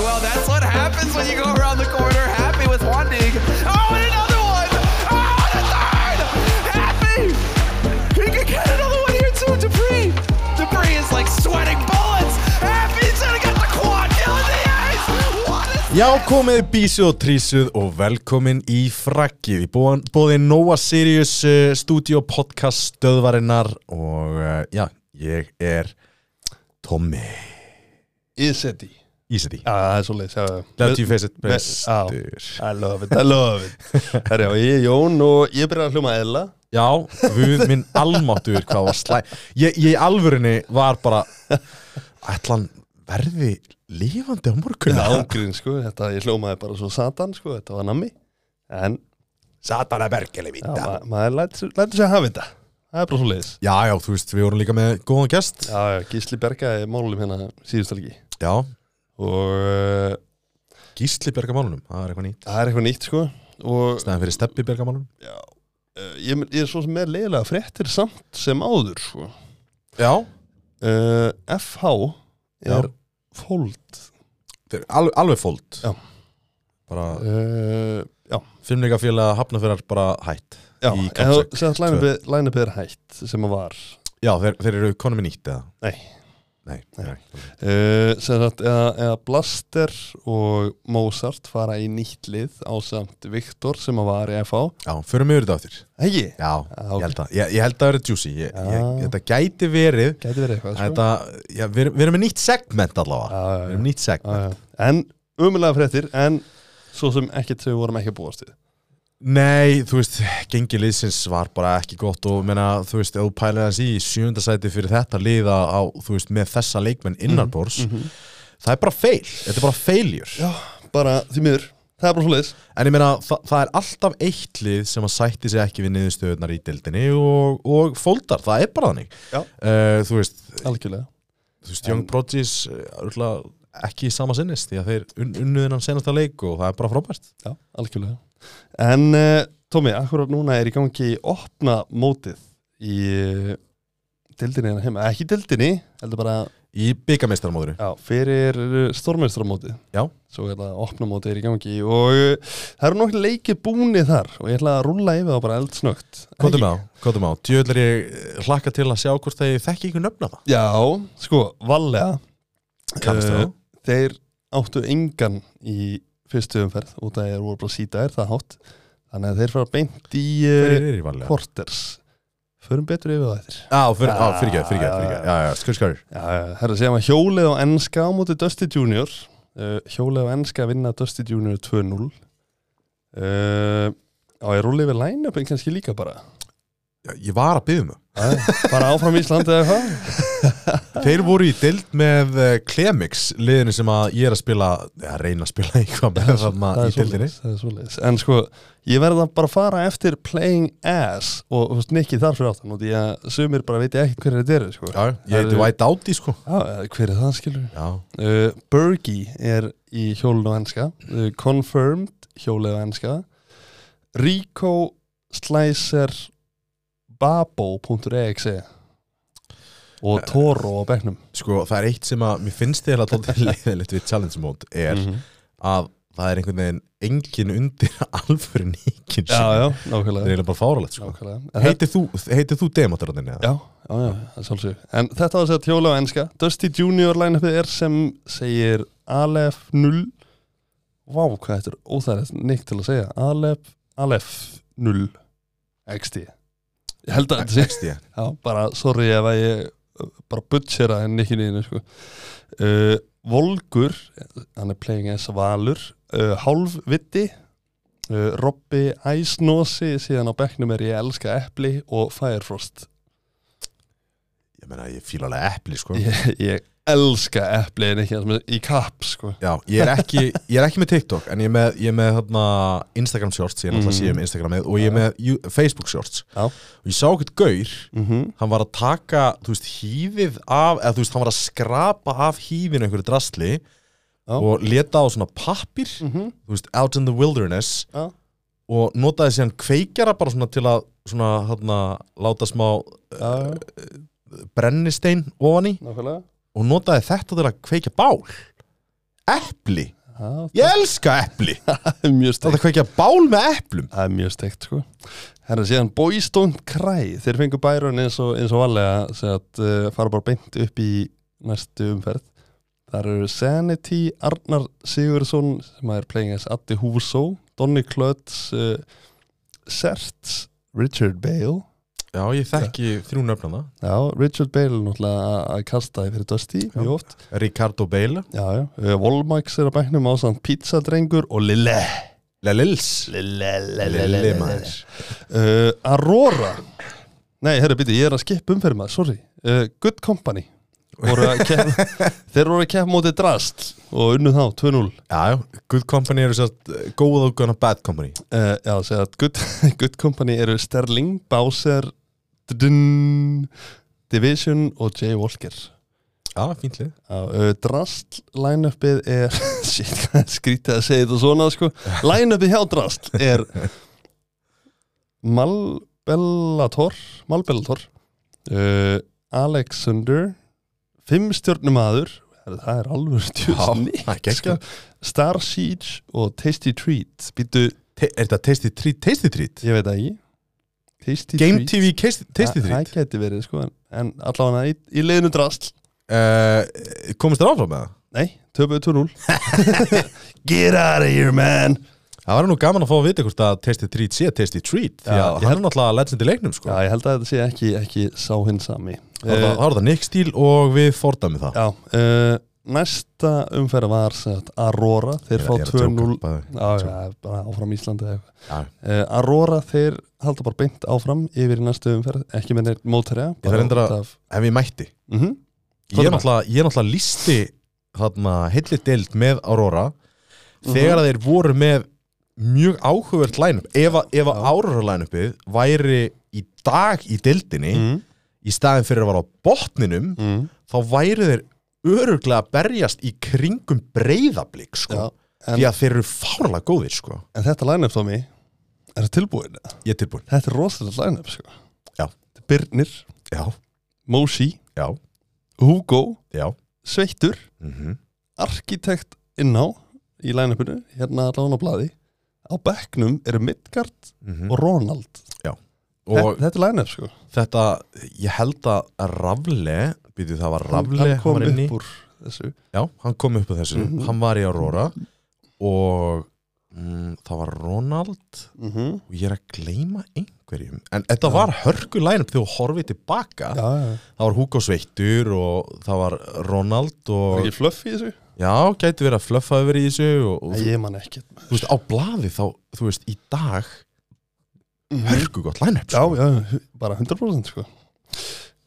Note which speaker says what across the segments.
Speaker 1: Well, that's what happens when you go around the corner happy with one dig. Oh, and another one! Oh, and a third! Happy! He could get another one here too, Dupree. Dupree is like sweating bullets. Happy's gonna get the quad kill in the ice. What is
Speaker 2: Já, komið bísuð og trísuð og velkomin í frakkið í bóði Nóa Sirius uh, stúdíó podcast stöðvarinnar og uh, já, ég er Tommy
Speaker 3: Iseti
Speaker 2: Ísiti.
Speaker 3: Já, Ah, það er svolítið
Speaker 2: Let you face it,
Speaker 3: bestur
Speaker 2: bestur.
Speaker 3: I love it, I love it Herra, og ég er Jón og ég byrjar að hljóma eðla
Speaker 2: Já, við minn almáttur hvað var slæ... Ég, ég í alvörunni var bara, ætlan verði lifandi á morgunna.
Speaker 3: Ángrín, sko, þetta, ég hljómaði bara svo satan, sko, þetta var nammi En,
Speaker 2: Satana bergeli
Speaker 3: já, ma maður lætur lætur sig að hafa þetta Það er bara svolítið
Speaker 2: Já, já, þú veist, við vorum líka með góðan gest.
Speaker 3: Já, já, Gísli Berga er málum hérna síðustalgi
Speaker 2: Já,
Speaker 3: Og uh,
Speaker 2: Gísli bergamálunum, það er eitthvað nýtt.
Speaker 3: það er eitthvað nýtt, sko Og
Speaker 2: Stæðan fyrir steppi bergamálunum.
Speaker 3: já, uh, ég, ég er svo sem er leiðilega fréttir samt sem áður, sko
Speaker 2: Já,
Speaker 3: uh, FH
Speaker 2: Já.
Speaker 3: er fóld
Speaker 2: Þeir, alveg, alveg fóld
Speaker 3: Já.
Speaker 2: bara
Speaker 3: uh, Já
Speaker 2: fimmleikafélag hafnafyrar bara hætt
Speaker 3: Já,
Speaker 2: í
Speaker 3: eða
Speaker 2: Kapsek
Speaker 3: sem sagt line-upið- line-upið er hætt sem að var
Speaker 2: já þeir, þeir eru konum í nýtt eða
Speaker 3: Nei.
Speaker 2: nei, nei.
Speaker 3: uh, sem sagt eða, eða Blaster og Mozart fara í nýtt lið á samt Viktor sem að var í FH
Speaker 2: já, förum yfir þetta aftur já,
Speaker 3: Hegi,
Speaker 2: ég
Speaker 3: ok.
Speaker 2: held að ég, ég held að það eru juicy ég,
Speaker 3: Já.
Speaker 2: ég, þetta gæti verið
Speaker 3: gæti verið eitthvað sko?
Speaker 2: þetta, já, við, erum- við erum með nýtt segment allavega
Speaker 3: já,
Speaker 2: við
Speaker 3: já,
Speaker 2: erum nýtt
Speaker 3: já,
Speaker 2: segment
Speaker 3: já. En umulega fréttir en svo sem ekkert sem við vorum ekki að búast við
Speaker 2: nei, þú veist, gengi liðsins var bara ekki gott og menna, þú veist, ef þú pælir hans í sjöndasæti fyrir þetta liða á, þú veist, með þessa leikmenn innanbors það er bara fail, þetta er bara failure
Speaker 3: Já, bara því miður, það er bara svoleiðis
Speaker 2: En ég meina, þa það er alltaf eitt lið sem að sætti sig ekki við niðurstöðunar í deildinni og, og fóldar, það er bara þannig.
Speaker 3: Já.
Speaker 2: Eh, þú veist,
Speaker 3: Algjörlega
Speaker 2: þú veist, Young Prodigies uh, ekki í sama sinnist því að þeir un unnuðinan senasta leik og það er bara frábært.
Speaker 3: Já, algjörlega. En uh, Tómi, akkurat núna er í gangi opna mótið í uh, dildinni hérna heima, ekki dildinni, heldur bara
Speaker 2: Í byggameistarmóðuru.
Speaker 3: já, fyrir stórmeistramótið.
Speaker 2: Já.
Speaker 3: Svo er það opna mótið er í gangi og uh, það eru nokkið leikið búni þar og ég ætla að rúlla yfir það bara eldsnögt.
Speaker 2: Kondum á, kondum á. Djöðlar ég eh, hlakka til að sjá hvort þeir þekki ykkur nöfna það.
Speaker 3: Já, sko, vallega.
Speaker 2: Kannast
Speaker 3: Eh,
Speaker 2: það?
Speaker 3: þeir áttu engan í fyrstu umferð út að þeir voru bara sítaðir, það er hátt. Þannig að þeir fara beint í... eh,
Speaker 2: Hverjir eru í valega?
Speaker 3: Porters Förum betur yfir það eftir
Speaker 2: Á, fyrir, á, fyrirgeð, fyrirgeð,
Speaker 3: Já, já,
Speaker 2: fyrirgeð. Já, já, skur, skur.
Speaker 3: Já, það er að segja maður hjólið á ennska á móti Dusty Junior uh, Hjólið á ennska vinna Dusty Junior 2-0 uh, Á ég rúli yfir line-upin kannski líka bara
Speaker 2: Já, Ég var að byggja um það.
Speaker 3: Já, Bara áfram Ísland eða hvað
Speaker 2: Þeir voru í dild með eh, Klemix, liðinu sem að ég er að spila, eða reyna að spila eitthvað með þarna í dildinni.
Speaker 3: svoleiðis, það er svoleiðis En sko, ég verða bara að fara eftir playing ass og þú veist, Nicky þar fyrir áttan og því að sumir bara veit ekki hver þetta eru sko.
Speaker 2: Já, ég heiti
Speaker 3: Það eru-
Speaker 2: White Audi sko.
Speaker 3: Já, hver er það skilur
Speaker 2: Já,
Speaker 3: Uh, Bergie er í hjólinu á enska uh, Confirmed hjólið á enska Rico Slicer Babo.exe og Toro á bekknum
Speaker 2: sko það er eitt sem að mér finnst þér að tóta leiðilegt við challenge mode er
Speaker 3: Mhm.
Speaker 2: að það er einhvern veginn engin undir alvöru nýkin
Speaker 3: Já, já,
Speaker 2: Það er
Speaker 3: nákvæmlega,
Speaker 2: eiginlega bara fáralegt sko.
Speaker 3: nákvæmlega. En þetta-
Speaker 2: Heitir þú, heitir þú demotarðinni?
Speaker 3: Já, já, já, það er svolsög En þetta var þess að hjóla á enska Dusty Junior line-upið er sem segir Alef 0 Vá, hvað þetta er óþægilegt Nick til að segja Alef, Alef 0 XD Ég held að þetta sé
Speaker 2: Sexti ég.
Speaker 3: Já, bara sorry ef að ég uh, bara butchera en ekki nýðinu sko. uh, Volgur hann er playing as Valur uh, Hálfviti uh, Robby Æsnosi síðan á bekknum er ég elska epli og Firefrost
Speaker 2: Ég meina, ég fíla alveg epli sko.
Speaker 3: ég, ég elska epli en ekki það sem er í kapp sko.
Speaker 2: Já, ég er ekki, ég er ekki með TikTok en ég er með, ég er með þarna, Instagram shorts, ég er alltaf
Speaker 3: Mm.
Speaker 2: mm. síðan með Instagram og ég er með Ju- Facebook shorts
Speaker 3: Já.
Speaker 2: og ég sá eitthvað gaur
Speaker 3: mm -hmm.
Speaker 2: hann var að taka, þú veist, hýfið af, eða þú veist, hann var að skrapa af hýfinu einhverju drasli
Speaker 3: Já.
Speaker 2: og leta á svona pappir,
Speaker 3: Mm -hmm.
Speaker 2: þú veist, out in the wilderness og notaði síðan kveikjara bara svona til að svona, þarna, láta smá
Speaker 3: Já,
Speaker 2: brennistein ofan í
Speaker 3: nákvæmlega
Speaker 2: og notaði þetta til að kveikja bál. Epli.
Speaker 3: Já,
Speaker 2: Ég elska epli
Speaker 3: það er mjög
Speaker 2: Það
Speaker 3: steikt
Speaker 2: er hvað ekki að bál með eplum
Speaker 3: Það er mjög steikt sko Herra síðan Boys Don't Cry Þeir fengu Byron eins og, eins og valega Sett uh, fara bara beint upp í næstu umferð Þar eru Sanity, Arnar Sigurðsson sem er playing as Addi Húsó Donny Klötz uh, Serts, Richard Bale
Speaker 2: Já, ég þekki þrjú nöfnum það
Speaker 3: Já, Richard Bale er náttúrulega að- að kasta í fyrir Dusty mjög oft
Speaker 2: Ricardo Bale
Speaker 3: Já, já, uh, Volmax er á bæknum ásand Pizzadrengur og Lille
Speaker 2: Lelils
Speaker 3: Lille
Speaker 2: Lille maður
Speaker 3: uh, Aurora Nei, herra, býti, ég er að skipa umferð maður, sorry uh, Good Company voru að kef, Þeir voru að keppa móti drast og unnu þá, 2-0 uh,
Speaker 2: Já, já, Good Company eru satt góð og gana bad company
Speaker 3: Eh, Já, segja að good, good Company eru Sterling, Bowser Dun, Division og Jay Walker
Speaker 2: Já, fínt lið
Speaker 3: Já, uh, Drast line-upið er shit, hvað er skrítið að segja þetta svona sko. line-upið hjá Drast er Malbellator Malbellator uh, Alexander fimm stjórnumadur það er
Speaker 2: Já,
Speaker 3: alveg
Speaker 2: það er
Speaker 3: stjórn
Speaker 2: geggjað.
Speaker 3: sko. Star Siege og Tasty Treat býtu,
Speaker 2: Te- Er þetta Tasty Treat? Tasty Treat?
Speaker 3: ég veit það ekki Tasty
Speaker 2: Game
Speaker 3: Treat
Speaker 2: TV Tasty Tasty
Speaker 3: Það-
Speaker 2: Treat
Speaker 3: það geti verið sko en, en allavega í, í leiðinu Drast
Speaker 2: Uh, Komist þér áfram með það?
Speaker 3: Nei, töpuðu 2-0 Get out of here man
Speaker 2: Það var nú gaman að fá að vita hvort að Tasty Treat sé Tasty Treat Því
Speaker 3: Já,
Speaker 2: að
Speaker 3: ég
Speaker 2: hann er náttúrulega legend í leiknum sko
Speaker 3: Já, ég held að þetta sé ekki, ekki sá hinn sami Eh,
Speaker 2: Það var það- það var það Nick Steele og við fordæmi það
Speaker 3: Já, uh, næsta umferð var sem sagt, Aurora, þeir
Speaker 2: Ég-
Speaker 3: fá
Speaker 2: ég er að
Speaker 3: 2-0
Speaker 2: djóka, bara-
Speaker 3: Já, já, bara áfram Íslandi eða eitthvað
Speaker 2: Já.
Speaker 3: uh, Aurora, þeir halda bara beint áfram yfir í næstu umferð, ekki með neitt mótæri
Speaker 2: Ég þarf reyndar að- Ef ég mætti
Speaker 3: mm -hmm.
Speaker 2: Ég er náttúrulega, ég er náttúrulega listi þarna heilli deild með Aurora þegar
Speaker 3: Mhm.
Speaker 2: að þeir voru með mjög áhugvert line-up ef, að- ef að Aurora line-upið væri í dag í deildinni
Speaker 3: Mhm.
Speaker 2: í staðin fyrir að vera á botninum
Speaker 3: mm.
Speaker 2: þá væri þeir öruglega að berjast í kringum breyðablík
Speaker 3: Já,
Speaker 2: sko.
Speaker 3: en,
Speaker 2: því að þeir eru fárlega góðir sko.
Speaker 3: en þetta line-up Tommy er það tilbúin?
Speaker 2: ég er tilbúin
Speaker 3: Þetta er rosalega line-up sko.
Speaker 2: Já.
Speaker 3: Birnir,
Speaker 2: já,
Speaker 3: Moshi,
Speaker 2: já,
Speaker 3: Hugo
Speaker 2: já
Speaker 3: Sveittur,
Speaker 2: mm
Speaker 3: arkitekt inná í line-upinu, hérna allan á blaði á bekknum eru Midgard og Ronald
Speaker 2: mhm. og
Speaker 3: þetta, þetta er line-up sko
Speaker 2: þetta, ég held að Rafle, býtu það var Rafle
Speaker 3: hann kom
Speaker 2: var inni
Speaker 3: upp úr þessu
Speaker 2: Já, hann kom upp á þessu,
Speaker 3: Mhm.
Speaker 2: hann var í Aurora og mm, það var Ronald
Speaker 3: mm -hmm.
Speaker 2: og ég er að gleyma einhverjum en þetta var hörku line-up þegar þú horfið tilbaka
Speaker 3: já, já,
Speaker 2: það var Hugo Sveittur og það var Ronald
Speaker 3: var
Speaker 2: og
Speaker 3: ekki fluff í þessu?
Speaker 2: já, gæti verið að flöffa yfir í þessu og, og
Speaker 3: Nei, ég man ekki
Speaker 2: þú veist, á blaði þá, þú veist, í dag hörku gott line-up
Speaker 3: já,
Speaker 2: sko.
Speaker 3: já, hu- bara 100% sko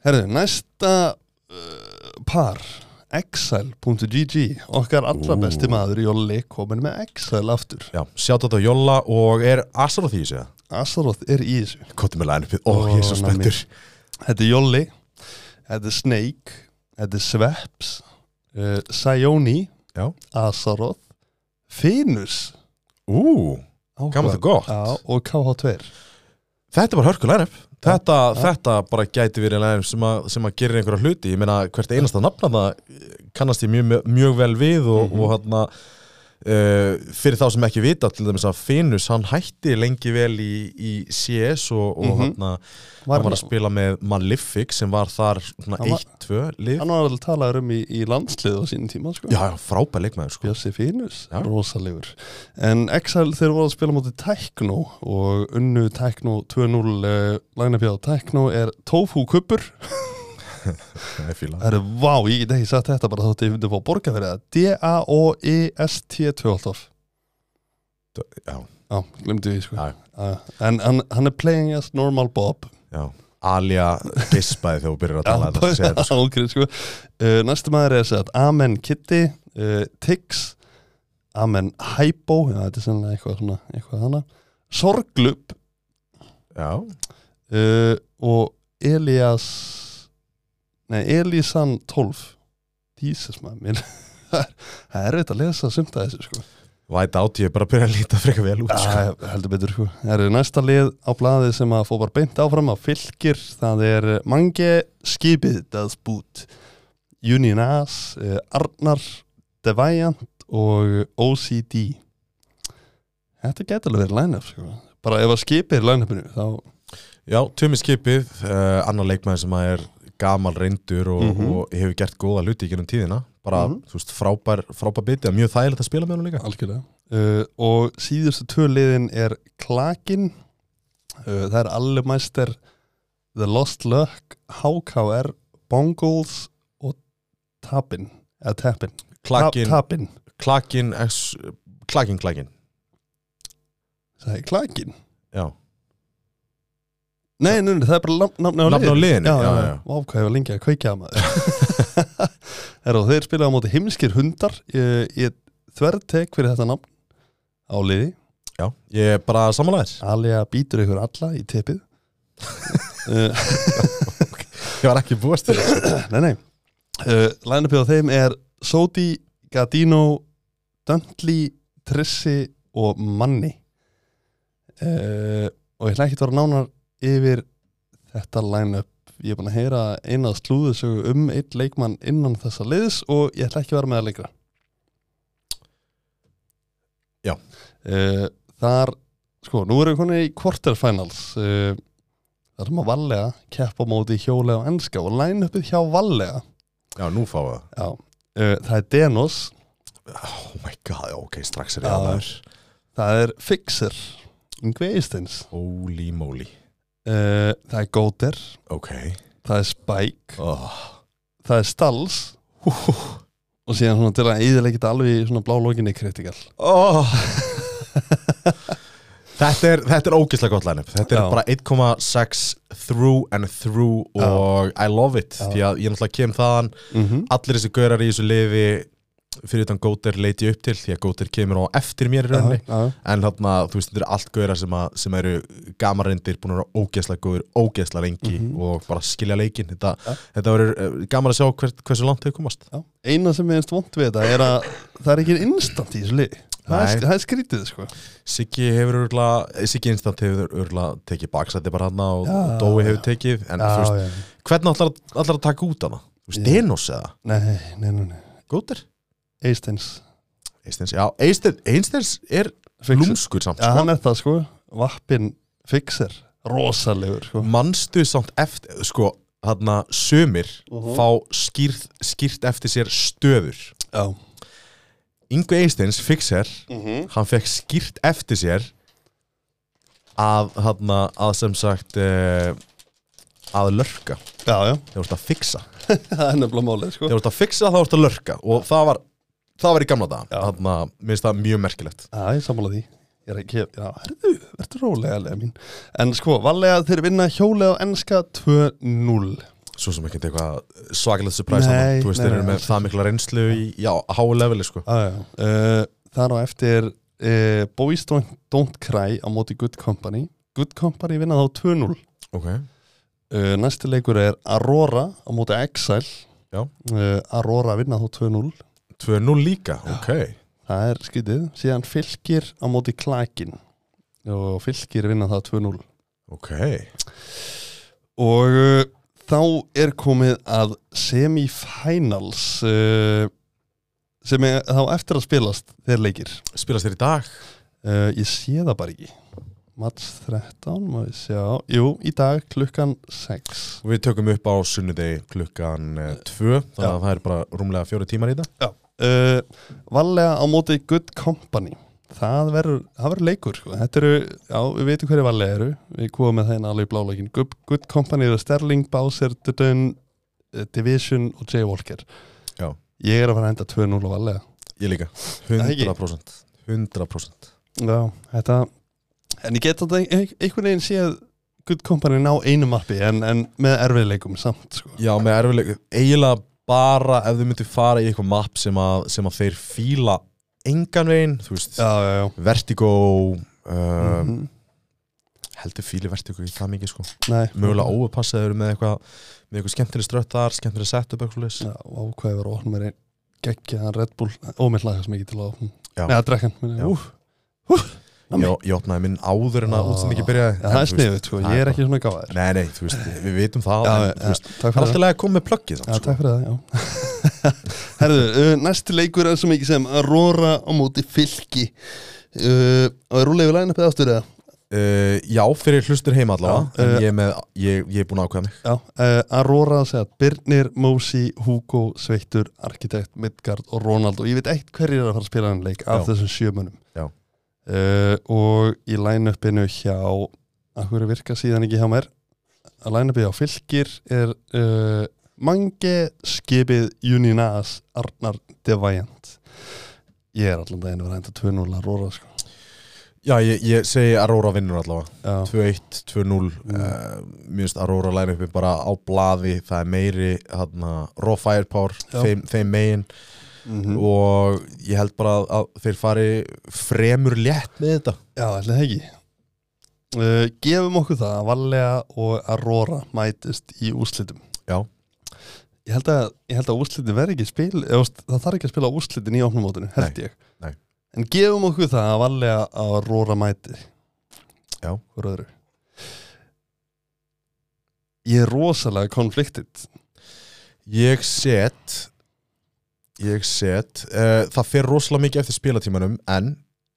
Speaker 3: herðu, næsta uh, par Exile.gg okkar allra
Speaker 2: Ú.
Speaker 3: besti maður Jolli komin með Exile aftur
Speaker 2: já sjátt þetta á Jóla og er Asar á því þessu
Speaker 3: Asaroth er í þessu
Speaker 2: Kottum með line-upið, ó, ég er svo
Speaker 3: Ó, nammi.
Speaker 2: spenntur
Speaker 3: Þetta er Jolli Þetta er Snake Þetta er Sveps uh, Sayoni
Speaker 2: Já.
Speaker 3: Asaroth Finus
Speaker 2: Ú, gaman
Speaker 3: Áhugavert.
Speaker 2: það gott
Speaker 3: Já, og KH2
Speaker 2: Þetta er bara hörku line-up þetta, þetta bara gæti verið line-up sem, að- sem að gerir einhverja hluti Ég meina hvert einasta nafna það kannast ég mjög, mjög vel við og,
Speaker 3: Mhm.
Speaker 2: og hann uh, fyrir þá sem ekki vita til dæmis að Finus hann hætti lengi vel í, í CS og, og mm
Speaker 3: Mhm.
Speaker 2: hann var
Speaker 3: hann,
Speaker 2: að spila með Malefic sem var þar svona
Speaker 3: Hann var-
Speaker 2: 1-2 lið
Speaker 3: hann var alveg talaður um í, í landslið á sínum tíma sko.
Speaker 2: Já, já, frábær leikmaður sko
Speaker 3: Bjössi Finus,
Speaker 2: Já.
Speaker 3: rosalegur En Exile þeir voru að spila mútið Tekno og unnu Tekno 2-0 uh, lagnabjáð Tekno er Tofu Kuppur
Speaker 2: Ég fíla það.
Speaker 3: Það eru, vá, ég get ekki sagt þetta bara þótt ég myndi að fá borga fyrir það E D-A-O-E-S-T-2 alltaf
Speaker 2: Já,
Speaker 3: Já, glemdi við sko
Speaker 2: Já.
Speaker 3: Já. En hann, hann er playing as normal Bob
Speaker 2: já Alia gespaði þegar þú byrjar að tala þetta segir þetta, sko.
Speaker 3: ágrið sko uh, Næstu maður er að segja að Amen Kitty uh, Tix Amen Hypo Já, þetta er sennilega eitthvað svona eitthvað hana Sorglub
Speaker 2: Já,
Speaker 3: uh, og Elias Nei, Elisan 12 Jesus maður mér Það er veit að lesa sumt að þessu sko
Speaker 2: væta átt ég er bara að byrja að líta frekar vel út sko.
Speaker 3: Já, heldur betur sko. Það eru næsta lið á blaði sem að fór bara beint áfram á fylgir, það er Mange skipið daðsbút Union As, eh, Arnar Deviant og OCD Þetta getur alveg verið line-up sko. bara ef að skipið er line-upinu þá
Speaker 2: Já, Tumi Skipið, uh, annar leikmaður sem að er gamal reyndur og,
Speaker 3: Mhm.
Speaker 2: og hefur gert góða hluti í gennum tíðina bara,
Speaker 3: Mhm.
Speaker 2: þú veist, frábær, frábær biti og mjög þægilegt að spila með hún líka
Speaker 3: algjörlega uh, og síðustu tvö liðin er Klakin uh, það er Allemæster The Lost Luck HKR, Bongles og Tapin eða Tapin,
Speaker 2: Klakin,
Speaker 3: Tapin.
Speaker 2: klakin, ex, klakin, klakin
Speaker 3: það er Klakin
Speaker 2: Já,
Speaker 3: Nei, nei, nei, það er bara lam- nafni á
Speaker 2: Nafni á liðinu,
Speaker 3: Já, já,
Speaker 2: já,
Speaker 3: já,
Speaker 2: já.
Speaker 3: Vá, hvað ég var lengi að kveikja að maður Herra, og þeir spilaði á móti himnskir hundar Ég, ég þvertek fyrir þetta nafn á liði
Speaker 2: já, ég er bara samanlæðir
Speaker 3: Alia býtur ykkur alla í tepið uh,
Speaker 2: Ég var ekki búast til þessu
Speaker 3: Nei, nei uh, Lænupið á þeim er Sodi, Gadino, Döndli, Trissi og Manni uh, Og ég ætla ekki að vera nánar yfir þetta line-up Ég er búin að heyra eina slúðisögu um einn leikmann innan þessa liðs og ég ætla ekki að vera með það lengra
Speaker 2: Já.
Speaker 3: Eh, Þar, sko, nú erum við komin í quarterfinals uh, Þar sem að Vallega keppa á móti hjólega og enska og line-upið hjá Vallega
Speaker 2: Já, nú fáum við það
Speaker 3: Já, uh, það er Denos
Speaker 2: Oh my god, já, ok, strax er ég
Speaker 3: Já.
Speaker 2: aðlæður
Speaker 3: Það er Fixer Yngvi Eistins
Speaker 2: Holy moly
Speaker 3: uh, Það er Góter
Speaker 2: Ok
Speaker 3: Það er Spike
Speaker 2: oh.
Speaker 3: Það er Stals Og síðan svona til að eðilegja þetta alveg í svona blá lókinni kritikal
Speaker 2: Oh. Þetta er, þetta er ógislega gott line-up Þetta er
Speaker 3: Já.
Speaker 2: bara 1,6 through and through
Speaker 3: Já.
Speaker 2: og I love it
Speaker 3: Já.
Speaker 2: því að ég náttúrulega kem þaðan
Speaker 3: mm -hmm.
Speaker 2: allir þessi gaurar í þessu liði fyrir utan Góter leiti ég upp til því að Góter kemur á eftir mér í rauninni en þarna, þú veist, þetta eru allt gaurar sem, að, sem eru gamarindir, búin að vera ógeðslega góður, ógeðslega lengi
Speaker 3: Mhm.
Speaker 2: og bara skilja leikinn, þetta,
Speaker 3: Ja.
Speaker 2: þetta verður eh, gaman að sjá hver, hversu langt þau komast
Speaker 3: Eina sem minnst vond við þetta er að það er ekki instant í þessu lið Það er,
Speaker 2: Nei.
Speaker 3: sk- það er skrítið sko
Speaker 2: Siggi hefur örgulega, Siggi Instant hefur örgulega tekið baksæti bara hana og,
Speaker 3: Já,
Speaker 2: og Dói hefur tekið, en þú veist,
Speaker 3: já.
Speaker 2: hvernig allar, allar að taka út hana? Þú veist,
Speaker 3: Já.
Speaker 2: Denos eða?
Speaker 3: Nei, nei, nei, nei.
Speaker 2: Góter?
Speaker 3: Eistins
Speaker 2: Einsteins, já, Einsteins, Einsteins er
Speaker 3: Fixer
Speaker 2: lúmskur samt,
Speaker 3: Já,
Speaker 2: sko.
Speaker 3: hann er það sko Vappin Fixer Rosalegur sko
Speaker 2: manstu samt eftir, sko, þarna sömir
Speaker 3: Mhm.
Speaker 2: fá skýrt, skýrt eftir sér stöður.
Speaker 3: Já
Speaker 2: Ingu Einsteins, fixer,
Speaker 3: Mhm.
Speaker 2: hann fekk skýrt eftir sér að, þarna, að sem sagt, eh, að lörka,
Speaker 3: Já, já
Speaker 2: þegar þú ert að fixa.
Speaker 3: Það er nefnilega málið sko
Speaker 2: Þegar þú ert að fixa þá ert að lörka og það var, það var í gamla dagan
Speaker 3: Já.
Speaker 2: þannig að mér finnst það mjög merkilegt
Speaker 3: Já, ég sammála því Ég er ekki, já, herðu, verður rólega lega mín En sko, valega þeir vinna hjólega og enska 2-0
Speaker 2: Svo sem ekki eitthvað svakalegt surprise
Speaker 3: Nei,
Speaker 2: þarna. Þú veist,
Speaker 3: nei,
Speaker 2: þeir eru
Speaker 3: nei,
Speaker 2: með
Speaker 3: alls
Speaker 2: það mikla reynslu í, já, háu leveli sko
Speaker 3: Já, já uh, Þar á eftir uh, Boys don't, don't Cry á móti Good Company Good Company vinna þá 2-0 uh,
Speaker 2: Ok
Speaker 3: Næsti leikur er Aurora á móti Exile
Speaker 2: Já.
Speaker 3: Eh, Aurora vinna þá 2-0
Speaker 2: 2-0 líka, ok
Speaker 3: Það er skytið Síðan fylgir á móti Klakin Og fylgir vinna það 2-0
Speaker 2: Ok
Speaker 3: Og uh, þá er komið að semifinals uh, sem er þá eftir að spilast þeir leikir.
Speaker 2: Spilast þér í dag
Speaker 3: Uh, ég sé það bara ekki. Mats 13, má ég sjá. Jú, í dag klukkan 6.
Speaker 2: og við tökum upp á sunnudegi klukkan 2 þannig
Speaker 3: Já.
Speaker 2: að það er bara rúmlega fjóri tímar í þetta
Speaker 3: Uh, Vallega á móti Good Company. Það verður, það verður leikur sko. Þetta eru, já, við veitum hverju vallega eru. Við komum með þeim alveg í bláleikin. Good, Good Company eru Sterling, Bowser, Dudun, eh, Division og Jay Walker.
Speaker 2: Já.
Speaker 3: Ég er að fara að henda 2-0 á vallega.
Speaker 2: Ég líka
Speaker 3: Það ekki?
Speaker 2: 100% 100%
Speaker 3: Já, þetta En ég get þetta ein- einhvern veginn séð Good Company ná einu mappi en, en með erfiðleikum samt sko.
Speaker 2: Já, með erfileg, eiginlega bara ef þau myndu fara í eitthvað mapp sem að, sem að þeir fíla engan veginn, þú veist,
Speaker 3: Já, já, já
Speaker 2: Vertigo uh,
Speaker 3: um,
Speaker 2: heldur fíli Vertigo í það mikið sko
Speaker 3: Nei
Speaker 2: mögulega óupass eða eru með eitthvað með eitthvað skemmtileg strött þar, skemmtileg setup eitthvað leis
Speaker 3: Já, ákvæði var að opna mér einn geggjaðan Red Bull Ómið laga sem ekki til að opna
Speaker 2: Já.
Speaker 3: Nei, að drekkan
Speaker 2: Já.
Speaker 3: Úf,
Speaker 2: ég, ég opnaði minn áður en að út sem ekki byrjaði
Speaker 3: Ah, Já, það
Speaker 2: En,
Speaker 3: er
Speaker 2: þú veist,
Speaker 3: sniðið, sko,
Speaker 2: það
Speaker 3: ég
Speaker 2: er
Speaker 3: er ekki svona gáðar
Speaker 2: Nei, nei, þú veist, við vitum það
Speaker 3: Já,
Speaker 2: en,
Speaker 3: já,
Speaker 2: þú veist,
Speaker 3: takk
Speaker 2: það er alltaf
Speaker 3: fyrir það
Speaker 2: lega að koma með pluggið
Speaker 3: Já,
Speaker 2: samt, sko.
Speaker 3: takk fyrir það, já Herðu, uh, næsti leikur er svo mikið sem Aurora á móti fylki uh, og er rúlega við læna uppið aftur eða?
Speaker 2: Uh, já, fyrir hlustur heima allavega
Speaker 3: Já,
Speaker 2: En
Speaker 3: eh,
Speaker 2: ég er, með, ég, ég er búin að ákveða mig
Speaker 3: Já, uh, Aurora segja Birnir, Mósi, Hugo, Sveittur Arkitekt, Midgard og Ronald og ég veit eitt hverjir er að fara að spila hann leik af
Speaker 2: Já.
Speaker 3: þessum sjömunum
Speaker 2: Já.
Speaker 3: Eh, og í line-upinu hjá að hverju virka síðan ekki hjá mér að line-upið hjá fylgir er uh, Mange, Skipið, Uninas, Arnar, Devaient ég er allan daginn að vera að henda 2-0 að Aurora sko.
Speaker 2: Já, ég, ég segi Aurora vinnur allavega
Speaker 3: Já.
Speaker 2: 2-1, 2-0 mm. uh, Mér finnst Aurora læna uppi bara á blaði Það er meiri, hann raw firepower
Speaker 3: Já.
Speaker 2: þeim, þeim megin
Speaker 3: Mhm.
Speaker 2: Mm. Og ég held bara að, að þeir fari fremur létt með þetta
Speaker 3: Já, ætli það ekki uh, Gefum okkur það að Vallega og Aurora mætist í úrslitum
Speaker 2: Já.
Speaker 3: Ég held að, ég held að úrslitin verði ekki spil eða, þú veist, það þarf ekki að spila úrslitin í opnumótinu, held ég
Speaker 2: nei.
Speaker 3: En gefum okkur það að Vallega og Aurora mæti
Speaker 2: Já.
Speaker 3: Hvor öðru Ég er rosalega konfliktitt
Speaker 2: Ég set Ég set uh, Það fer rosalega mikið eftir spilatímanum En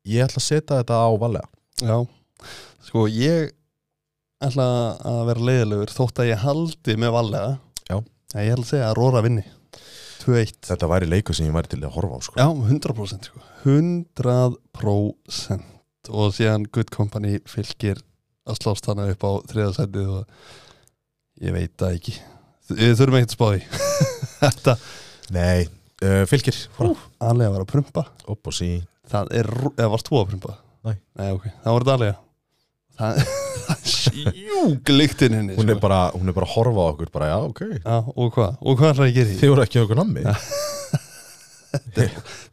Speaker 2: ég ætla að setja þetta á valega
Speaker 3: Já Sko, ég ætla að vera leiðilegur þótt að ég haldi með Vallega
Speaker 2: Já.
Speaker 3: En Ég ætla að segja að Aurora vinni 2-1
Speaker 2: Þetta væri leikur sem ég væri til að horfa á sko.
Speaker 3: Já, 100% sko. 100% og síðan Good Company fylgir að slást hana upp á þriðasændið og ég veit það ekki Þ- við þurfum ekkert að spá því þetta
Speaker 2: Nei, uh, fylgir
Speaker 3: aðlega var að prumpa
Speaker 2: Upp og sí
Speaker 3: það er, ro- eða varst þú að prumpa?
Speaker 2: Nei.
Speaker 3: Nei, ok, það voru þetta aðlega það það er sjúglíktinn henni
Speaker 2: hún er,
Speaker 3: sko.
Speaker 2: bara, hún er bara að horfa á okkur bara, Já, ok
Speaker 3: Já, og hvað, og hvað er það að gera í?
Speaker 2: Þið voru ekki okkur nammi
Speaker 3: Já.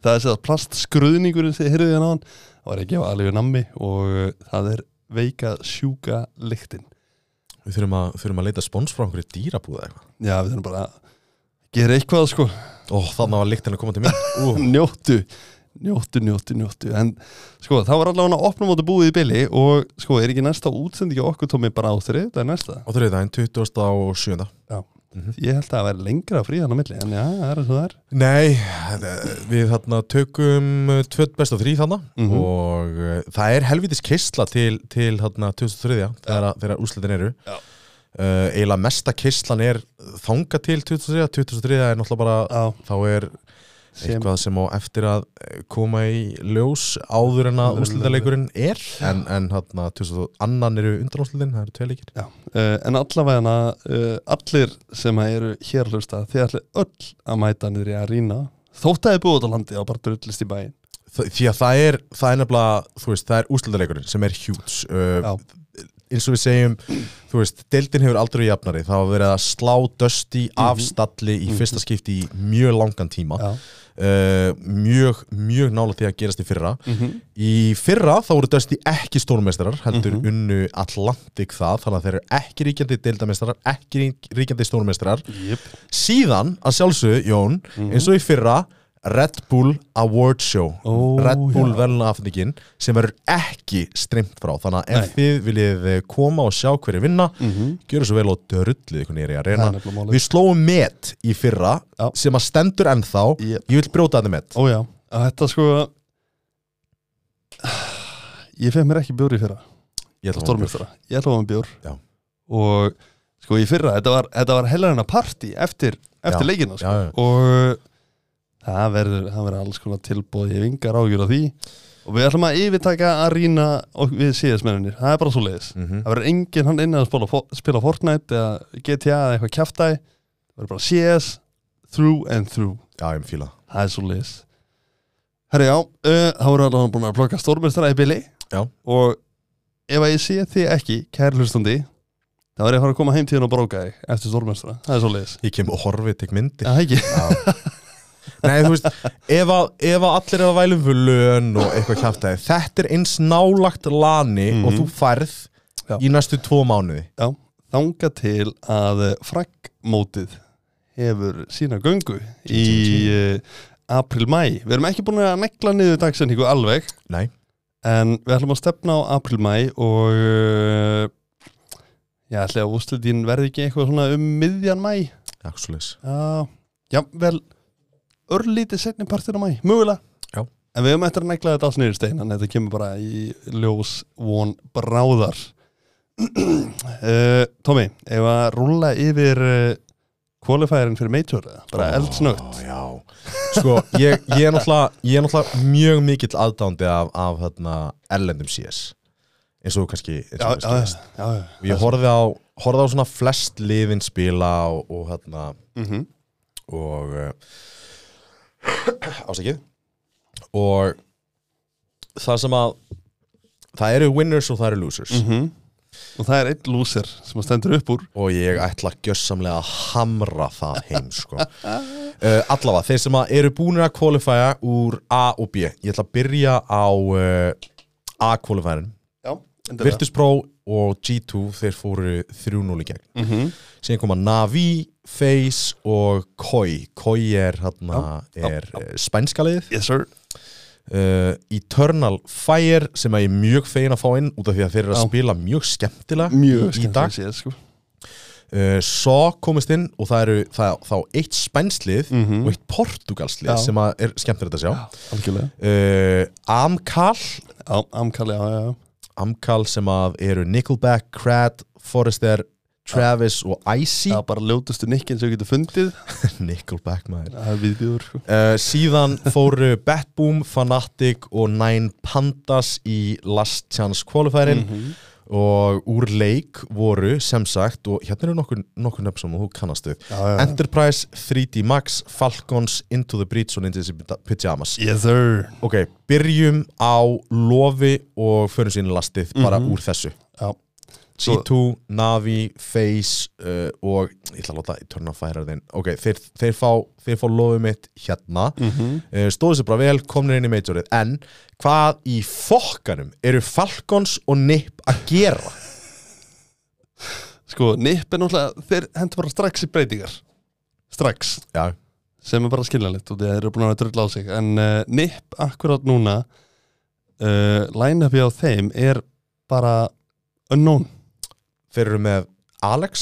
Speaker 3: það er sér að plastskruðningurinn sem heyrðið hann á hann hérna það var ekki á alveg nammi og uh, það er veika sjúka lyktin
Speaker 2: Við þurfum að, þurfum að leita spons frá einhverju dýrabúð eða eitthvað
Speaker 3: já við þurfum bara að gera eitthvað sko
Speaker 2: Ó, þannig var líkt henni að koma til mér Ú,
Speaker 3: njóttu, njóttu, njóttu, njóttu en sko það var allavega að opna móti búið í bylli og sko er ekki næsta útsendingi á okkur tómi bara á þrið, það er næsta
Speaker 2: Á þriðdæðin, 27.
Speaker 3: ég held að það væri lengra frí hann á milli en já, það er eins og það er
Speaker 2: Nei, þetta- við þarna tökum eh, tvö best og þrý þarna
Speaker 3: Mhm.
Speaker 2: og uh, það er helvitis kistla til, til þarna 2003 þegar, að- þegar úslitin eru
Speaker 3: Já.
Speaker 2: uh, eiginlega mesta kistlan er þanga til 2003 2003 er náttúrulega bara
Speaker 3: já,
Speaker 2: þá er
Speaker 3: sem,
Speaker 2: eitthvað sem á eftir að eh, koma í ljós áður en að
Speaker 3: Áður en að-
Speaker 2: úslitaleikurinn er en, en þarna 2000 annan eru undanúslitin, það eru tvei leikir
Speaker 3: uh, en allavega uh, allir sem að eru hér að hlusta þið ætli öll að mæta niður í arína þótt að þið búið út á landi og bara drullist í bæinn
Speaker 2: Þ- því að það er, það er nefnilega þú veist, það er úslitaleikurinn sem er hjúts uh,
Speaker 3: Já.
Speaker 2: eins og við segjum þú veist, deildin hefur aldrei verið jafnari það hafa verið að slá dösti af
Speaker 3: Mhm.
Speaker 2: stalli í fyrsta skipti í mjög langan tíma
Speaker 3: Já.
Speaker 2: uh, mjög, mjög nála því að gerast í fyrra
Speaker 3: Mhm.
Speaker 2: í fyrra þá voru dösti ekki stórmestrar heldur
Speaker 3: Mhm.
Speaker 2: unnu Atlantik það þannig að þeir eru ekki ríkjandi deildamestrar ekki rík- ríkjandi stórmestrar
Speaker 3: Jöp.
Speaker 2: síðan að sjálfsögðu, Jón
Speaker 3: Mhm.
Speaker 2: eins og í fyrra Red Bull Award Show
Speaker 3: Ó,
Speaker 2: Red Bull
Speaker 3: já.
Speaker 2: velnaafningin sem verður ekki streymt frá þannig að ef
Speaker 3: Nei.
Speaker 2: þið viljið eh, koma og sjá hverju vinna
Speaker 3: Mhm.
Speaker 2: gjöru svo vel og dörrullið ykkur nýri að
Speaker 3: Það
Speaker 2: reyna
Speaker 3: er nefnilega málið.
Speaker 2: við slóum met í fyrra
Speaker 3: Já.
Speaker 2: sem að stendur ennþá
Speaker 3: Jep.
Speaker 2: ég vil brjóta þetta met
Speaker 3: Ó já, að þetta sko Ég fekk mér ekki bjór í fyrra
Speaker 2: ég ætla að fá mér bjór.
Speaker 3: Stórmestara, ég ætla að hann bjór
Speaker 2: Já.
Speaker 3: Og sko í fyrra Þetta var, þetta var helgarina partí eftir, eftir
Speaker 2: Já.
Speaker 3: leikina sko.
Speaker 2: Já, já.
Speaker 3: Og það verður, það verður alls konar tilbóð Ég vingar ágjur á því Og við ætlum að yfirtaka að rýna Við síðasmenninir, það er bara svo leiðis
Speaker 2: Mhm.
Speaker 3: Það verður enginn hann inni að spila, spila Fortnite Eða GTA eða eitthvað kjaftaði Það verður bara CS Through and through
Speaker 2: já ég fíla það.
Speaker 3: Það er svo leiðis Herri já, uh, þá voru allavega búin að plokka stórmestara í bili
Speaker 2: Já.
Speaker 3: Og ef að ég sé þig ekki, kæri hlustandi þá er ég að fara að koma heim til þín og bróka þig eftir stórmestara, það er svo leiðis
Speaker 2: ég kem og horfið tek myndir
Speaker 3: Já, ekki
Speaker 2: Já. Nei, þú veist, ef að, ef að allir er að vælum fyrir lön og eitthvað kjáftæði, þetta er eins nálagt lani og þú færð
Speaker 3: Mhm. Já.
Speaker 2: í næstu tvo mánuði.
Speaker 3: Já, þanga til að fraggmótið hefur sína göngu í uh, april-mæ Við erum ekki búin að negla niður dagsetningu alveg
Speaker 2: Nei.
Speaker 3: En við ætlum að stefna á april-mæ og uh, ég ætli að úrslitin verði ekki eitthvað svona um miðjan mæ
Speaker 2: Já, svo leys.
Speaker 3: Já, jafnvel örlítið setni partin á mæ, mögulega
Speaker 2: Já.
Speaker 3: en við höfum eftir að negla þetta á snýrstein en þetta kemur bara í ljós von bráðar uh, Tommy, ef að rúlla yfir uh, qualifierin fyrir major eða? bara
Speaker 2: Ó,
Speaker 3: eldsnögt
Speaker 2: já. Sko, ég, ég, er náttúrulega, ég er náttúrulega mjög mikill aðdándi af, af hérna, erlendum CS eins og þú kannski eins og
Speaker 3: já,
Speaker 2: þú
Speaker 3: já,
Speaker 2: veist.
Speaker 3: já, já.
Speaker 2: Ég horfði á, horfði á svona flest liðin spila og, og hérna
Speaker 3: Mhm.
Speaker 2: og uh, ásækið og það sem að það eru winners og það eru losers
Speaker 3: Mhm. og það er einn lúsir sem að stendur upp úr
Speaker 2: og ég ætla gjössamlega að hamra það heim sko. uh, allavega, þeir sem að eru búinir að kvalifæja úr A og B ég ætla að byrja á uh, A-kvalifærin
Speaker 3: já,
Speaker 2: Virtus Pro og G2 þeir fóru 3-0 í gegn
Speaker 3: mm -hmm.
Speaker 2: síðan koma Navi, Face og Koi Koi er, hana,
Speaker 3: Já,
Speaker 2: er já, spænska liðið
Speaker 3: yes sir
Speaker 2: uh, Eternal Fire sem að ég er mjög fegin að fá inn út af því að þeir eru að
Speaker 3: Já.
Speaker 2: spila mjög skemmtilega
Speaker 3: mjög
Speaker 2: í dag
Speaker 3: skemmtilega séð, sko.
Speaker 2: uh, Svo komist inn og það eru það, þá eitt spænslið
Speaker 3: Mhm.
Speaker 2: og eitt portugalslið
Speaker 3: Já.
Speaker 2: sem að er skemmtilegt að sjá
Speaker 3: algjörlega
Speaker 2: uh, Amkal
Speaker 3: Já, amkalli, já, já, já
Speaker 2: Amkal sem að eru Nickelback, Crad, Forrester Travis og Icy
Speaker 3: Það er bara ljótustu nikkin sem við getum fundið
Speaker 2: Nickelback maður
Speaker 3: Það er viðbjóður sko.
Speaker 2: Uh, síðan fóru Batboom, Fnatic og Nine Pandas í Last Chance Qualifierin og úr leik voru sem sagt og hérna eru nokkur, nokkur nöfn sem þú kannast við
Speaker 3: já, já.
Speaker 2: Enterprise, 3D Max, Falcons, Into the Breach og Ninja Pyjamas
Speaker 3: Yes sir
Speaker 2: Ok, byrjum á lofi og förum sín í lastið bara úr þessu
Speaker 3: Já,
Speaker 2: G2, Navi, Face uh, og ég ætla að láta í törna færa þeim ok, þeir, þeir, fá, þeir fá lofið mitt hérna mm
Speaker 3: Mhm.
Speaker 2: stóðu sér bara vel, komnir inn í majorið en hvað í fokkanum eru Falcons og Nip að gera?
Speaker 3: sko, nipp er náttúrulega Þeir hendur bara strax í breytingar Strax
Speaker 2: Já,
Speaker 3: Sem er bara skiljanlegt og þeir eru búin að drulla á sig En uh, nipp akkurát núna uh, Line-upi á þeim er bara unknown
Speaker 2: þeir eru með Alex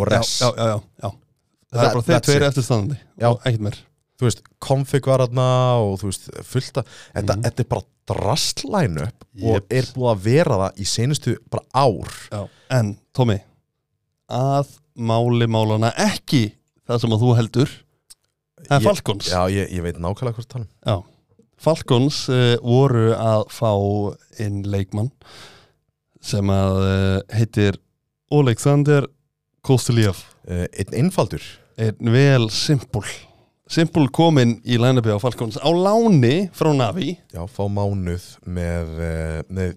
Speaker 2: og Ress
Speaker 3: Já, já, já, já, já. Það
Speaker 2: That-
Speaker 3: er bara þeir
Speaker 2: that's
Speaker 3: tveir
Speaker 2: it.
Speaker 3: eftir standandi
Speaker 2: Já.
Speaker 3: Og Ekkert meir
Speaker 2: þú veist, Config var aðna og þú veist, fullta þetta,
Speaker 3: Mhm.
Speaker 2: þetta er bara drastlæn upp og
Speaker 3: Jeps.
Speaker 2: er búið að vera það í senustu bara ár
Speaker 3: Já. En, Tómi Að máli málana ekki Það sem að þú heldur Það er
Speaker 2: Ég-
Speaker 3: Falcons
Speaker 2: Já, ég, ég veit nákvæmlega hvort tala um.
Speaker 3: Já. Falcons uh, voru að fá inn leikmann sem að uh, heitir Oleksandr Kostilíaf
Speaker 2: uh, Einn einfaldur
Speaker 3: einn vel simpul simpul kominn í line-upi á Falcons á láni frá Navi
Speaker 2: Já, fá mánuð með, eh, með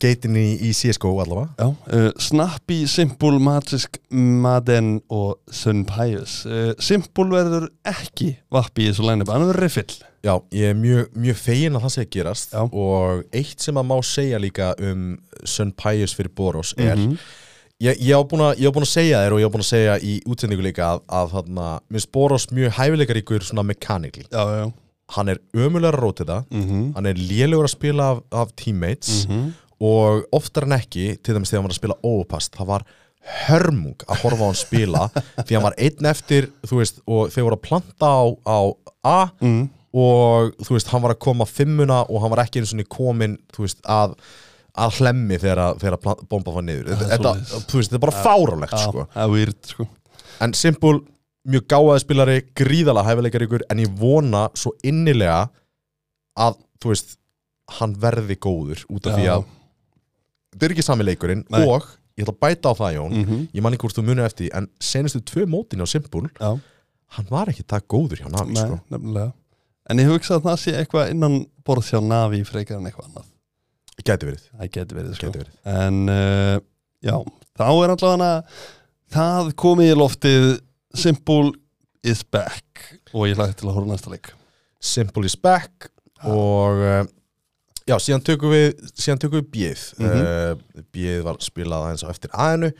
Speaker 2: geitin í, í CSGO allavega
Speaker 3: Já, uh, Snappy, Simpul, Magisk, Madden og Sun Pius uh, Simpul verður ekki vappi í þessu line-upi, hann verður riffill
Speaker 2: Já, ég er mjög, mjög fegin að það sé að gerast
Speaker 3: Já.
Speaker 2: og eitt sem að má segja líka um Sun Pius fyrir Boros er
Speaker 3: Mhm.
Speaker 2: ég, ég á búin að ég á búin að segja þér og ég á búin að segja í útsendingu líka að, að þarna, minnst Boros mjög hæfileikaríkur svona mekanikli
Speaker 3: Já, já, já
Speaker 2: hann er ömulegur að róta þetta
Speaker 3: mm -hmm.
Speaker 2: hann er lélegur að spila af, af teammates
Speaker 3: Mhm.
Speaker 2: og oftar en ekki til dæmis þegar hann var að spila óupast það var hörmung að horfa á hann spila því hann var einn eftir þú veist, og þeir voru að planta á, á A
Speaker 3: Mm.
Speaker 2: og þú veist, hann var að koma fimmuna og hann var ekki eins og komin þú veist, að, að hlemmi þegar, að- þegar að plan- bomba var niður þetta,
Speaker 3: Ah, er
Speaker 2: þetta,
Speaker 3: svoleiðis.
Speaker 2: þú veist, þetta er bara fárálegt
Speaker 3: Já,
Speaker 2: sko.
Speaker 3: það er weird sko
Speaker 2: en Simple, mjög gáðaði spilari gríðalega hæfileikar ykkur en ég vona svo innilega að þú veist, hann verði góður út af
Speaker 3: Já.
Speaker 2: því að þetta er ekki sami leikurinn
Speaker 3: Nei.
Speaker 2: og ég ætla að bæta á það Jón
Speaker 3: Mhm.
Speaker 2: ég man ekki hvort þú munið eftir því, en senustu tvö mótin á Simple,
Speaker 3: Já,
Speaker 2: hann var ekki það góður hjá Navi
Speaker 3: Nei,
Speaker 2: sko.
Speaker 3: nefnilega En ég hugsa að það sé eitthvað innan borð hjá Navi frekar en eitthvað annað
Speaker 2: sko. gæti verið,
Speaker 3: Það geti verið, sko.
Speaker 2: gæti verið.
Speaker 3: En uh, já, þá er allavega það komið í loftið Simple is back og ég lagt til að horfa á næsta leik
Speaker 2: Simple is back
Speaker 3: Ah.
Speaker 2: og uh, já, síðan tökum við síðan tökum við bjöð mm
Speaker 3: Mhm.
Speaker 2: bjöð var spilað aðeins á eftir aðinu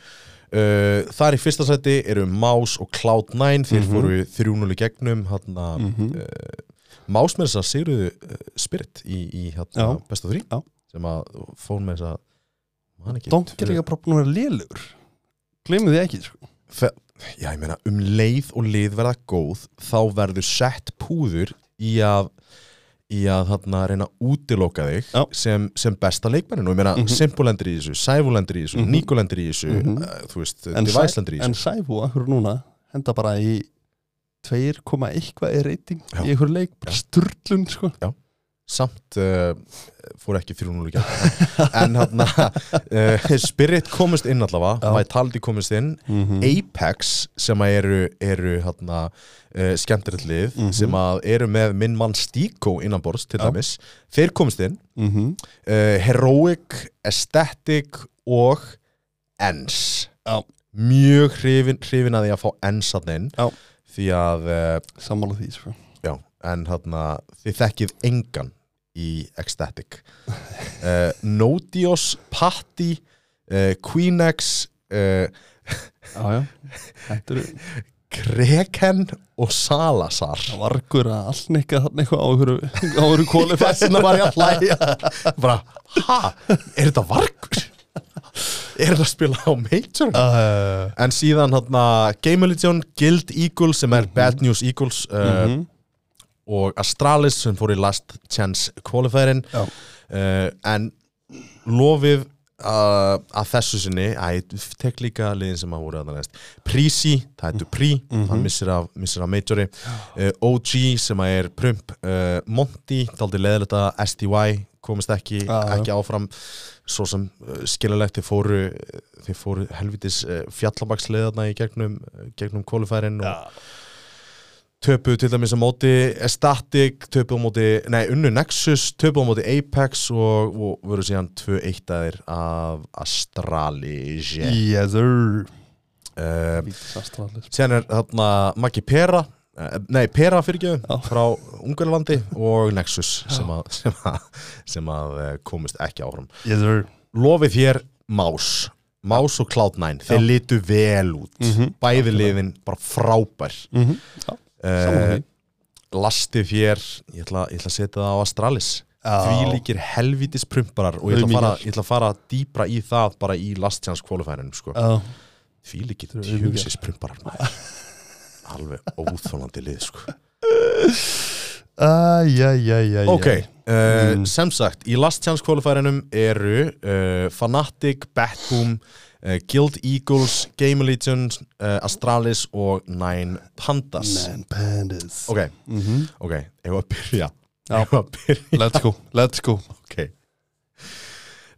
Speaker 2: Uh, þar í fyrsta sæti eru Más og Cloud9 þeir
Speaker 3: Mhm.
Speaker 2: fóru 3-0 í gegnum hérna, mm -hmm. uh, Más með þess að sigruðu uh, Spirit í, í
Speaker 3: Já.
Speaker 2: hérna, besta þrý
Speaker 3: Já.
Speaker 2: sem að fór með þess að man ekki
Speaker 3: Donk er
Speaker 2: tvö-
Speaker 3: líka bara búin að vera lélugur Gleimið þið ekki, sko
Speaker 2: Fe- já, ég meina, um leið og lið verða góð þá verður sett púður í að í að þarna reyna að útiloka þig
Speaker 3: Já. Mhm.
Speaker 2: sem, sem besta leikmennin og ég meina mm -hmm. Simpulendur í þessu, Sævulendur í þessu mm Nikolendur í þessu, mm þú veist
Speaker 3: En,
Speaker 2: Devicelendur í
Speaker 3: en
Speaker 2: þessu
Speaker 3: Sæfú, akkur núna, henda bara í 2,1 eitthvað er reyting
Speaker 2: Já.
Speaker 3: í einhver leik, bara sturlun sko.
Speaker 2: samt uh, fór ekki 3-0 í gegn en hann uh, Spirit komist inn allavega
Speaker 3: Já.
Speaker 2: Vitality komist inn
Speaker 3: Mhm.
Speaker 2: Apex sem að eru, eru hann uh, skemmtilegt lið
Speaker 3: Mhm.
Speaker 2: sem að eru með minn mann Stíko innanborðs til
Speaker 3: Já.
Speaker 2: dæmis þeir komist inn
Speaker 3: mm -hmm.
Speaker 2: uh, Heroic, Aesthetic og Ens
Speaker 3: Já.
Speaker 2: mjög hrifin, hrifin að því að fá Ens hann inn
Speaker 3: Já.
Speaker 2: því að uh,
Speaker 3: Sammála því sko.
Speaker 2: Já, en þarna þið þekkið engan í Ecstatic uh, Nodios, Patti uh, Queenex uh,
Speaker 3: Já, já Þetta eru
Speaker 2: Kreken og Salazar
Speaker 3: það vargur að allnikka þarna eitthvað á einhverju- á einhverju kóli
Speaker 2: Þessna var ég að hlæja bara, ha, er þetta vargur? er þetta að spila á Major?
Speaker 3: uh,
Speaker 2: En síðan hérna Game Legion, Guild Eagles sem er Bad News Eagles uh, og Astralis sem fór í Last Chance Qualifierin
Speaker 3: Já.
Speaker 2: uh, en lofið uh, að þessu sinni að ég tek líka liðin sem að voru að það næst Prisi, það heitur Pri
Speaker 3: Mhm.
Speaker 2: hann missir af, missir af Majori uh, OG sem að er Prump uh, Monty, daldi leðilegt að SDY komist ekki,
Speaker 3: Já, já.
Speaker 2: ekki áfram svo sem uh, skilulegt þeir fóru, þeir fóru helvitis uh, fjallabaksleðarna í gegnum, eh, gegnum kvalifærin og töpuðu til dæmis á móti Static, töpuðu á móti nei, unnu Nexus, töpuðu á móti Apex og, og voru síðan 2-1 aðeir af Astralis
Speaker 3: Yes sir
Speaker 2: yeah.
Speaker 3: Vítis astralis
Speaker 2: Síðan er þarna Maggi Pera eh, Nei, Pera
Speaker 3: Já.
Speaker 2: fyrirgjöðum frá Ungarlandi og Nexus sem að, sem að, sem að eh, komist ekki áfram
Speaker 3: Yes sir
Speaker 2: Lofið hér Más Más og Cloud9, þeir litu vel út
Speaker 3: Mhm.
Speaker 2: Bæði liðin, bara frábær
Speaker 3: mm -hmm.
Speaker 2: uh, Lastið hér ég ætla, ég ætla að setja það á Astralis
Speaker 3: ah.
Speaker 2: Því líkir helvitis prumparar Og ég ætla, að fara,
Speaker 3: Aumingjar.
Speaker 2: ég ætla að fara dýpra í það Bara í Last Chance Qualifierin sko.
Speaker 3: Já,
Speaker 2: Því líkir
Speaker 3: Þeir eru aumingjar.
Speaker 2: tjúsis prumparar maður. Alveg óþólandi lið sko.
Speaker 3: Ah, æjæjæjæjæ
Speaker 2: Ok, uh, sem sagt í Last Chance Qualiferinum eru uh, Fnatic, Backroom uh, Guild Eagles, Game Legion uh, Astralis og Nine Pandas
Speaker 3: Man Pandas
Speaker 2: Ok, ok, ef að byrja
Speaker 3: Já.
Speaker 2: Ef að byrja,
Speaker 3: Let's go, let's go
Speaker 2: ok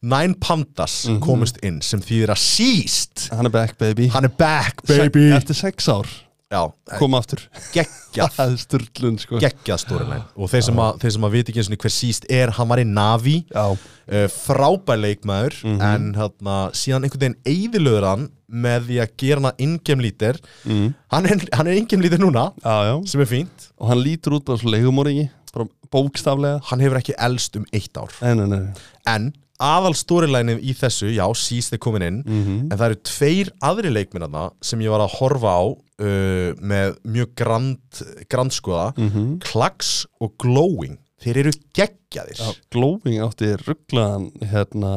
Speaker 2: Nine Pandas komist inn sem þýðir að síst
Speaker 3: Hann er back baby
Speaker 2: Hann er back, baby
Speaker 3: Se Eftir sex Eh, ár
Speaker 2: Já,
Speaker 3: Kom aftur
Speaker 2: geggjað
Speaker 3: Það er sturlun sko
Speaker 2: geggjað storyline og þeir sem, að, þeir sem að viti ekki einu sinni hver síst er, hann var í Navi
Speaker 3: Já
Speaker 2: uh, frábær leikmaður en hérna, síðan einhvern veginn eigðilöður hann með því að gera hann að ingemlítir mm. hann er, hann er ingemlítir núna
Speaker 3: Já, já
Speaker 2: sem er fínt,
Speaker 3: Og hann lítur út bara svo leigumoringi Bara bókstaflega
Speaker 2: hann hefur ekki elst um eitt ár
Speaker 3: Nei, nei, nei
Speaker 2: en aðal storylænið í þessu já, síst er komin inn en það eru tveir aðri leikminna sem ég var að horfa á uh, með mjög grand, grandskoða mm -hmm. Klax og Glowing þeir eru geggjaðir
Speaker 3: Já, Glowing átti rugglaðan hérna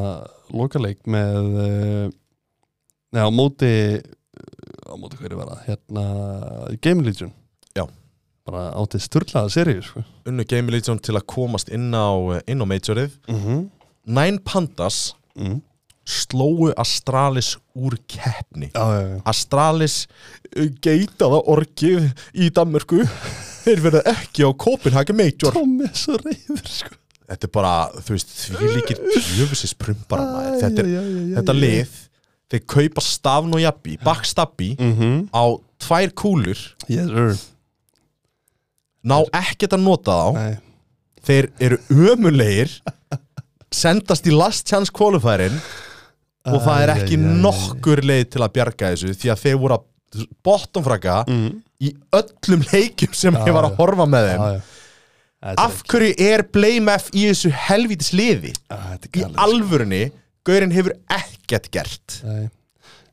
Speaker 3: lokaleik með eh, Nei, á móti á móti hverju var það hérna Game Legion
Speaker 2: Já.
Speaker 3: bara átti styrlaða seríu sko.
Speaker 2: unnu Game Legion til að komast inn á, eh, inn á majorið
Speaker 3: mm -hmm.
Speaker 2: Nine Pandas
Speaker 3: mm.
Speaker 2: slóu Astralis úr keppni
Speaker 3: Já, já, já.
Speaker 2: Astralis uh, geitaða orkið í Danmörku þeir verða ekki á Copenhagen Major
Speaker 3: Tommi er svo reyður sko.
Speaker 2: þetta er bara, þú veist, því líkir djöfusins prumbarana, þetta er
Speaker 3: Æ, æ, æ, æ, æ,
Speaker 2: þetta
Speaker 3: æ.
Speaker 2: lið, þeir kaupa stafn og jabbi, backstabbi
Speaker 3: Mhm.
Speaker 2: á tvær kúlur,
Speaker 3: Yes, sir
Speaker 2: ná ekkert að nota þá
Speaker 3: Nei,
Speaker 2: þeir eru ömulegir sendast í last chance qualifierin og það er
Speaker 3: Æ,
Speaker 2: ekki
Speaker 3: æ, æ, æ.
Speaker 2: nokkur leið til að bjarga þessu því að þeir voru að bottomfraka í öllum leikjum sem ég var að
Speaker 3: Mm. já.
Speaker 2: horfa með
Speaker 3: já,
Speaker 2: þeim
Speaker 3: já Þetta er
Speaker 2: af hverju er Blame F í þessu helvítis liði
Speaker 3: Æ, þetta er
Speaker 2: í
Speaker 3: galið, sko.
Speaker 2: alvörunni Gaurinn hefur ekkert gert
Speaker 3: Nei.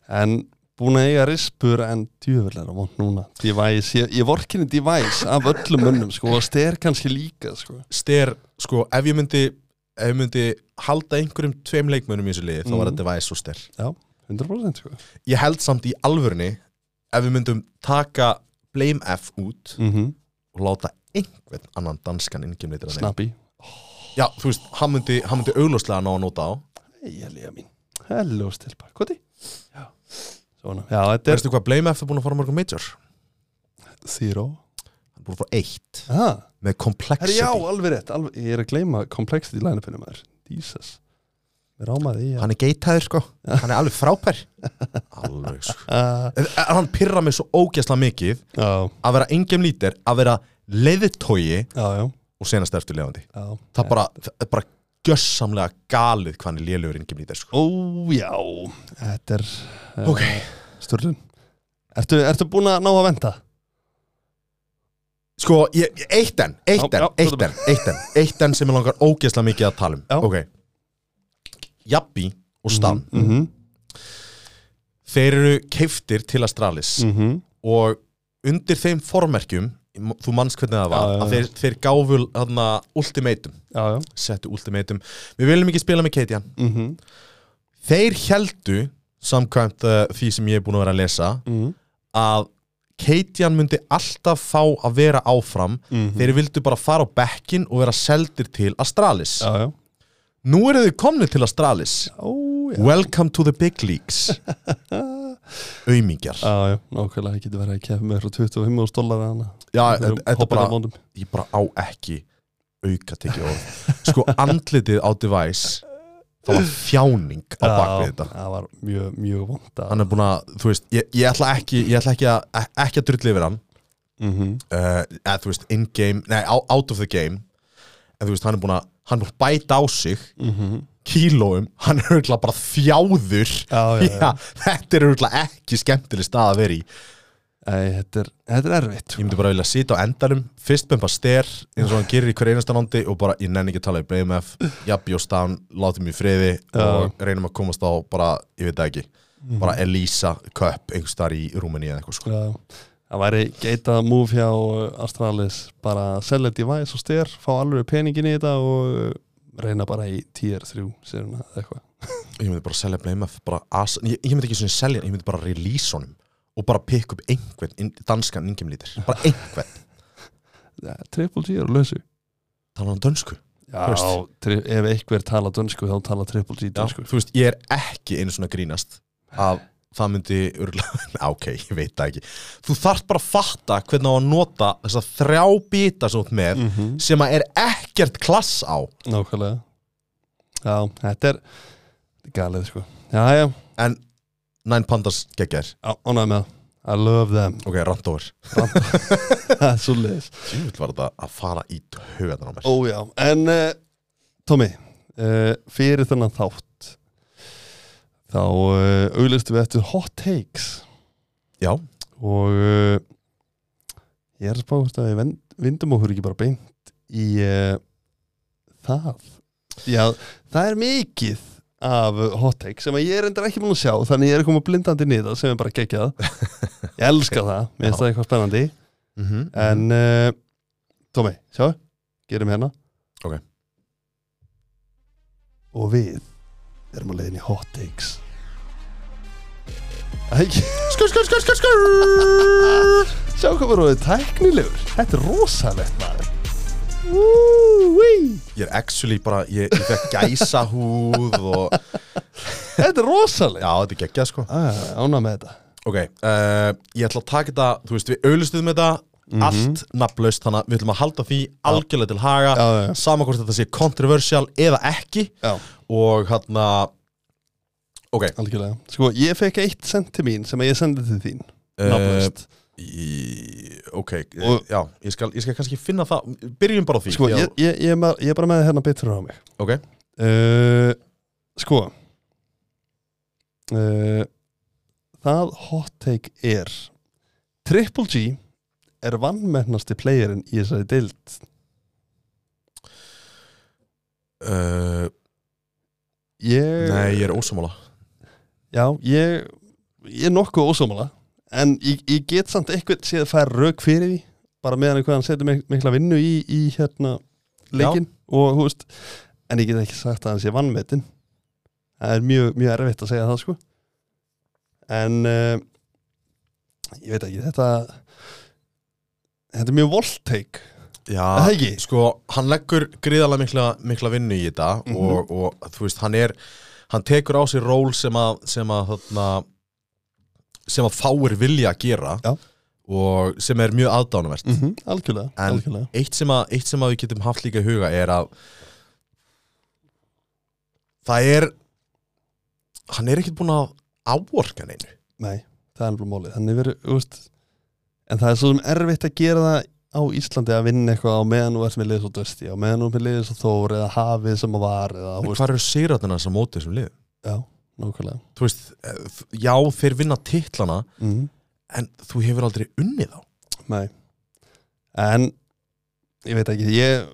Speaker 3: En búin að eiga rispur en djöfell er að vant núna Device, ég, ég vorkinni Device af öllum mönnum sko og styr kannski líka sko
Speaker 2: Styr, sko, ef ég myndi ef ég myndi halda einhverjum tveim Mm. leikmönnum í þessu liði, þá var þetta væs og styr
Speaker 3: Já, 100% sko
Speaker 2: ég held samt í alvörunni ef við myndum taka Blame F út
Speaker 3: mm
Speaker 2: og láta einhvern annan danskan innkjumleitir hann
Speaker 3: Snappy
Speaker 2: Já, þú veist, hann myndi, hann myndi augljóslega ná að nota á
Speaker 3: Hei, Elía mín Hello, stelpa Koti Já Svona Já, þetta er
Speaker 2: Veistu hvað Blame F er búin að fara mörgum major?
Speaker 3: Zero
Speaker 2: Hann er búin að fara eitt
Speaker 3: Aha
Speaker 2: með
Speaker 3: Herri,
Speaker 2: Complexity
Speaker 3: já, alveg rétt alveg, Ég er að gleyma komplexið í lænafinu maður Jesus Mér ámaði í að
Speaker 2: Hann er geitaður sko, hann er alveg frápær Alveg sko
Speaker 3: Uh.
Speaker 2: En- en Hann pyrra mig svo ógæsla mikið
Speaker 3: Já,
Speaker 2: að vera engem lítir, að vera leiðitói
Speaker 3: já, já,
Speaker 2: og senast eftir lefandi
Speaker 3: já
Speaker 2: Það bara, það er bara gjössamlega galið hvað hann er lélugur engem lítir sko
Speaker 3: Ó, já Þetta er uh,
Speaker 2: Ok.
Speaker 3: Sturlun Ertu, ertu búin að ná að venda?
Speaker 2: Sko, ég, ég- eitt enn, eitt
Speaker 3: Já,
Speaker 2: enn,
Speaker 3: já,
Speaker 2: eitt
Speaker 3: þetta
Speaker 2: enn, eitt enn, eitt enn sem ég langar ógeðslega mikið að tala um.
Speaker 3: Já.
Speaker 2: Ok. Jappi og Stan,
Speaker 3: mm -hmm.
Speaker 2: þeir eru keiftir til Astralis
Speaker 3: Mm -hmm.
Speaker 2: og undir þeim formerkjum, þú manns hvernig það var,
Speaker 3: Já, já, já.
Speaker 2: að þeir, þeir gáfu hana, ultimatum,
Speaker 3: Já, já
Speaker 2: settu ultimatum. Við viljum ekki spila með Katian.
Speaker 3: mm
Speaker 2: Þeir heldu, samkvæmt uh, því sem ég er búin að vera að lesa, að Katian myndi alltaf fá að vera áfram þeir vildu bara fara á bekkin og vera seldir til Astralis
Speaker 3: Já, já
Speaker 2: nú eru þau komni til Astralis
Speaker 3: Ó, já
Speaker 2: Welcome to the big leagues Aumingjar
Speaker 3: Já, já, nákvæmlega, ég geti verið að kefa með frá 25 og stólaði hana
Speaker 2: Já,
Speaker 3: Einhverjum
Speaker 2: þetta er bara,
Speaker 3: hobbitamótum.
Speaker 2: ég bara á ekki auka tekið orð Sko andlitið á device það var fjáning á bakvið
Speaker 3: Já,
Speaker 2: þetta
Speaker 3: Það var mjög, mjög vond að
Speaker 2: Hann er búin að, þú veist, ég, ég ætla ekki ég ætla ekki að, ekki að drulli yfir hann
Speaker 3: Mhm.
Speaker 2: uh, eða þú veist, in game, nei, á- out of the game en þú veist, hann er búin að hann er búin að bæta á sig
Speaker 3: Mhm.
Speaker 2: kílóum, hann er auðvitað bara þjáður
Speaker 3: Já, já, já.
Speaker 2: þetta er auðvitað ekki skemmtileg stað að vera í ég
Speaker 3: Æ, þetta er, þetta er erfitt sko.
Speaker 2: myndi bara vilja sita á endanum, fyrst bempa styr eins og hann gerir í hver einasta nándi og bara ég nenni ekki að tala í BMF, ég bjóst án láti mér í friði og reynum að komast á bara, ég veit það ekki bara Elisa Cup einhvers þar í Rúmeni eða eitthvað sko
Speaker 3: Já, það væri geitað move hjá uh, Astralis bara selja device og styr fá alveg peningin í þetta og uh, reyna bara í tier 3 séruna eða eitthvað
Speaker 2: ég myndi bara selja BMF bara as, ég, ég myndi ekki svona selja, hann, ég myndi bara release honum og bara pick upp einhvern inn, danskan ingemlítir, bara einhvern
Speaker 3: ja, Triple G er að lausu
Speaker 2: tala hann dönsku
Speaker 3: Já,
Speaker 2: Veist.
Speaker 3: tri, ef einhver tala dönsku þá tala Triple G
Speaker 2: Já,
Speaker 3: dönsku
Speaker 2: þú veist, ég er ekki einu svona grínast að það myndi örgulega, Á, ok, ég veit það ekki þú þarft bara að fatta hvernig á að nota þess að þrjá bita sem þú ert með
Speaker 3: Mhm.
Speaker 2: sem að er ekkert klass á
Speaker 3: Nákvæmlega Já, þetta er þetta er galið sko Já, já,
Speaker 2: en Nine Pandas geggjær
Speaker 3: á- ánægð með það I love them
Speaker 2: ok, randóver,
Speaker 3: Það er svo leiðis
Speaker 2: ég vil var þetta að fara í höfðan á mér
Speaker 3: Ó já, en uh, Tommy uh, fyrir þennan þátt þá uh, auðlistum við eftir hot takes
Speaker 2: já,
Speaker 3: og uh, ég er að spá hvort að við vend- vindum okkur ekki bara beint í uh, það Já, það er mikið af hot takes sem að ég er endur ekki múin að sjá þannig ég er að koma blindandi niður sem er bara geggjað Ég elska það, mér finnst það eitthvað spennandi
Speaker 2: mm
Speaker 3: En uh, Tómi, sjá, gerum hérna
Speaker 2: Ok.
Speaker 3: Og við erum að leiðin í hot takes Æ,
Speaker 2: skur, skur, skur, skur, skur
Speaker 3: Sko, Sjá hvað var það tæknilegur Þetta er rosalegt maður Woo-wee.
Speaker 2: ég er actually bara, ég, ég fekk gæsa húð og,
Speaker 3: Þetta er rosalegt
Speaker 2: já, þetta er geggjað sko
Speaker 3: ah, Ána með þetta
Speaker 2: Ok, uh, ég ætla að taka þetta, þú veist, við auðlustuðum þetta
Speaker 3: Mhm.
Speaker 2: allt nafnlaust, þannig að við ætlum að halda því algjörlega til haga,
Speaker 3: Já, já, já.
Speaker 2: sama hvort þetta sé kontroversial eða ekki
Speaker 3: Já,
Speaker 2: og hérna, hann að, ok,
Speaker 3: algjörlega Sko, ég fekk eitt sent til mín sem að ég sendi til þín
Speaker 2: Eh,
Speaker 3: Nafnlaust
Speaker 2: í, ok, eh,
Speaker 3: Og-
Speaker 2: já, ég skal, ég skal kannski finna það, byrjum bara á því
Speaker 3: Sko,
Speaker 2: já,
Speaker 3: ég, ég, ég, er ma- ég er bara með hérna betur á mig
Speaker 2: Ok,
Speaker 3: Uh, sko uh, Það hot take er Triple G er vannmennasti playerinn í þessari deild
Speaker 2: uh,
Speaker 3: ég,
Speaker 2: nei, ég er ósamála
Speaker 3: Já, ég, ég er nokkuð ósámála en ég, ég get samt eitthvað séð að færa rauk fyrir því bara meðan eitthvað hann setur mik mikla vinnu í, í hérna leikinn og þú veist, en ég get ekki sagt að hann sé vannmetinn það er mjög, mjög erfitt að segja það sko en uh, eh, ég veit ekki, þetta þetta er mjög volteik
Speaker 2: Já,
Speaker 3: Það ekki?
Speaker 2: sko, hann leggur gríðalega mikla, mikla vinnu í þetta
Speaker 3: Mhm.
Speaker 2: og, og þú veist, hann er hann tekur á sig ról sem að sem að, þarna, sem að fáir vilja að gera
Speaker 3: Já.
Speaker 2: og sem er mjög aðdánumvert
Speaker 3: mm algjörlega,
Speaker 2: en
Speaker 3: algjörlega.
Speaker 2: eitt sem, að, eitt sem að við getum haft líka í huga er að það er hann er ekkert búin að áorka neinu
Speaker 3: Nei, það er alveg málið Þannig verið, þú veist En það er svo sem erfitt að gera það á Íslandi að vinna eitthvað á meðan þú ert með liðis og dösti á meðan þú ert með liðis og þór eða hafið sem að var eða, þú veist,
Speaker 2: hvað eru sýratuna sem mótið sem lið
Speaker 3: já, nákvæmlega
Speaker 2: þú veist, eh, já, þeir vinna titlana
Speaker 3: mm.
Speaker 2: en þú hefur aldrei unnið á
Speaker 3: Nei En, ég veit ekki Ég,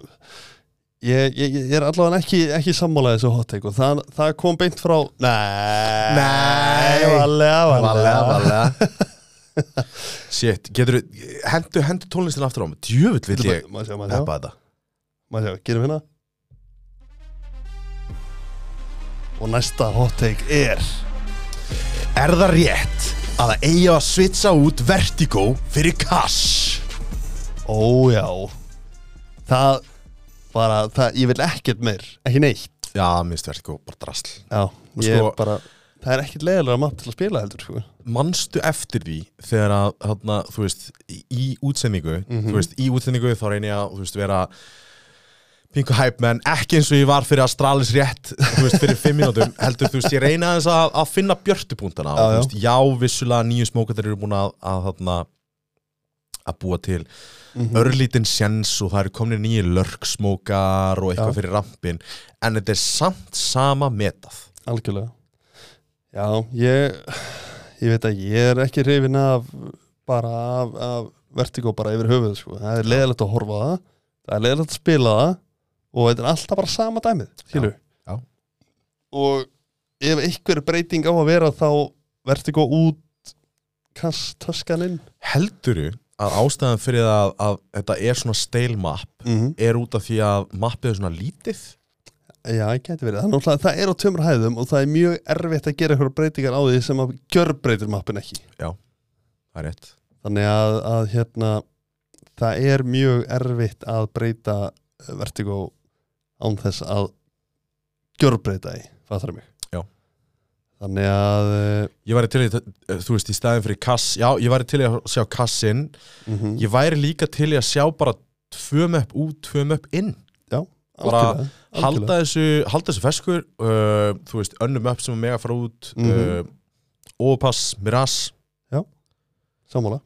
Speaker 3: ég, ég, ég er allavega ekki, ekki sammála þessu hot take og það, það kom beint frá Nei,
Speaker 2: Nei.
Speaker 3: valega, valega, valega.
Speaker 2: Shit, getur hendu, hendu tónlistin aftur á mig Djöfull vill ég
Speaker 3: Má sjá, má sjá,
Speaker 2: peppa þetta
Speaker 3: má sjá, gerum hérna Og næsta hot take er
Speaker 2: Er það rétt að það eigi að svitsa út Vertigo fyrir Cash?
Speaker 3: Ójá Það bara, það, ég vil ekkert meir Ekki neitt
Speaker 2: Já, minnst Vertigo, bara drasl
Speaker 3: Já,
Speaker 2: Og
Speaker 3: ég
Speaker 2: sko-
Speaker 3: bara Það er ekkert leiðilega mapp til að spila heldur sko.
Speaker 2: Manstu eftir því þegar að, þarna, þú veist, í- í útsendingu
Speaker 3: Mhm.
Speaker 2: Þú veist, í útsendingu þá reyni ég að, þú veist, vera Pingu hæp, menn ekki eins og ég var fyrir Astralis rétt, þú veist, fyrir fimm mínútum heldur, þú veist, ég reyna aðeins að, að finna björtupúntana og,
Speaker 3: Já,
Speaker 2: þú
Speaker 3: já.
Speaker 2: veist, já, vissulega nýju smókatar eru búin að, að, þarna, að búa til
Speaker 3: Mhm.
Speaker 2: örlítinn sjens og það eru komnir nýju lörksmókar og eitthvað
Speaker 3: Já.
Speaker 2: fyrir rampin en þetta er samt sama metað
Speaker 3: Algjörlega Já, ég Ég veit ekki, ég er ekki hrifin af bara af, af vertigo bara yfir höfuð sko. Það er leiðilegt að horfa á það Það er leiðilegt að spila það og þetta er alltaf bara sama dæmið skilur.
Speaker 2: Já, já.
Speaker 3: Og ef einhver breyting á að vera þá vertigo út kast töskaninn
Speaker 2: helduru að ástæðan fyrir að, að þetta er svona stale map
Speaker 3: mm -hmm.
Speaker 2: er út af því að mappið er svona lítið
Speaker 3: Já, það geti verið. Það er, náttúrulega- það er á tömur hæðum og það er mjög erfitt að gera einhverja breytingar á því sem að gjörbreytir mappin ekki.
Speaker 2: það er rétt
Speaker 3: Þannig að, að hérna, það er mjög erfitt að breyta eh, vertigo án þess að gjörbreyta því, fattar mig.
Speaker 2: Já.
Speaker 3: Þannig að, eh,
Speaker 2: ég væri til í, eh, þú veist, í staðin fyrir kass já, ég væri til í að sjá kassinn
Speaker 3: mm -hmm,
Speaker 2: ég væri líka til í að sjá bara tvö möpp út, tvö möpp inn bara halda þessu, halda þessu feskur uh, þú veist, önnum upp sem er mega fara út mm
Speaker 3: Mhm.
Speaker 2: Opass, Miraz
Speaker 3: Sammála.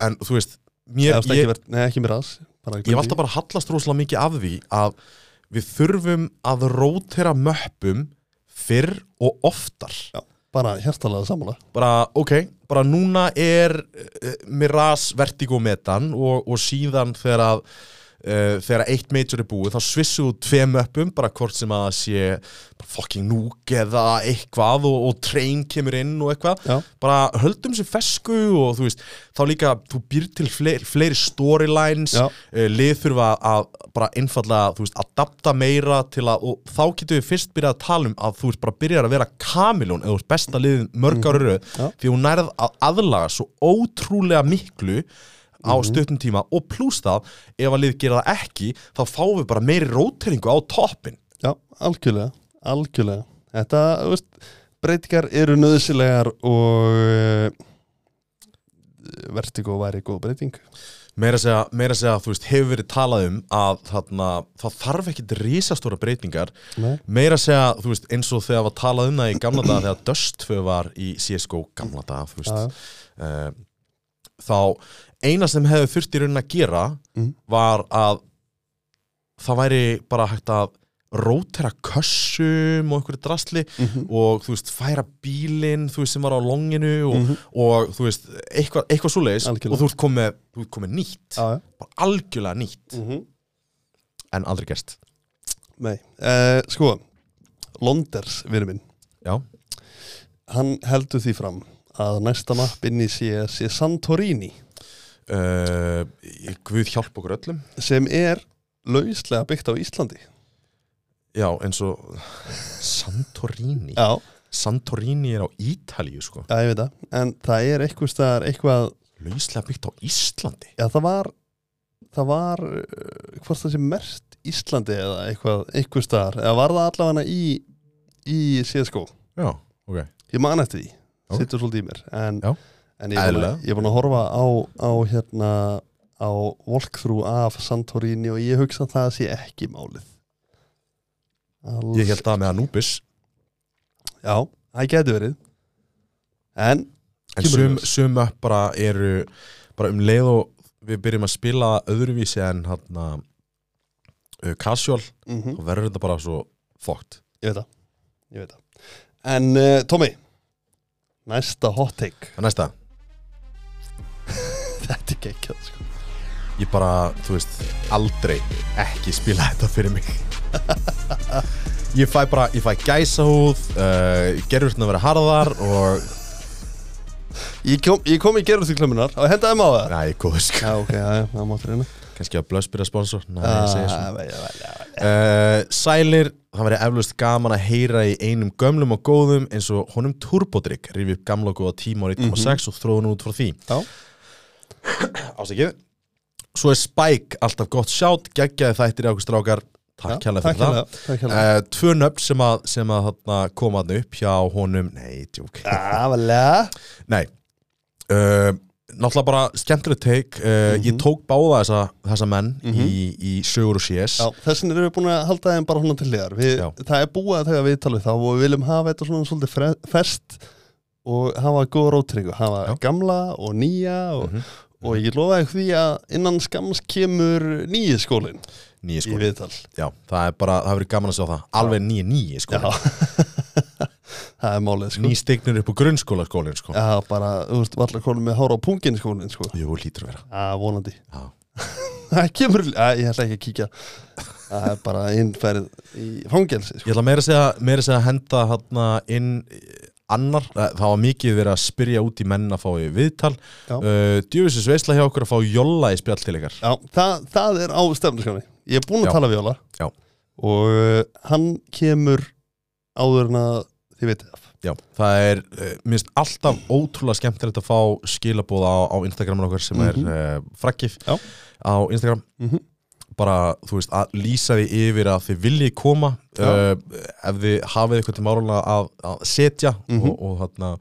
Speaker 2: en þú veist,
Speaker 3: Ég,
Speaker 2: mér, ég,
Speaker 3: ég, ekki, um ver- nei, ekki mér aðs.
Speaker 2: ég hef alltaf bara hallast rosalega mikið af því að við þurfum að rótera möppum fyrr og oftar
Speaker 3: Bara hjertalega sammála.
Speaker 2: bara, ok, bara núna er uh, Miraz Vertigo metan og, og síðan þegar að Uh, þegar eitt major er búið þá svissu þú tveim öppum bara hvort sem að það sé bara fucking núk eða eitthvað og, og train kemur inn og eitthvað
Speaker 3: Já.
Speaker 2: bara höldum sér fesku og þú veist þá líka þú býr til fleiri, fleiri storylines
Speaker 3: Já.
Speaker 2: uh, lið þurfa að bara einfallega þú veist adapta meira til að og þá getum við fyrst byrjað að tala um að þú veist bara byrjar að vera kamilón eða þú veist besta liðin mörg ára röð
Speaker 3: Mm. Já.
Speaker 2: því hún nærð að aðlaga svo ótrúlega miklu á
Speaker 3: Mhm.
Speaker 2: stuttum tíma og pluss það ef að lið gera það ekki þá fáum við bara meiri róteringu á toppin
Speaker 3: Já, algjörlega, algjörlega. Þetta, þú veist, breytingar eru nöðsilegar og uh, vertigo væri góð breyting.
Speaker 2: meira að segja, meira að segja þú veist, hefur verið talað um að þarna, það þarf ekkit risastóra breytingar
Speaker 3: Nei.
Speaker 2: meira að segja, þú veist, eins og þegar var talað um það í gamla daga þegar Dust 2 var í CSGO gamla daga, þú
Speaker 3: Já, já.
Speaker 2: veist uh, þá eina sem hefði þurft í raunin að gera
Speaker 3: Mhm.
Speaker 2: var að það væri bara hægt að rótera kössum og einhverju drasli
Speaker 3: Mhm.
Speaker 2: og þú veist, færa bílinn þú veist, sem var á longinu og, og þú veist, eitthvað, eitthvað svoleiðis
Speaker 3: Mhm. Algjörlega.
Speaker 2: og þú ert komið, þú ert komið nýtt
Speaker 3: Já, já.
Speaker 2: bara algjörlega nýtt, en aldrei gerst
Speaker 3: Nei. Uh, sko, Londers, vinur minn,
Speaker 2: já,
Speaker 3: hann heldur því fram að næsta mapp inn í sé, sé Santorini
Speaker 2: uh, Guð hjálp okkur öllum
Speaker 3: sem er lauslega byggt á Íslandi.
Speaker 2: Já, eins og Santorini
Speaker 3: Já.
Speaker 2: Santorini er á Ítalíu sko
Speaker 3: Já, ég veit það, en það er eitthvað staðar eitthvað
Speaker 2: lauslega byggt á Íslandi
Speaker 3: Já, það var það var, uh, hvort það sé merkt Íslandi eða eitthvað, eitthvað staðar eða var það allavega í í CSGO,
Speaker 2: Já, ok
Speaker 3: ég man eftir því
Speaker 2: Ok.
Speaker 3: sittur svolítið í mér en,
Speaker 2: Já.
Speaker 3: en ég, er búin að-
Speaker 2: Eðlilega.
Speaker 3: ég er búin að horfa á, á hérna á walkthrough af Santorini og ég hugsa að það sé ekki málið Alls,
Speaker 2: Ég held að með Anubis
Speaker 3: Já, það getur verið en
Speaker 2: En
Speaker 3: Kemur
Speaker 2: sum,
Speaker 3: ljós.
Speaker 2: sum upp bara eru bara um leið og við byrjum að spila öðruvísi en hann uh, casual
Speaker 3: mhm,
Speaker 2: þá verður þetta bara svo fókt
Speaker 3: ég veit það ég veit það en uh, Tommy, næsta hot take
Speaker 2: En næsta,
Speaker 3: Þetta er geggjað sko
Speaker 2: ég bara, þú veist, aldrei ekki spila þetta fyrir mig Ég fæ bara, ég fæ gæsahúð uh, gerur þetta að vera harðar og,
Speaker 3: Ég kom, ég kom í gerðum því klömmunar og hendaði maður það
Speaker 2: næ, góð sko
Speaker 3: Já, ok, já, já, það máttu reyna
Speaker 2: kannski að blöss byrja sponsor, næ, ég segja svona
Speaker 3: Já, já, já, já.
Speaker 2: Uh, Sælir, það væri eflaust gaman að heyra í einum gömlum og góðum eins og honum Turbodrygg rifi upp gamla og góða tíma árið
Speaker 3: Mhm.
Speaker 2: 2006 og þróðun út frá því
Speaker 3: Já.
Speaker 2: Ásækið Svo er Spike alltaf gott sjátt geggjaði þættir í okkur strákar Takk
Speaker 3: Já,
Speaker 2: kærlega fyrir
Speaker 3: kærlega,
Speaker 2: það
Speaker 3: Takk hérlega
Speaker 2: Uh, tvö nöfn sem að, sem að þarna, koma þarna upp hjá honum Nei, djúk
Speaker 3: Já, valega
Speaker 2: Nei uh, Náttúrulega bara skemmtileg take uh,
Speaker 3: Mhm.
Speaker 2: Ég tók báða þessa, þessa menn í, í sögur og CS
Speaker 3: Já, þessin erum við búin að halda þeim bara húnna til hliðar við,
Speaker 2: Já.
Speaker 3: Það er búið að taka viðtalið þá og við viljum hafa þetta svona svolítið fre- fest og hafa góða rótringu hafa
Speaker 2: Já. Mhm.
Speaker 3: gamla og nýja og, og ég lofa ekki því að innan skams kemur nýji skólin
Speaker 2: Nýja
Speaker 3: í
Speaker 2: skóli
Speaker 3: viðtal
Speaker 2: Já, það er bara, það hefur verið gaman að sjá það Alveg nýja nýja sko
Speaker 3: Já Það er málið sko
Speaker 2: Ný stignur upp á grunnskóla skólinn sko
Speaker 3: Já, bara, þú veist, vallar konum með hára á pungin skólin sko
Speaker 2: Jú, lítur að vera
Speaker 3: Já, vonandi
Speaker 2: Já.
Speaker 3: Það kemur, að, ég ætla ekki að kíkja Það er bara innferð í fangelsi
Speaker 2: Ég
Speaker 3: sko.
Speaker 2: ætla meira að segja, meira að segja að henda hana inn eh, annar Eh, Það var mikið verið að spyrja út í menn að fá í viðtal
Speaker 3: Já.
Speaker 2: uh, Djöfisins veisla hjá okkur að fá Jolla í spjall til ykkar
Speaker 3: Já, það, það er á stefnuskáni Ég er búinn að
Speaker 2: Já.
Speaker 3: tala við Jóla
Speaker 2: Já.
Speaker 3: Og uh, hann kemur áður en að þið vitið af
Speaker 2: Já, það er, uh, minnst alltaf ótrúlega skemmtilegt að fá skilabóða á, á Instagramin okkar sem
Speaker 3: Mhm.
Speaker 2: er uh, frakkif
Speaker 3: Já.
Speaker 2: á Instagram
Speaker 3: Mhm.
Speaker 2: bara, þú veist, að lýsa því yfir að þið viljið koma
Speaker 3: Já.
Speaker 2: uh, ef þið hafið eitthvað til málunlega að, að setja
Speaker 3: Mhm.
Speaker 2: og, og þarna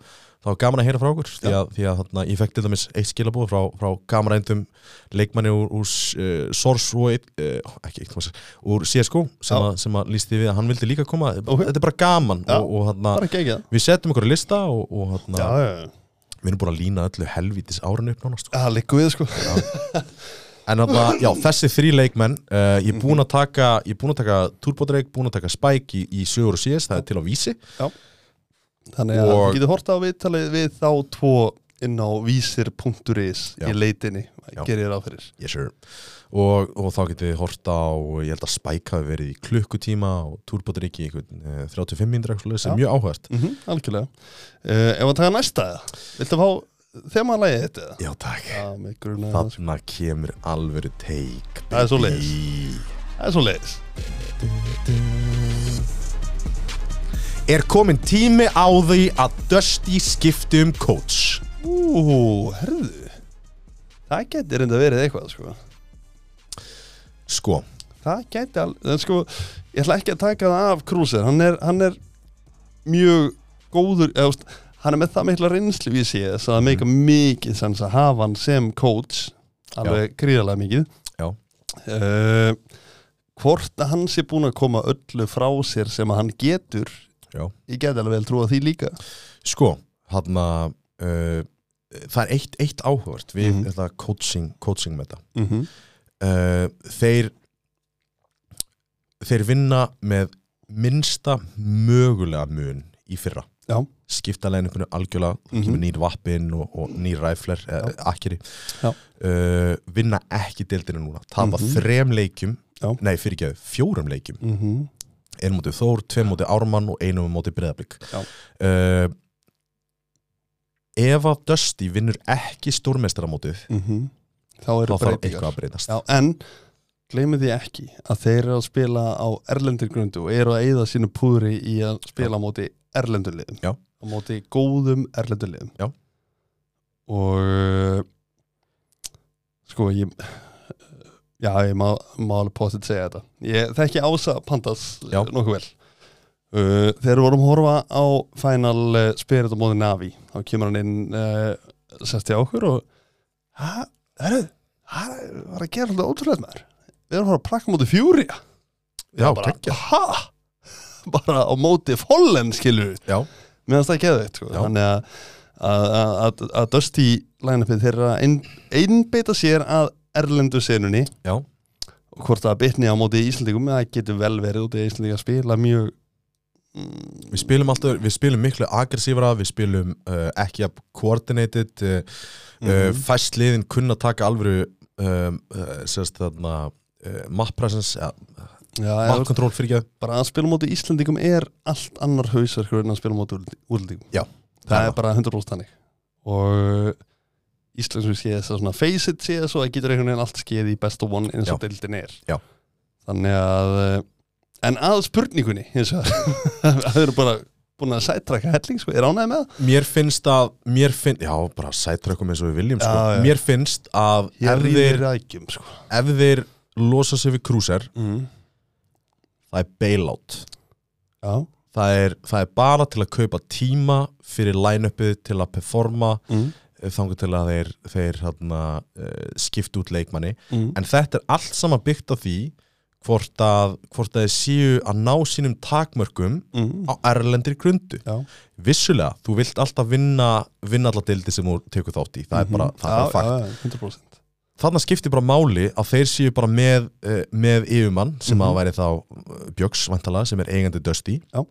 Speaker 2: þá er gaman að heyra frá okkur því að, því að þarna, ég fekk til dæmis eitt skilabóð frá, frá gamanrændum leikmanni úr, úr uh, Sors og eitt, uh, ekki eitt, maður, úr CSGO sem,
Speaker 3: Já.
Speaker 2: að, sem að lýsti við að hann vildi líka koma
Speaker 3: Ok.
Speaker 2: þetta er bara gaman
Speaker 3: Já.
Speaker 2: og, og þarna,
Speaker 3: Bara ekki ekki það
Speaker 2: Við setjum ykkur að lista og, og hana,
Speaker 3: Já, já, já
Speaker 2: við erum búin að lína öllu helvítis árinu upp nánast. sko.
Speaker 3: Það liggur við sko
Speaker 2: En hana, já, þessi þrý leikmenn, uh, ég er búin að taka, ég er búin að taka Turbodreik, búin að taka Spike í, í sögur og síðast, það er til á vísi.
Speaker 3: Þannig að
Speaker 2: Og-
Speaker 3: þið getið horta á viðtalið við þá tvo inn á vísir.is
Speaker 2: Já.
Speaker 3: í leitinni
Speaker 2: Já.
Speaker 3: gerir þér á fyrir
Speaker 2: Yes, sir. Og, og þá getið þið horta á, ég held að Spike hafi verið í klukkutíma og Turbodreik í einhvern, eh, 35 mindra, sem
Speaker 3: Já.
Speaker 2: er mjög áhært.
Speaker 3: mm Algjörlega uh, Ef að taka næsta eða? Viltu fá þema að lægi þetta?
Speaker 2: Já, takk.
Speaker 3: Já, mig grunaði það sko.
Speaker 2: Þarna kemur alvöru teik.
Speaker 3: Það er svoleiðis.
Speaker 2: baby.
Speaker 3: Það er svo leiðis
Speaker 2: Er komin tími á því að Dusty skipti um coach?
Speaker 3: Ú, herðu Það geti reynda verið eitthvað sko.
Speaker 2: Sko,
Speaker 3: Það geti alveg en, sko, Ég ætla ekki að taka það af Krúsir Hann er, hann er mjög góður eða, þú veist, Hann er með það mikla reynslu í sig þess að það meika
Speaker 2: Mhm.
Speaker 3: mikið sens að hafa hann sem coach alveg gríðarlega mikið
Speaker 2: Já.
Speaker 3: Eh, Hvort að hann sé búin að koma öllu frá sér sem að hann getur
Speaker 2: Já.
Speaker 3: Ég geti alveg vel trúa því líka
Speaker 2: sko, hann að uh, það er eitt, eitt áhugavert við
Speaker 3: Mhm.
Speaker 2: þetta coaching, coaching með þetta
Speaker 3: mm -hmm.
Speaker 2: uh, þeir þeir vinna með minnsta mögulega mun í fyrra
Speaker 3: Já.
Speaker 2: skipta leininginu algjörlega mm
Speaker 3: Mhm.
Speaker 2: kemur nýr vappin og, og nýr ræfler eh, akkeri
Speaker 3: Já.
Speaker 2: uh, vinna ekki deildinu núna tapa
Speaker 3: Mhm.
Speaker 2: þrem leikjum
Speaker 3: Já.
Speaker 2: nei fyrirgeðu, fjórum leikjum
Speaker 3: Mhm.
Speaker 2: einum mótið Þór, tveim mótið Ármann og einum mótið Breiðablík
Speaker 3: Já.
Speaker 2: uh, Ef að Dusty vinnur ekki stórmestaramótið
Speaker 3: Mhm. Þá
Speaker 2: þá
Speaker 3: eru
Speaker 2: þarf
Speaker 3: breytingar
Speaker 2: eitthvað að breytast
Speaker 3: Já, en gleymið því ekki að þeir eru að spila á erlendir grundu og eru að eyða sínu púðri í að spila á móti erlendur liðum
Speaker 2: Já.
Speaker 3: á móti góðum erlendur liðum
Speaker 2: Já.
Speaker 3: og sko ég já ég má, má alveg postið segja þetta ég þekki Ása Pandas
Speaker 2: Já.
Speaker 3: nokkuð vel uh, þegar við vorum að horfa á Final eh, Spirit á móði Navi þá kemur hann inn uh, sest í okkur og hæ, herru það var að gera alltaf ótrúlega maður við erum að horfa að prakka móti fjúri
Speaker 2: Já,
Speaker 3: bara, hæ bara á móti follen skilur við
Speaker 2: Já,
Speaker 3: meðan það geðu eitt sko.
Speaker 2: Já.
Speaker 3: þannig að- að- að að- að Dusty line-upið þeirra ein- einbeita sér að erlendu senunni
Speaker 2: já,
Speaker 3: og hvort það bitni á móti Íslandingum það getur vel verið út í Íslandingar spila mjög
Speaker 2: við spilum alltaf, við spilum miklu aggressífra, við spilum uh, ekki að coordinated, uh, mm
Speaker 3: Mhm.
Speaker 2: fæst liðin kunna taka alvöru, um, uh, sérst þarna, uh, map presence, ja,
Speaker 3: já,
Speaker 2: map
Speaker 3: ef-
Speaker 2: control fyrir ekki,
Speaker 3: bara að spila á móti Íslandingum er allt annar hausverkur en að spila á móti úrlendingum
Speaker 2: Já,
Speaker 3: það er bara 100% þannig og uh, Íslandsum séð þess að svona face it séð svo að getur einhvern veginn allt skeið í best of one eins og
Speaker 2: Já.
Speaker 3: deildin er
Speaker 2: Já.
Speaker 3: þannig að eh, en að spurningunni hins vegar það eru bara búin að sættraka helling sko, er ánægð með það?
Speaker 2: Mér finnst að, mér finnst, já, bara sætrökkum eins og við viljum, sko.
Speaker 3: Já, já.
Speaker 2: Mér finnst að ef
Speaker 3: hér
Speaker 2: þeir,
Speaker 3: er rækjum sko.
Speaker 2: ef þeir losa sig við krúser,
Speaker 3: mm.
Speaker 2: það er bailout.
Speaker 3: já,
Speaker 2: Það er, það er bara til að kaupa tíma fyrir line-upið til að performa
Speaker 3: mm.
Speaker 2: eh, þangar til að þeir, þeir hana, uh, skipta út leikmanni.
Speaker 3: Mm.
Speaker 2: En þetta er allt saman byggt á því hvort að, hvort að þeir séu að ná sínum takmörkum
Speaker 3: Mm.
Speaker 2: á erlendir grundu.
Speaker 3: já.
Speaker 2: Vissulega, þú vilt alltaf vinna, vinna alla dildi sem þú tekur þátt í. Það er bara, það er bara
Speaker 3: Mm-hmm. Mhm. já,
Speaker 2: fakt.
Speaker 3: já, já, 100%
Speaker 2: þarna skiptir bara máli að þeir séu bara með, uh, með yfirmann sem að væri þá eh, Björks vantala sem er eigandi Dusty
Speaker 3: Mhm. Já.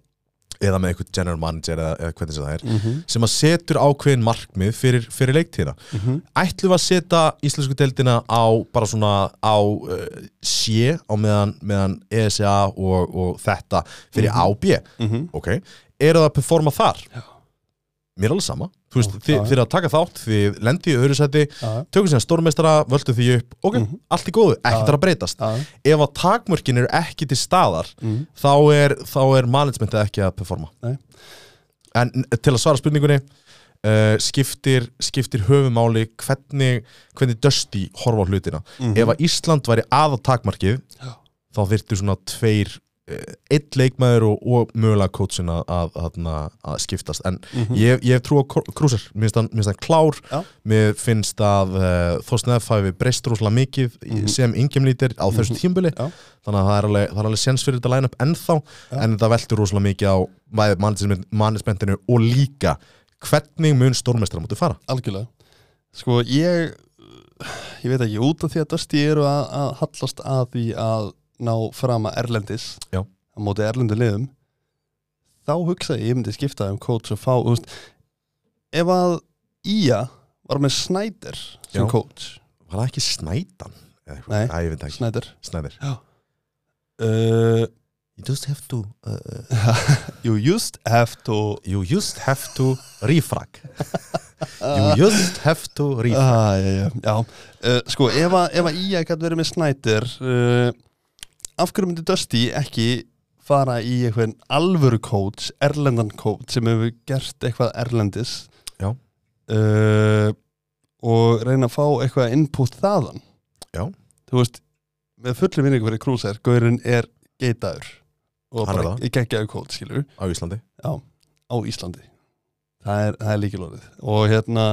Speaker 2: eða með eitthvað general manager eða, eða hvernig sem það er
Speaker 3: mm -hmm.
Speaker 2: sem að setur ákveðin markmið fyrir, fyrir leiktíðina ætlum við að setja íslensku deildina á bara svona á uh, sé á meðan, meðan ESA og, og þetta fyrir mm
Speaker 3: Mm-hmm.
Speaker 2: ok, eru það að performa þar
Speaker 3: Mhm. Já.
Speaker 2: mér er alveg sama þú veist,
Speaker 3: Já,
Speaker 2: þið,
Speaker 3: já, já.
Speaker 2: þið eru að taka þátt, þið lendið í öðru sæti
Speaker 3: já,
Speaker 2: tökum síðan stórmeistara, völdum því upp ok,
Speaker 3: Mhm.
Speaker 2: allt í góðu, ekkert
Speaker 3: Já.
Speaker 2: er að breytast
Speaker 3: já,
Speaker 2: ef að takmörkin eru ekki til staðar
Speaker 3: Mhm.
Speaker 2: þá er, þá er managementið ekki að performa
Speaker 3: Nei.
Speaker 2: en n- til að svara spurningunni uh, skiptir, skiptir höfumáli hvernig, hvernig Dusty horfa á hlutina
Speaker 3: Mhm.
Speaker 2: ef að Ísland væri aða takmarkið
Speaker 3: Já.
Speaker 2: þá þyrftu svona tveir eh, einn leikmaður og, og mögulega coachin að, að, að, að skiptast en
Speaker 3: Mhm.
Speaker 2: ég, ég hef trú á Kr- Krúsar mér finnst hann- mér finnst hann klár
Speaker 3: Já.
Speaker 2: mér finnst að uh, Þorsten F. hafi breyst rosalega mikið
Speaker 3: Mhm.
Speaker 2: sem yngjumlítir á þessu tímbili
Speaker 3: Já.
Speaker 2: þannig að það er alveg, það er alveg sens fyrir þetta line-up ennþá
Speaker 3: Já.
Speaker 2: en það veltur rosalega mikið á mannismentinu og líka hvernig mun stórmestrar mútið fara
Speaker 3: algjörlega sko ég ég veit ekki, út af því að Dusty eru að, að hallast að því að ná fram að Erlendis
Speaker 2: Já.
Speaker 3: á móti Erlendu liðum þá hugsa ég, ég myndi skipta um coach og fá þú veist, ef að Ía var með Snyder sem
Speaker 2: Já.
Speaker 3: coach
Speaker 2: var það ekki snætan? Eða eitthvað?
Speaker 3: Nei.
Speaker 2: Æ, ég veit það ekki,
Speaker 3: Snyder
Speaker 2: snæðir
Speaker 3: uh,
Speaker 2: you just have to uh,
Speaker 3: you used have to
Speaker 2: you just have to refrag you just have to refrag
Speaker 3: ah, já, já, já. Uh, sko, ef að, ef að Ía gæti verið með Snyder uh, af hverju myndi Dusty ekki fara í einhvern alvöru coach, erlendan coach sem hefur gert eitthvað erlendis
Speaker 2: Já.
Speaker 3: uh, og reyna að fá eitthvað input þaðan
Speaker 2: Já.
Speaker 3: þú veist, með fullu vinningu fyrir Krúsar, Gaurinn er geitaður og
Speaker 2: Hann er
Speaker 3: bara geggjaður coach, skilur
Speaker 2: á Íslandi
Speaker 3: á Íslandi það er, það er líkilorðið og hérna,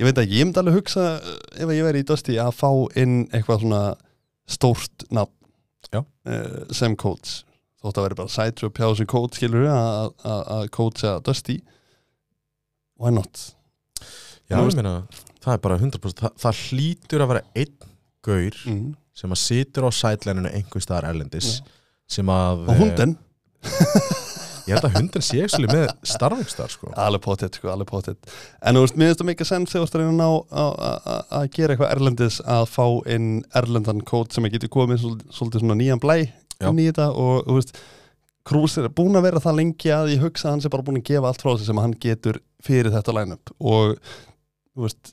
Speaker 3: ég veit ekki, ég myndi alveg hugsa uh, ef ég væri í Dusty að fá inn eitthvað svona stórt nafn
Speaker 2: Já.
Speaker 3: Eh, sem coach þótt að vera bara sætur og pjá sem coach skilur að að- að coacha Dusty why not
Speaker 2: Já,
Speaker 3: Þú
Speaker 2: ég
Speaker 3: veist-
Speaker 2: meina, það er bara 100% það, það hlýtur að vera einn gaur
Speaker 3: mm.
Speaker 2: sem að situr á sætlæninu einhver staðar erlendis sem að
Speaker 3: og hunden,
Speaker 2: eh, ég held að hundin sé ekki með starfingstar sko.
Speaker 3: alveg potið sko, alveg potið en þú veist, mér finnst það mikið sens þegar þú ert að reyna að ná að- að- að að gera eitthvað erlendis að fá inn erlendan coach sem að getur komið svol- svolítið svona nýjan blæ
Speaker 2: Já.
Speaker 3: inn í þetta og þú veist Krús er búin að vera það lengi að ég hugsa að hann sé bara búin að gefa allt frá sig sem hann getur fyrir þetta line-up og þú veist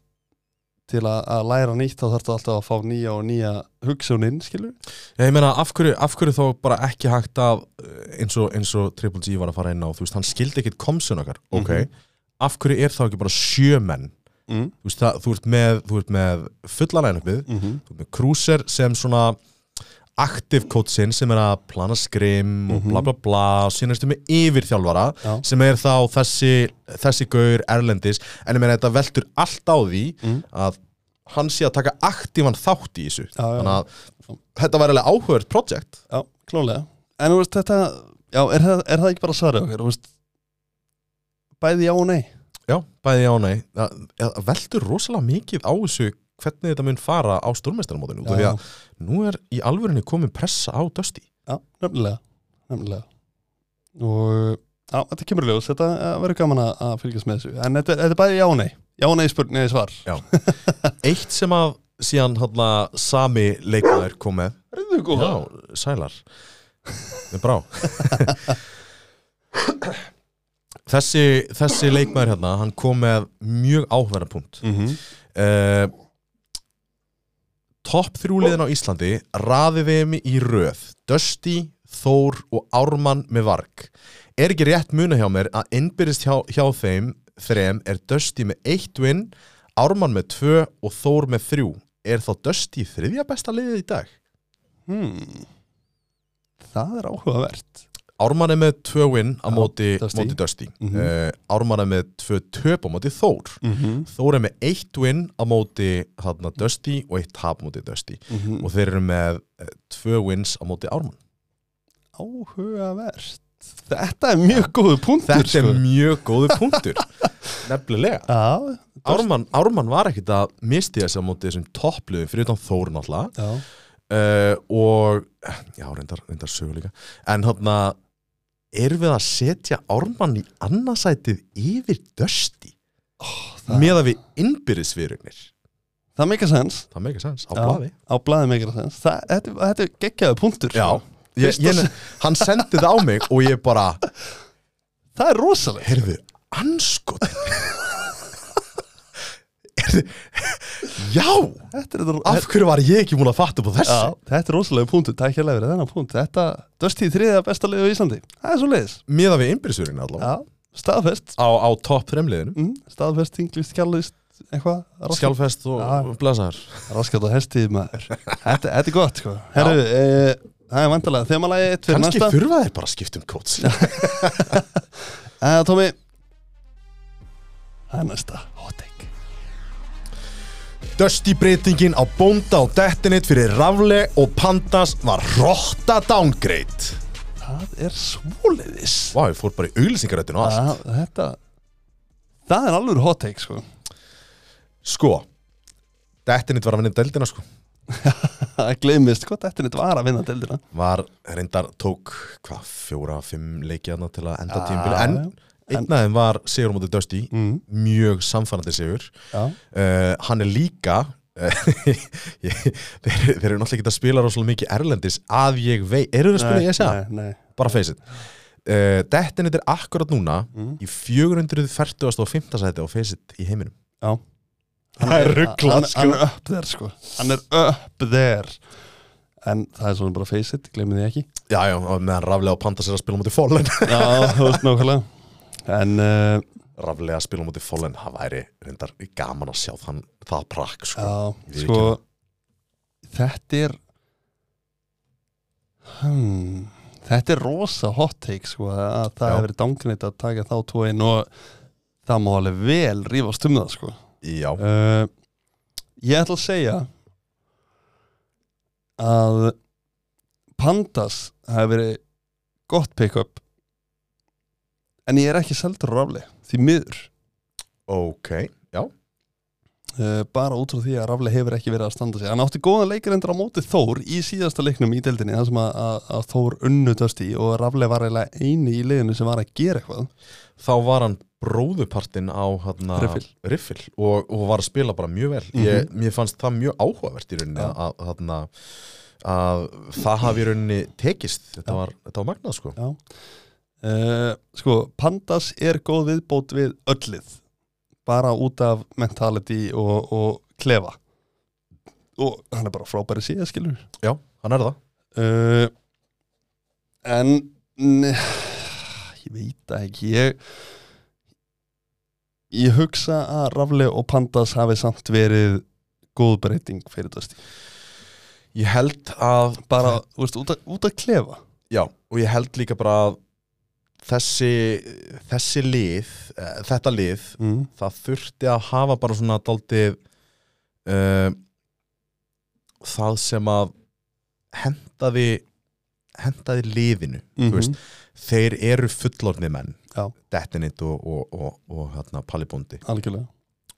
Speaker 3: til að, að læra nýtt þá þarf það alltaf að fá nýja og nýja hugsuninn, skilur
Speaker 2: Já, ég meina, af hverju, af hverju þá bara ekki hægt að eh, eins og, eins og Triple G var að fara inn á þú veist, hann skildi ekkit komsun okkar ok, af hverju er þá ekki bara sjö menn
Speaker 3: Mm.
Speaker 2: þú, veist, það, þú, ert með, þú ert með fulla lænupið þú ert með Cruiser sem svona aktiv coachin sem er að plana skrim og bla bla bla og síðan ertu með yfirþjálfara
Speaker 3: Mhm. Já.
Speaker 2: sem er þá þessi, þessi gaur erlendis en ég meina þetta veltur allt á því að hann sé að taka aktívan þátt í þessu
Speaker 3: Mhm. Já, já.
Speaker 2: þannig að þetta var alveg áhugavert projekt
Speaker 3: Já, klálega En þú veist þetta, já, er það, er það ekki bara svarið okkar, þú veist Bæði já og nei
Speaker 2: Já, bæði já og nei Það það veltur rosalega mikið á þessu hvernig þetta mun fara á stórmestarmótinu út af því
Speaker 3: Já,
Speaker 2: að nú er í alvörinni komin pressa á Dusty
Speaker 3: já nefnilega, nefnilega Og já, þetta kemur í ljós, þetta eh, verður gaman að- að fylgjast með þessu En þetta, þetta er bæði já og nei Já og nei spurning, nei svar
Speaker 2: Eitt sem að síðan hátna, sami leikmaður kom með
Speaker 3: Rýðu góð
Speaker 2: Já, sælar Með brá Þessi, þessi leikmaður hérna, hann kom með mjög áhverja punkt
Speaker 3: mm -hmm.
Speaker 2: uh, Topp þrjúliðin á Íslandi raðið þeim í röð Dusty, Þór og Ármann með varg Er ekki rétt muna hjá mér að innbyrðist hjá, hjá þeim þrem er Dusty með eitt vinn Ármann með tvö og Þór með þrjú Er þá Dusty þriðja besta liðið í dag?
Speaker 3: hmm. Það er áhugavert
Speaker 2: Ármann er með tvö vinn á
Speaker 3: Já,
Speaker 2: móti
Speaker 3: Dusty.
Speaker 2: Dusty, móti Dusty.
Speaker 3: Mhm.
Speaker 2: Uh, Ármann er með tvö töp á móti Þór
Speaker 3: mm -hmm.
Speaker 2: Þór er með eitt vinn á móti hana, Dusty og eitt tap á móti Dusty
Speaker 3: Mhm.
Speaker 2: og þeir eru með eh, tvö wins á móti Ármann
Speaker 3: Áhugavert Þetta er mjög góðu punktur sko.
Speaker 2: Þetta er mjög góðu punktur Nefnilega
Speaker 3: Já,
Speaker 2: Ármann, Ármann var ekkit að misti þessi á móti þessum toppluðum fyrir utan Þórun alltaf
Speaker 3: já
Speaker 2: uh, og eh, já, reyndar, reyndar sögur líka en hérna erum við að setja Ármann í annarsætið yfir dösti
Speaker 3: það-
Speaker 2: með að við innbyrðisvirugnir
Speaker 3: Það meikar sens
Speaker 2: Það meika sens, á
Speaker 3: Já,
Speaker 2: blaði
Speaker 3: Á blaði meikar sens Það, þetta, þetta er geggjaðu punktur
Speaker 2: Já,
Speaker 3: sko.
Speaker 2: ég, ég, hann sendi það á mig og ég bara,
Speaker 3: Það er rosaleg
Speaker 2: heyrðu, anskotin Heyrðu, Já,
Speaker 3: Þetta er,
Speaker 2: af hverju var ég ekki múin að fatta upp á þessu?
Speaker 3: já, þetta er rosaleg punktur Takk hérlega fyrir þennan punkt Þetta dösti í þriðja besta liðu í Íslandi Það er svo leiðis
Speaker 2: Miða við innbyrðisvirugnir allavega
Speaker 3: Já, staðfest
Speaker 2: Á, á topp fremliðinu,
Speaker 3: mm, Staðfest, tinglist, kjallist Eitthvað raskat-
Speaker 2: skjálfest og
Speaker 3: Já.
Speaker 2: blæsar
Speaker 3: Raskat og hestið maður Þetta, þetta er gott sko Herru, e, það er vandalega Þemalagi eitt fyrir
Speaker 2: Kanski
Speaker 3: næsta
Speaker 2: þurfa þeir bara að skipta um kóts
Speaker 3: Eh, Tómi Það er næsta Hot take
Speaker 2: Dusty breytingin á bónda og dettinit fyrir rafle og pandas var rotta downgrade
Speaker 3: Það er svoleiðis
Speaker 2: Vá, ég fór bara í auglýsingarættinu og allt
Speaker 3: Það, þetta Það er alveg hot take sko
Speaker 2: Sko, dettinit var að vinna deldina sko
Speaker 3: Það gleymist, hvað þetta nýtt var að vinna deildina
Speaker 2: Var, reyndar, tók, hvað, fjóra, fimm leiki hana til að enda
Speaker 3: Já,
Speaker 2: tímbil En
Speaker 3: já. En-
Speaker 2: einn af þeim var sigur á móti Dusty
Speaker 3: mm.
Speaker 2: Mjög samfærandi sigur
Speaker 3: Já,
Speaker 2: uh, hann er líka uh, ég, þeir, þeir eru náttúrulega ekki að spila rosalega mikið erlendis að ég vei, eru þeir að spila í SA?
Speaker 3: Nei, nei,
Speaker 2: bara face it uh, Dettinit er akkurat núna
Speaker 3: Mm.
Speaker 2: í 445. sæti á face it í heiminum
Speaker 3: já
Speaker 2: Það er ruglað,
Speaker 3: hann,
Speaker 2: sko.
Speaker 3: hann er upp þér sko Hann er upp þér En það er svona bara face it, gleymið því ekki
Speaker 2: já, já, og meðan raflega og pandas er að spila á móti Fallen
Speaker 3: Já, þú veist nákvæmlega En uh,
Speaker 2: raflega að spila á móti Fallen, það væri reyndar gaman að sjá þann, það prakk sko.
Speaker 3: já,
Speaker 2: Ég
Speaker 3: sko
Speaker 2: viðurkenni.
Speaker 3: Þetta er hmm, Þetta er rosa hot take sko að það
Speaker 2: Já.
Speaker 3: hefur verið dangrið að taka þá tvo inn og það má alveg vel rífast um það sko
Speaker 2: já,
Speaker 3: uh, Ég ætla að segja að Pandas hafi verið gott pick-up en ég er ekki seldur á rafli því miður
Speaker 2: ok já,
Speaker 3: uh, bara út frá því að rafli hefur ekki verið að standa sig hann átti góðan leikur endur á móti Þór í síðasta leiknum í deildinni þar sem að, að, að Þór unnutast í og rafli var eiginlega eini í liðinu sem var að gera eitthvað
Speaker 2: þá var hann bróðupartinn á hana,
Speaker 3: Riffil.
Speaker 2: og, og var að spila bara mjög vel ég, mér fannst það mjög áhugavert í rauninni
Speaker 3: Já.
Speaker 2: að, að, hana, að það hafi í rauninni tekist þetta
Speaker 3: Já.
Speaker 2: var, þetta var magnað sko
Speaker 3: Uh, sko, Pandas er góð viðbót við öllið bara út af mentality og, og klefa og hann er bara frábæri síða skilur
Speaker 2: já, hann er það
Speaker 3: uh, en ne, ég veit það ekki ég, ég hugsa að Rafle og Pandas hafi samt verið góð breyting fyrir þetta stíl
Speaker 2: Ég held að
Speaker 3: bara, þú veist, út að, út að klefa
Speaker 2: Já, og ég held líka bara að þessi, þessi lið, eh, þetta lið,
Speaker 3: mm.
Speaker 2: það þurfti að hafa bara svona daldið uh, það sem að hendaði, hendaði liðinu, þú veist, þeir eru fullorðni menn,
Speaker 3: Já.
Speaker 2: Dettinit og, og, og, og hérna, Pallibondi,
Speaker 3: algjörlega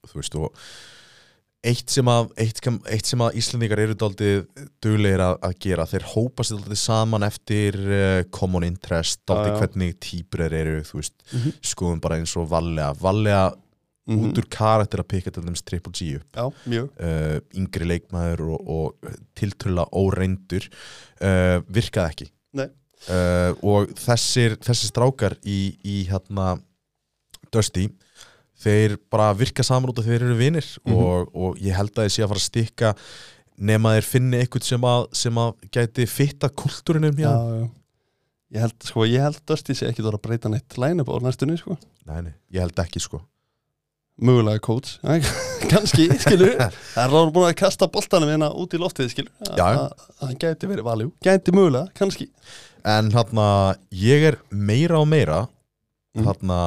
Speaker 2: þú veist, og eitt sem að, eitt, sem- eitt sem að Íslendingar eru daldið duglegir að, að gera, þeir hópa sér daldið saman eftir uh, common interest, daldið
Speaker 3: já.
Speaker 2: hvernig típur þeir eru, þú veist,
Speaker 3: Mhm.
Speaker 2: skoðum bara eins og Vallega, Vallega
Speaker 3: mm
Speaker 2: út úr karakter að pikka til dæmis Triple G upp
Speaker 3: já, mjög
Speaker 2: uh, yngri leikmaður og, og tiltöla óreindur uh, virkaði ekki
Speaker 3: Nei.
Speaker 2: uh, og þessir, þessir strákar í, í hérna Dusty þeir bara virka saman út af því þeir eru vinir
Speaker 3: Mhm.
Speaker 2: og, og ég held að þeir sé að fara að stikka nema þeir finni eitthvað sem að, sem að gæti fitta kultúrinum
Speaker 3: já,
Speaker 2: hjá
Speaker 3: já. Ég held, sko, ég held Dusty sé ekki þar að breyta neitt line-up á næstunni, sko.
Speaker 2: nei, nei, ég held ekki sko
Speaker 3: Mögulega coach, Æ, kannski, skilur. Það er ráður búin að kasta boltanum hérna út í loftið, skilur.
Speaker 2: Já.
Speaker 3: Það gæti verið valjú, gæti mögulega, kannski.
Speaker 2: En hérna, ég er meira og meira
Speaker 3: Mm.
Speaker 2: Hérna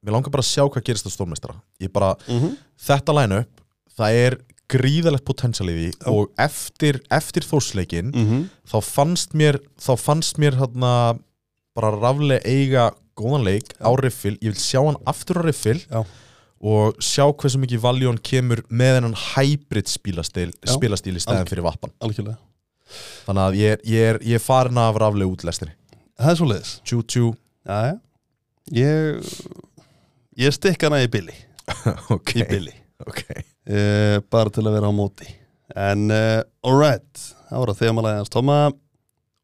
Speaker 2: Mér langar bara að sjá hvað gerist á stórmeistara Ég bara,
Speaker 3: Mm -hmm.
Speaker 2: þetta line up Það er gríðalegt potensial í því
Speaker 3: Já.
Speaker 2: Og eftir, eftir þórsleikin
Speaker 3: Mm
Speaker 2: Þá fannst mér Þá fannst mér hérna Bara raflega eiga góðan leik á riffil Ég vil sjá hann aftur á riffil
Speaker 3: Já.
Speaker 2: Og sjá hversu mikið valjón kemur Með hennan hybrid spilastíl,
Speaker 3: Já.
Speaker 2: spilastíl Í stæðan fyrir vappan
Speaker 3: Algjörlega.
Speaker 2: Þannig að ég er, ég er, ég er farin af raflega útlestinni
Speaker 3: Það er svo leiðis.
Speaker 2: Tjú tjú
Speaker 3: Já, já. Ég, ég stikka hana í billi,
Speaker 2: okay.
Speaker 3: í billi.
Speaker 2: okay.
Speaker 3: Uh, bara til að vera á móti. En, uh, alright, það voru að þegar maður hans Toma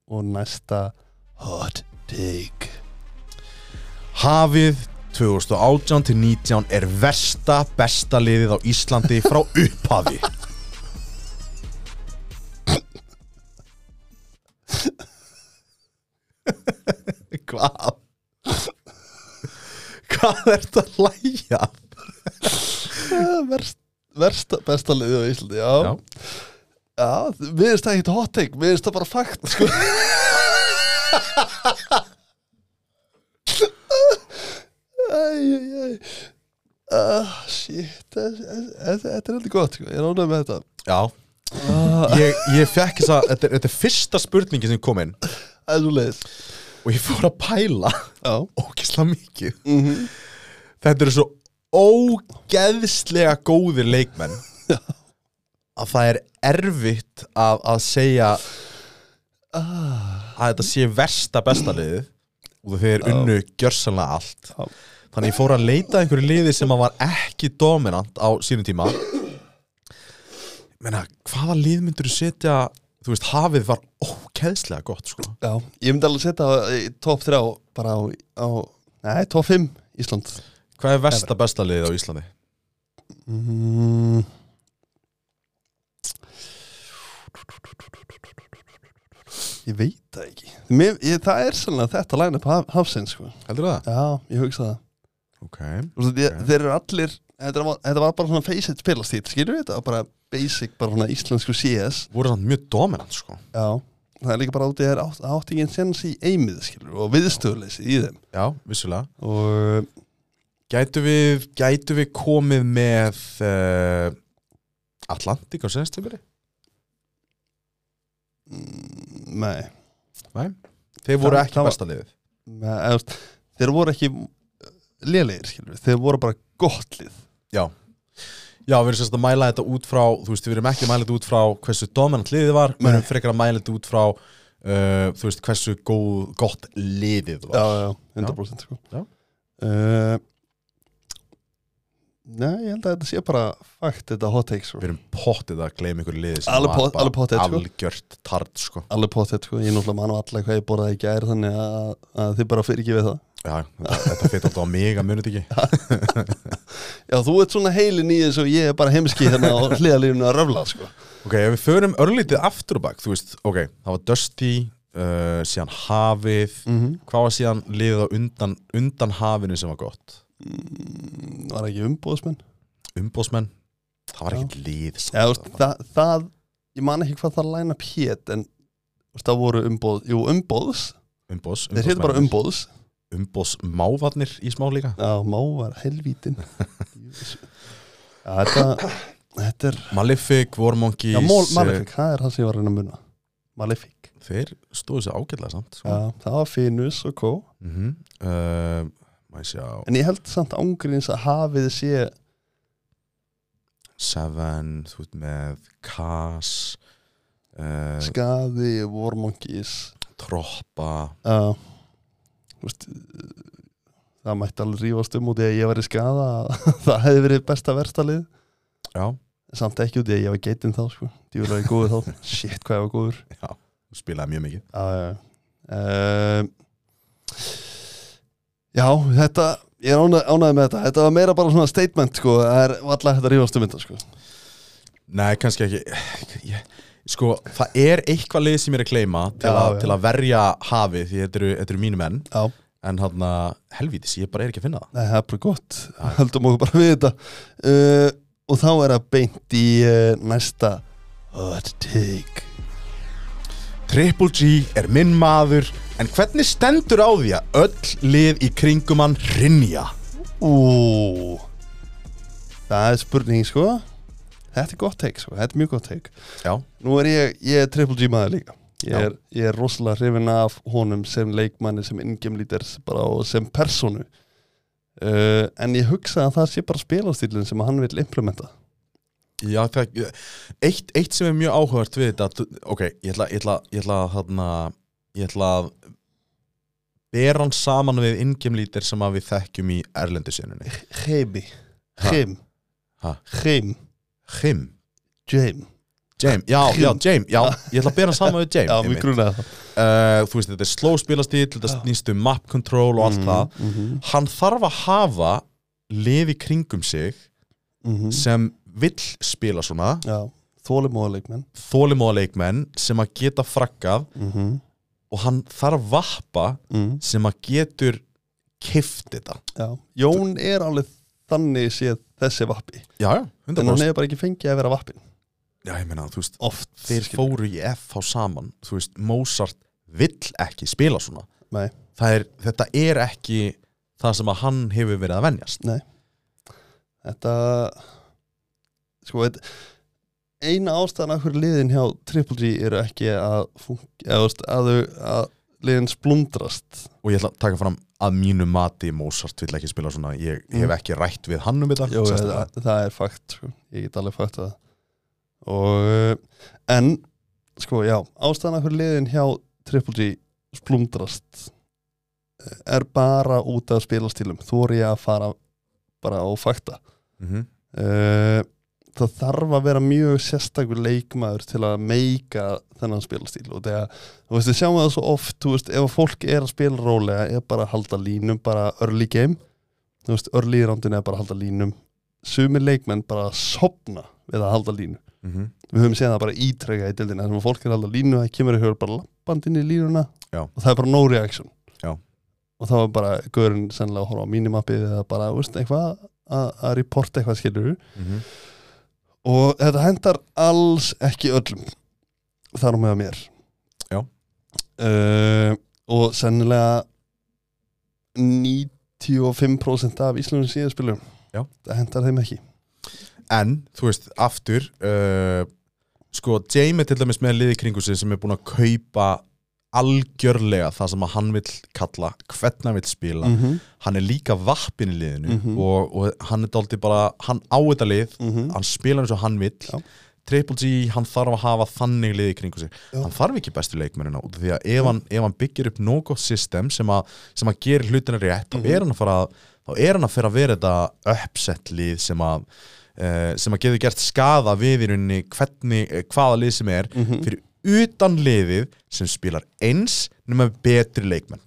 Speaker 3: og næsta hot take.
Speaker 2: Hafið 2018 til 19 er versta besta liðið á Íslandi frá upphafi Hvað? Hvað er þetta að læja?
Speaker 3: Eh, verst, versta, besta liðið á Íslandi já, já. við erum það ekkert hot take, við erum það bara fakt sko. Æj, æj, æj Ah, shit, þess- þess- þess- þetta er heldur gott, sko. ég er ánægð með þetta
Speaker 2: Já
Speaker 3: Ah.
Speaker 2: Ég, ég fekk þess að þetta, er- þetta er fyrsta spurningi sem kom inn
Speaker 3: Það er svo leiðis
Speaker 2: og ég fór að pæla
Speaker 3: Já,
Speaker 2: ógeðslega mikið þetta eru svo ógeðslega góðir leikmenn að það er erfitt að, að segja að þetta sé versta besta liðið og þeir eru unnu gjörsanlega allt
Speaker 3: Já.
Speaker 2: þannig ég fór að leita að einhverju liði sem að var ekki dominant á sínum tíma menna, hvaða lið myndur þú setja þú veist, hafið var ógeðslega gott sko.
Speaker 3: já, ég myndi alveg setja það í top 3 bara á, á nei, top 5 Ísland
Speaker 2: hvað er versta besta liðið á Íslandi?
Speaker 3: mm. Ég veit það ekki Mér, ég, Það er sannlega þetta læna upp haf, hafsins sko.
Speaker 2: heldur það?
Speaker 3: Já, ég hugsa það
Speaker 2: Okay.
Speaker 3: Þú veist, ég,
Speaker 2: Ok.
Speaker 3: Þeir eru allir Þetta var, þetta var bara svona face-it spilastýtt Skilur við þetta? Bara basic, bara svona íslensku CS
Speaker 2: voru samt mjög dominant sko.
Speaker 3: Já Það er líka bara út í þær átt, áttingin sens í eimið skilur og viðstöðleysi í þeim
Speaker 2: já, vissulega
Speaker 3: og
Speaker 2: Gætu við, gætu við komið með uh, Atlantik á senstjöfri?
Speaker 3: mm, nei,
Speaker 2: Þeir voru
Speaker 3: Það-
Speaker 2: ekki
Speaker 3: það var-
Speaker 2: besta liðið
Speaker 3: nei eða, þú veist, þeir voru ekki lélegir skilur við, þeir voru bara gott lið
Speaker 2: Já, við erum sérst að mæla þetta út frá Þú veist, við erum ekki að mæla þetta út frá hversu dominant liðið var Við erum frekar að mæla þetta út frá uh, Þú veist, hversu góð, gott liðið var
Speaker 3: já, já, 100% sko
Speaker 2: Já.
Speaker 3: Uh, Nei, ég held að þetta sé bara fakt þetta hot take sko
Speaker 2: Við erum pottið að gleyma ykkur liðið sem
Speaker 3: Alveg
Speaker 2: var
Speaker 3: pott-
Speaker 2: bara
Speaker 3: alveg pottþétt, sko.
Speaker 2: algjört tart sko.
Speaker 3: Alveg pottet sko, ég náttúrulega mann á alla hvað ég borðaði í gær þannig að, að þið bara fyrir ekki við það
Speaker 2: Já, þetta þetta fyrir alltaf á mig að munið ekki
Speaker 3: Já, þú ert svona heilin í þessu og ég er bara heimski hérna á hliðalífinu að röfla sko
Speaker 2: Ok, ef við förum örlítið aftur og bakk, þú veist, ok, það var Dusty, uh, síðan Hafið,
Speaker 3: Mhm.
Speaker 2: hvað var síðan liðið á undan, undan Hafinu sem var gott?
Speaker 3: mm, var ekki umbóðsmenn
Speaker 2: umbósmenn það var ekkert lið sko.
Speaker 3: Eða, þú veist, það, það, ég man ekki hvað það læna pét en þú veist, það voru umbóð jú, umbóðs,
Speaker 2: umbós,
Speaker 3: þeir heitir bara umbóðs
Speaker 2: umbósmávarnir í smá líka
Speaker 3: já, má var helvítin Jú, já, þetta þetta er,
Speaker 2: Malefic, War Monkeys
Speaker 3: já, mól,
Speaker 2: eh,
Speaker 3: Malefic það er það sem ég var að reyna að muna Malefic,
Speaker 2: þeir stóðu sér ágætlega samt
Speaker 3: já,
Speaker 2: sko.
Speaker 3: það var Finus og Kó
Speaker 2: mm -hmm. uh, maður sjá
Speaker 3: en ég held samt ángriðins að hafið sé
Speaker 2: Seven, þú veit með Kass uh,
Speaker 3: skaði, vormongis
Speaker 2: Troppa
Speaker 3: já, þú veist það mætti alveg rífast um út í að ég væri skaða það hefði verið besta versta lið
Speaker 2: já,
Speaker 3: samt ekki út í að ég var geitinn þá sko. djúlega ég góður þá, shit hvað ég var góður
Speaker 2: þú spilaði mjög mikið
Speaker 3: já, já, já um, já, þetta ég er ánæ- ánægður með þetta, þetta var meira bara svona statement sko, það er allar þetta rífast um þetta sko.
Speaker 2: nei, kannski ekki ég, sko, það er eitthvað lið sem ég er að kleima til,
Speaker 3: Já,
Speaker 2: að-
Speaker 3: já.
Speaker 2: til að verja hafið því þetta eru, þetta eru mínu menn
Speaker 3: já,
Speaker 2: en hann að, helvítis, ég bara er ekki að finna það
Speaker 3: Nei, það er bara gott, höldum okkur bara við þetta uh, Og þá er það beint í uh, næsta Hot Take
Speaker 2: Triple G er minn maður en hvernig stendur á því að öll lið í kringum hann rinja
Speaker 3: Ú, það er spurning sko Þetta er gott take sko, þetta er mjög gott take
Speaker 2: já,
Speaker 3: Nú er ég, ég er Triple G maður líka Ég
Speaker 2: Já.
Speaker 3: er, ég er rosalega hrifin af honum sem leikmanni, sem ingemlítar bara og sem personu uh, En ég hugsa að það sé bara spilastílinn sem hann vil implementa
Speaker 2: já það, eitt, eitt sem er mjög áhugavert við þetta ok, ég ætla, ég ætla, ég ætla, þarna, ég ætla að ber hann saman við ingemlítir sem að við þekkjum í erlendusinunni
Speaker 3: Heimi,
Speaker 2: Ha.
Speaker 3: heim,
Speaker 2: Ha.
Speaker 3: heim,
Speaker 2: Him,
Speaker 3: heim
Speaker 2: James, já, já,
Speaker 3: Him.
Speaker 2: James já, ég ætla að bera hann saman við James
Speaker 3: Já,
Speaker 2: einmitt.
Speaker 3: mér grunaði það
Speaker 2: uh, þú veist, þetta er slow spilastíl þetta
Speaker 3: Já.
Speaker 2: snýst um map control og allt það
Speaker 3: mm -hmm.
Speaker 2: hann þarf að hafa liði kringum sig sem vill spila svona
Speaker 3: Mhm. Já, þólimóðuleikmenn
Speaker 2: þólimóða leikmenn sem að geta frakkað
Speaker 3: mm -hmm.
Speaker 2: og hann þarf vappa
Speaker 3: mm.
Speaker 2: sem að getur kift þetta
Speaker 3: Jón er alveg þannig séð þessi vappi
Speaker 2: já, já,
Speaker 3: En hann
Speaker 2: 100%
Speaker 3: hefur bara ekki fengið að vera vappin
Speaker 2: já, ég meina, þú veist,
Speaker 3: Oft
Speaker 2: þeir
Speaker 3: skilur.
Speaker 2: fóru í FH saman þú veist, Mozart vill ekki spila svona
Speaker 3: Nei.
Speaker 2: Það er, þetta er ekki það sem að hann hefur verið að venjast
Speaker 3: Þetta Sko, þetta Eina ástæðan af hverju liðin hjá Triple G eru ekki að funki, eða, þú veist, að, þau- að liðin splundrast
Speaker 2: og ég ætla að taka fram að mínu mati Mozart vill ekki spila svona ég
Speaker 3: Mhm.
Speaker 2: hef ekki rætt við hann um þetta
Speaker 3: Jó,
Speaker 2: sérstaklega.
Speaker 3: það, það er fakt sko. ég get alveg fakt að og eh, en sko já, ástæðan af hverju liðin hjá Triple G splundrast eh, er bara út af spilastílum, þú er ég að fara bara á fakta
Speaker 2: Mhm.
Speaker 3: uh, það þarf að vera mjög sérstakur leikmaður til að meika þennan spilastíl og þegar, þú veist, við sjáum það svo oft þú veist, ef að fólk er að spila rólega er bara að halda línum, bara early game þú veist, early í rándinu er bara að halda línum sumir leikmenn bara að sopna við að halda línu
Speaker 2: Mhm.
Speaker 3: við höfum séð það bara ítrega í dildinu þar sem að fólk er að halda línu, það kemur að höfur bara lappand inn í línuna
Speaker 2: Já.
Speaker 3: og það er bara no reaction
Speaker 2: Já.
Speaker 3: og þá er bara gaurinn sennilega að horfa á mínimappið eða bara, þú veist, eitthvað að, að reporta eitthvað skilur
Speaker 2: Mhm.
Speaker 3: og þetta hendar alls ekki öllum þar á meða mér
Speaker 2: Já.
Speaker 3: Eh, og sennilega 95% af Íslandum síðaspilum
Speaker 2: Já.
Speaker 3: það hendar þeim ekki
Speaker 2: en þú veist, aftur uh, sko, Jamie til dæmis með liði kringu sig sem er búin að kaupa algjörlega það sem að hann vill kalla, hvernig hann vill spila
Speaker 3: -hmm.
Speaker 2: hann er líka vappin í liðinu
Speaker 3: Mhm.
Speaker 2: og, og hann er dálítið bara hann á þetta lið,
Speaker 3: Mm -hmm.
Speaker 2: hann spila eins og hann vill
Speaker 3: Já.
Speaker 2: Triple G, hann þarf að hafa þannig liði kringu sig,
Speaker 3: Já.
Speaker 2: hann þarf ekki bestu leikmennina út af því að ef hann, ef hann byggir upp nógótt system sem að, sem að gerir hlutina rétt,
Speaker 3: Mhm.
Speaker 2: þá er hann að fara að- þá er hann að fyrir að vera þetta uppsett lið sem að eh, sem að getur gert skaða við í rauninni hvernig, eh, hvaða lið sem er
Speaker 3: Mhm.
Speaker 2: fyrir utan liðið sem spilar eins nema betri leikmenn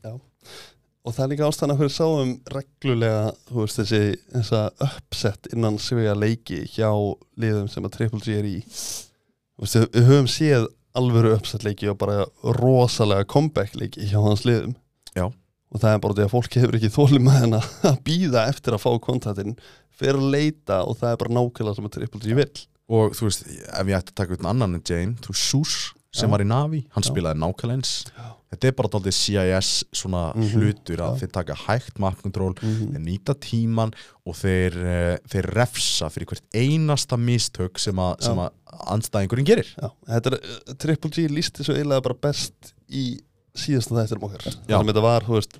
Speaker 3: og það er líka ástæðan að hverju sáum reglulega þú veist þessi þessa uppsett innan svega leiki hjá liðum sem að Triple G er í Þú veist, við við höfum séð alvöru uppsett leiki og bara rosalega comeback leiki hjá hans liðum
Speaker 2: Já.
Speaker 3: og það er bara því að fólki hefur ekki þólum að henn að býða eftir að fá kontaktinn fyrir að leita og það er bara nákvæmlega sem að Triple G vill
Speaker 2: og þú veist, ef ég ætti að taka eitthvað annan en Jane, þú veist, Sus sem
Speaker 3: Já.
Speaker 2: var í Navi, hann
Speaker 3: Já.
Speaker 2: spilaði nákvæmlega eins þetta er bara daldið CIS svona
Speaker 3: Mhm.
Speaker 2: hlutur að
Speaker 3: Já.
Speaker 2: þeir taka hægt mappkontról,
Speaker 3: Mhm.
Speaker 2: þeir nýta tíman og þeir, eh, þeir refsa fyrir hvert einasta mistök sem að, sem
Speaker 3: Já.
Speaker 2: að andstæðingurinn gerir
Speaker 3: Já, þetta er, uh, Triple G lísti svo eiginlega bara best í síðasta þættir um okkar
Speaker 2: Já.
Speaker 3: þannig að þetta var, þú veist,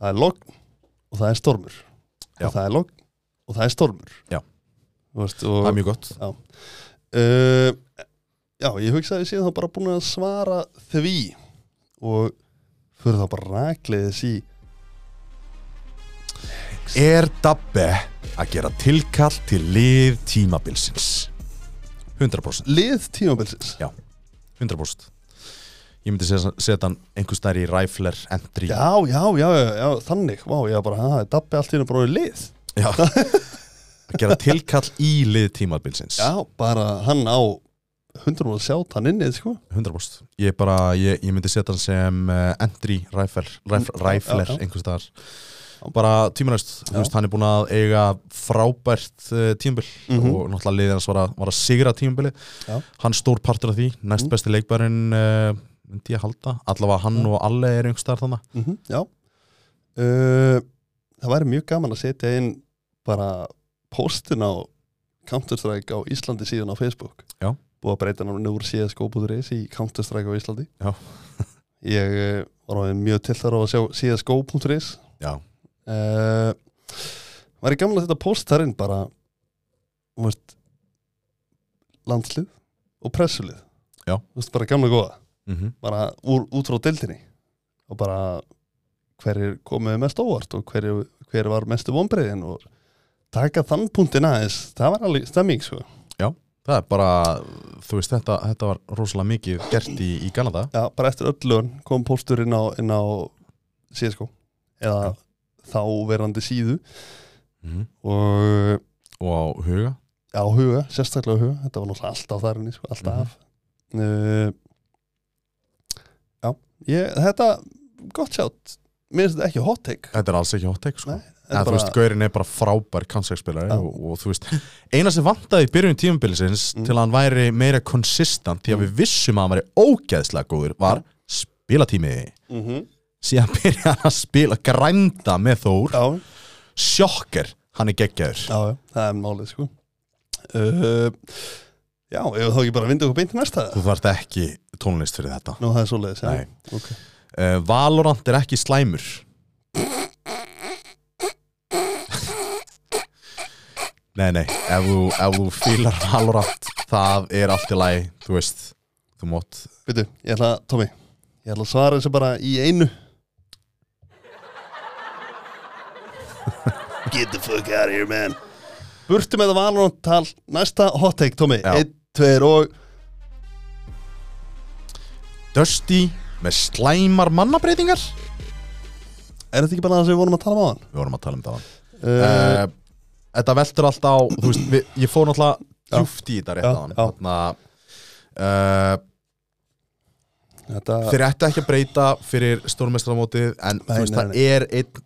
Speaker 3: það er logn og það er stormur
Speaker 2: Já.
Speaker 3: og það er logn og það er stormur
Speaker 2: Já.
Speaker 3: Þú veist,
Speaker 2: það
Speaker 3: og,
Speaker 2: er mjög gott
Speaker 3: uh, Já, ég hugsaði síðan þá bara búin að svara því og fyrir þá bara rakleiðis í
Speaker 2: Er Dabbe að gera tilkall til lið tímabilsins? 100%
Speaker 3: lið tímabilsins
Speaker 2: Já, 100% Ég myndi setja setja hann einhvers nær í Rifler Entry
Speaker 3: Já, já, já, já, já, þannig, vá, ég var bara, það er dabbi allt í hennu bara í lið
Speaker 2: Já. Að gera tilkall í lið tímabilsins
Speaker 3: Já, bara hann á 100 og sjátt hann inni, sko
Speaker 2: 100% Ég, bara, ég, ég myndi setja hann sem uh, Entry Rifler, rif,
Speaker 3: Mm, já,
Speaker 2: rifler
Speaker 3: já, já.
Speaker 2: einhvers nær bara tímanæst,
Speaker 3: Já.
Speaker 2: þú veist, hann er búin að eiga frábært uh, tímabil
Speaker 3: Mhm.
Speaker 2: og náttúrulega liðið hans var að, var að sigra tímabili
Speaker 3: Já.
Speaker 2: hann stór partur af því, næst
Speaker 3: Mhm.
Speaker 2: besti leikbærin uh, myndi ég halda, allavega hann og alle er einhvers þar þannig
Speaker 3: mm Já uh, Það væri mjög gaman að setja inn bara postin á Counter-Strike á Íslandi síðan á Facebook
Speaker 2: Já.
Speaker 3: Búið að breyta hann úr CSGO.is í Counter-Strike á Íslandi
Speaker 2: Já.
Speaker 3: Ég uh, var orðinn mjög til þar á að sjá CSGO.is
Speaker 2: Já.
Speaker 3: uh, Væri gaman að þetta post þar inn bara þú veist, landslið og pressulið
Speaker 2: Já.
Speaker 3: Þú veist, bara gamla góða
Speaker 2: mm -hmm.
Speaker 3: bara úr, út frá deildinni og bara hverjir komuðu mest óvart og hverjir hver var mestu vonbreiðin og taka þann punktin aðeins, það var alveg stemming sko.
Speaker 2: það er bara, þú veist, þetta, þetta var rosalega mikið gert í, í Kanada
Speaker 3: Já, bara eftir öll lögn kom póstur inn á, inn á CSGO eða þá verandi síðu Mhm. og
Speaker 2: og á huga
Speaker 3: já, huga, sérstaklega huga þetta var náttúrulega alltaf þarinni, sko,
Speaker 2: Mhm.
Speaker 3: alltaf mm Já, ég, þetta gott sjátt, mér finnst þetta ekki hot take
Speaker 2: þetta er alls ekki hot take sko.
Speaker 3: Nei, þetta
Speaker 2: en, þú
Speaker 3: bara-
Speaker 2: veist, Gaurin er bara frábær kannsækspilari
Speaker 3: Já.
Speaker 2: og, og þú veist, eina sem vantaði í byrjun tímabilsins
Speaker 3: Mm.
Speaker 2: til að hann væri meira konsistant því að
Speaker 3: Mm.
Speaker 2: við vissum að hann væri ógeðslega góður var spilatími
Speaker 3: mm
Speaker 2: síðan byrja hann að spila grænda með Þór,
Speaker 3: Já,
Speaker 2: sjokker hann er geggjaður,
Speaker 3: Já, já, það er málið sko uh, Já, ef þá ekki bara vindu okkur beint til næsta
Speaker 2: þú þarft ekki tónlist fyrir þetta
Speaker 3: Nú, það er svoleiðis, já
Speaker 2: Nei.
Speaker 3: okay.
Speaker 2: uh, Valorant er ekki slæmur Nei, nei, ef þú, ef þú fílar Valorant, það er allt í lagi, þú veist, þú mótt
Speaker 3: Býtu, ég ætla, að- Tommy Ég ætla að svara þessu bara í einu Get the fuck out of here, man Burtu með það valunum tal Næsta hot take, Tommy
Speaker 2: Já.
Speaker 3: Einn, tveir og
Speaker 2: Dusty með slæmar mannabreitingar Við
Speaker 3: Er þetta ekki bara það sem við vorum að tala um á hann?
Speaker 2: vorum að tala um það uh,
Speaker 3: Uh,
Speaker 2: Þetta veltur allt á, þú veist, við, ég fór náttúrulega
Speaker 3: Já.
Speaker 2: djúft í þetta rétt
Speaker 3: Já,
Speaker 2: á hann
Speaker 3: já.
Speaker 2: Þannig að uh,
Speaker 3: þetta
Speaker 2: þeir ættu ekki að breyta fyrir stórmestramótið en
Speaker 3: Nei,
Speaker 2: þú veist
Speaker 3: nei,
Speaker 2: það er einn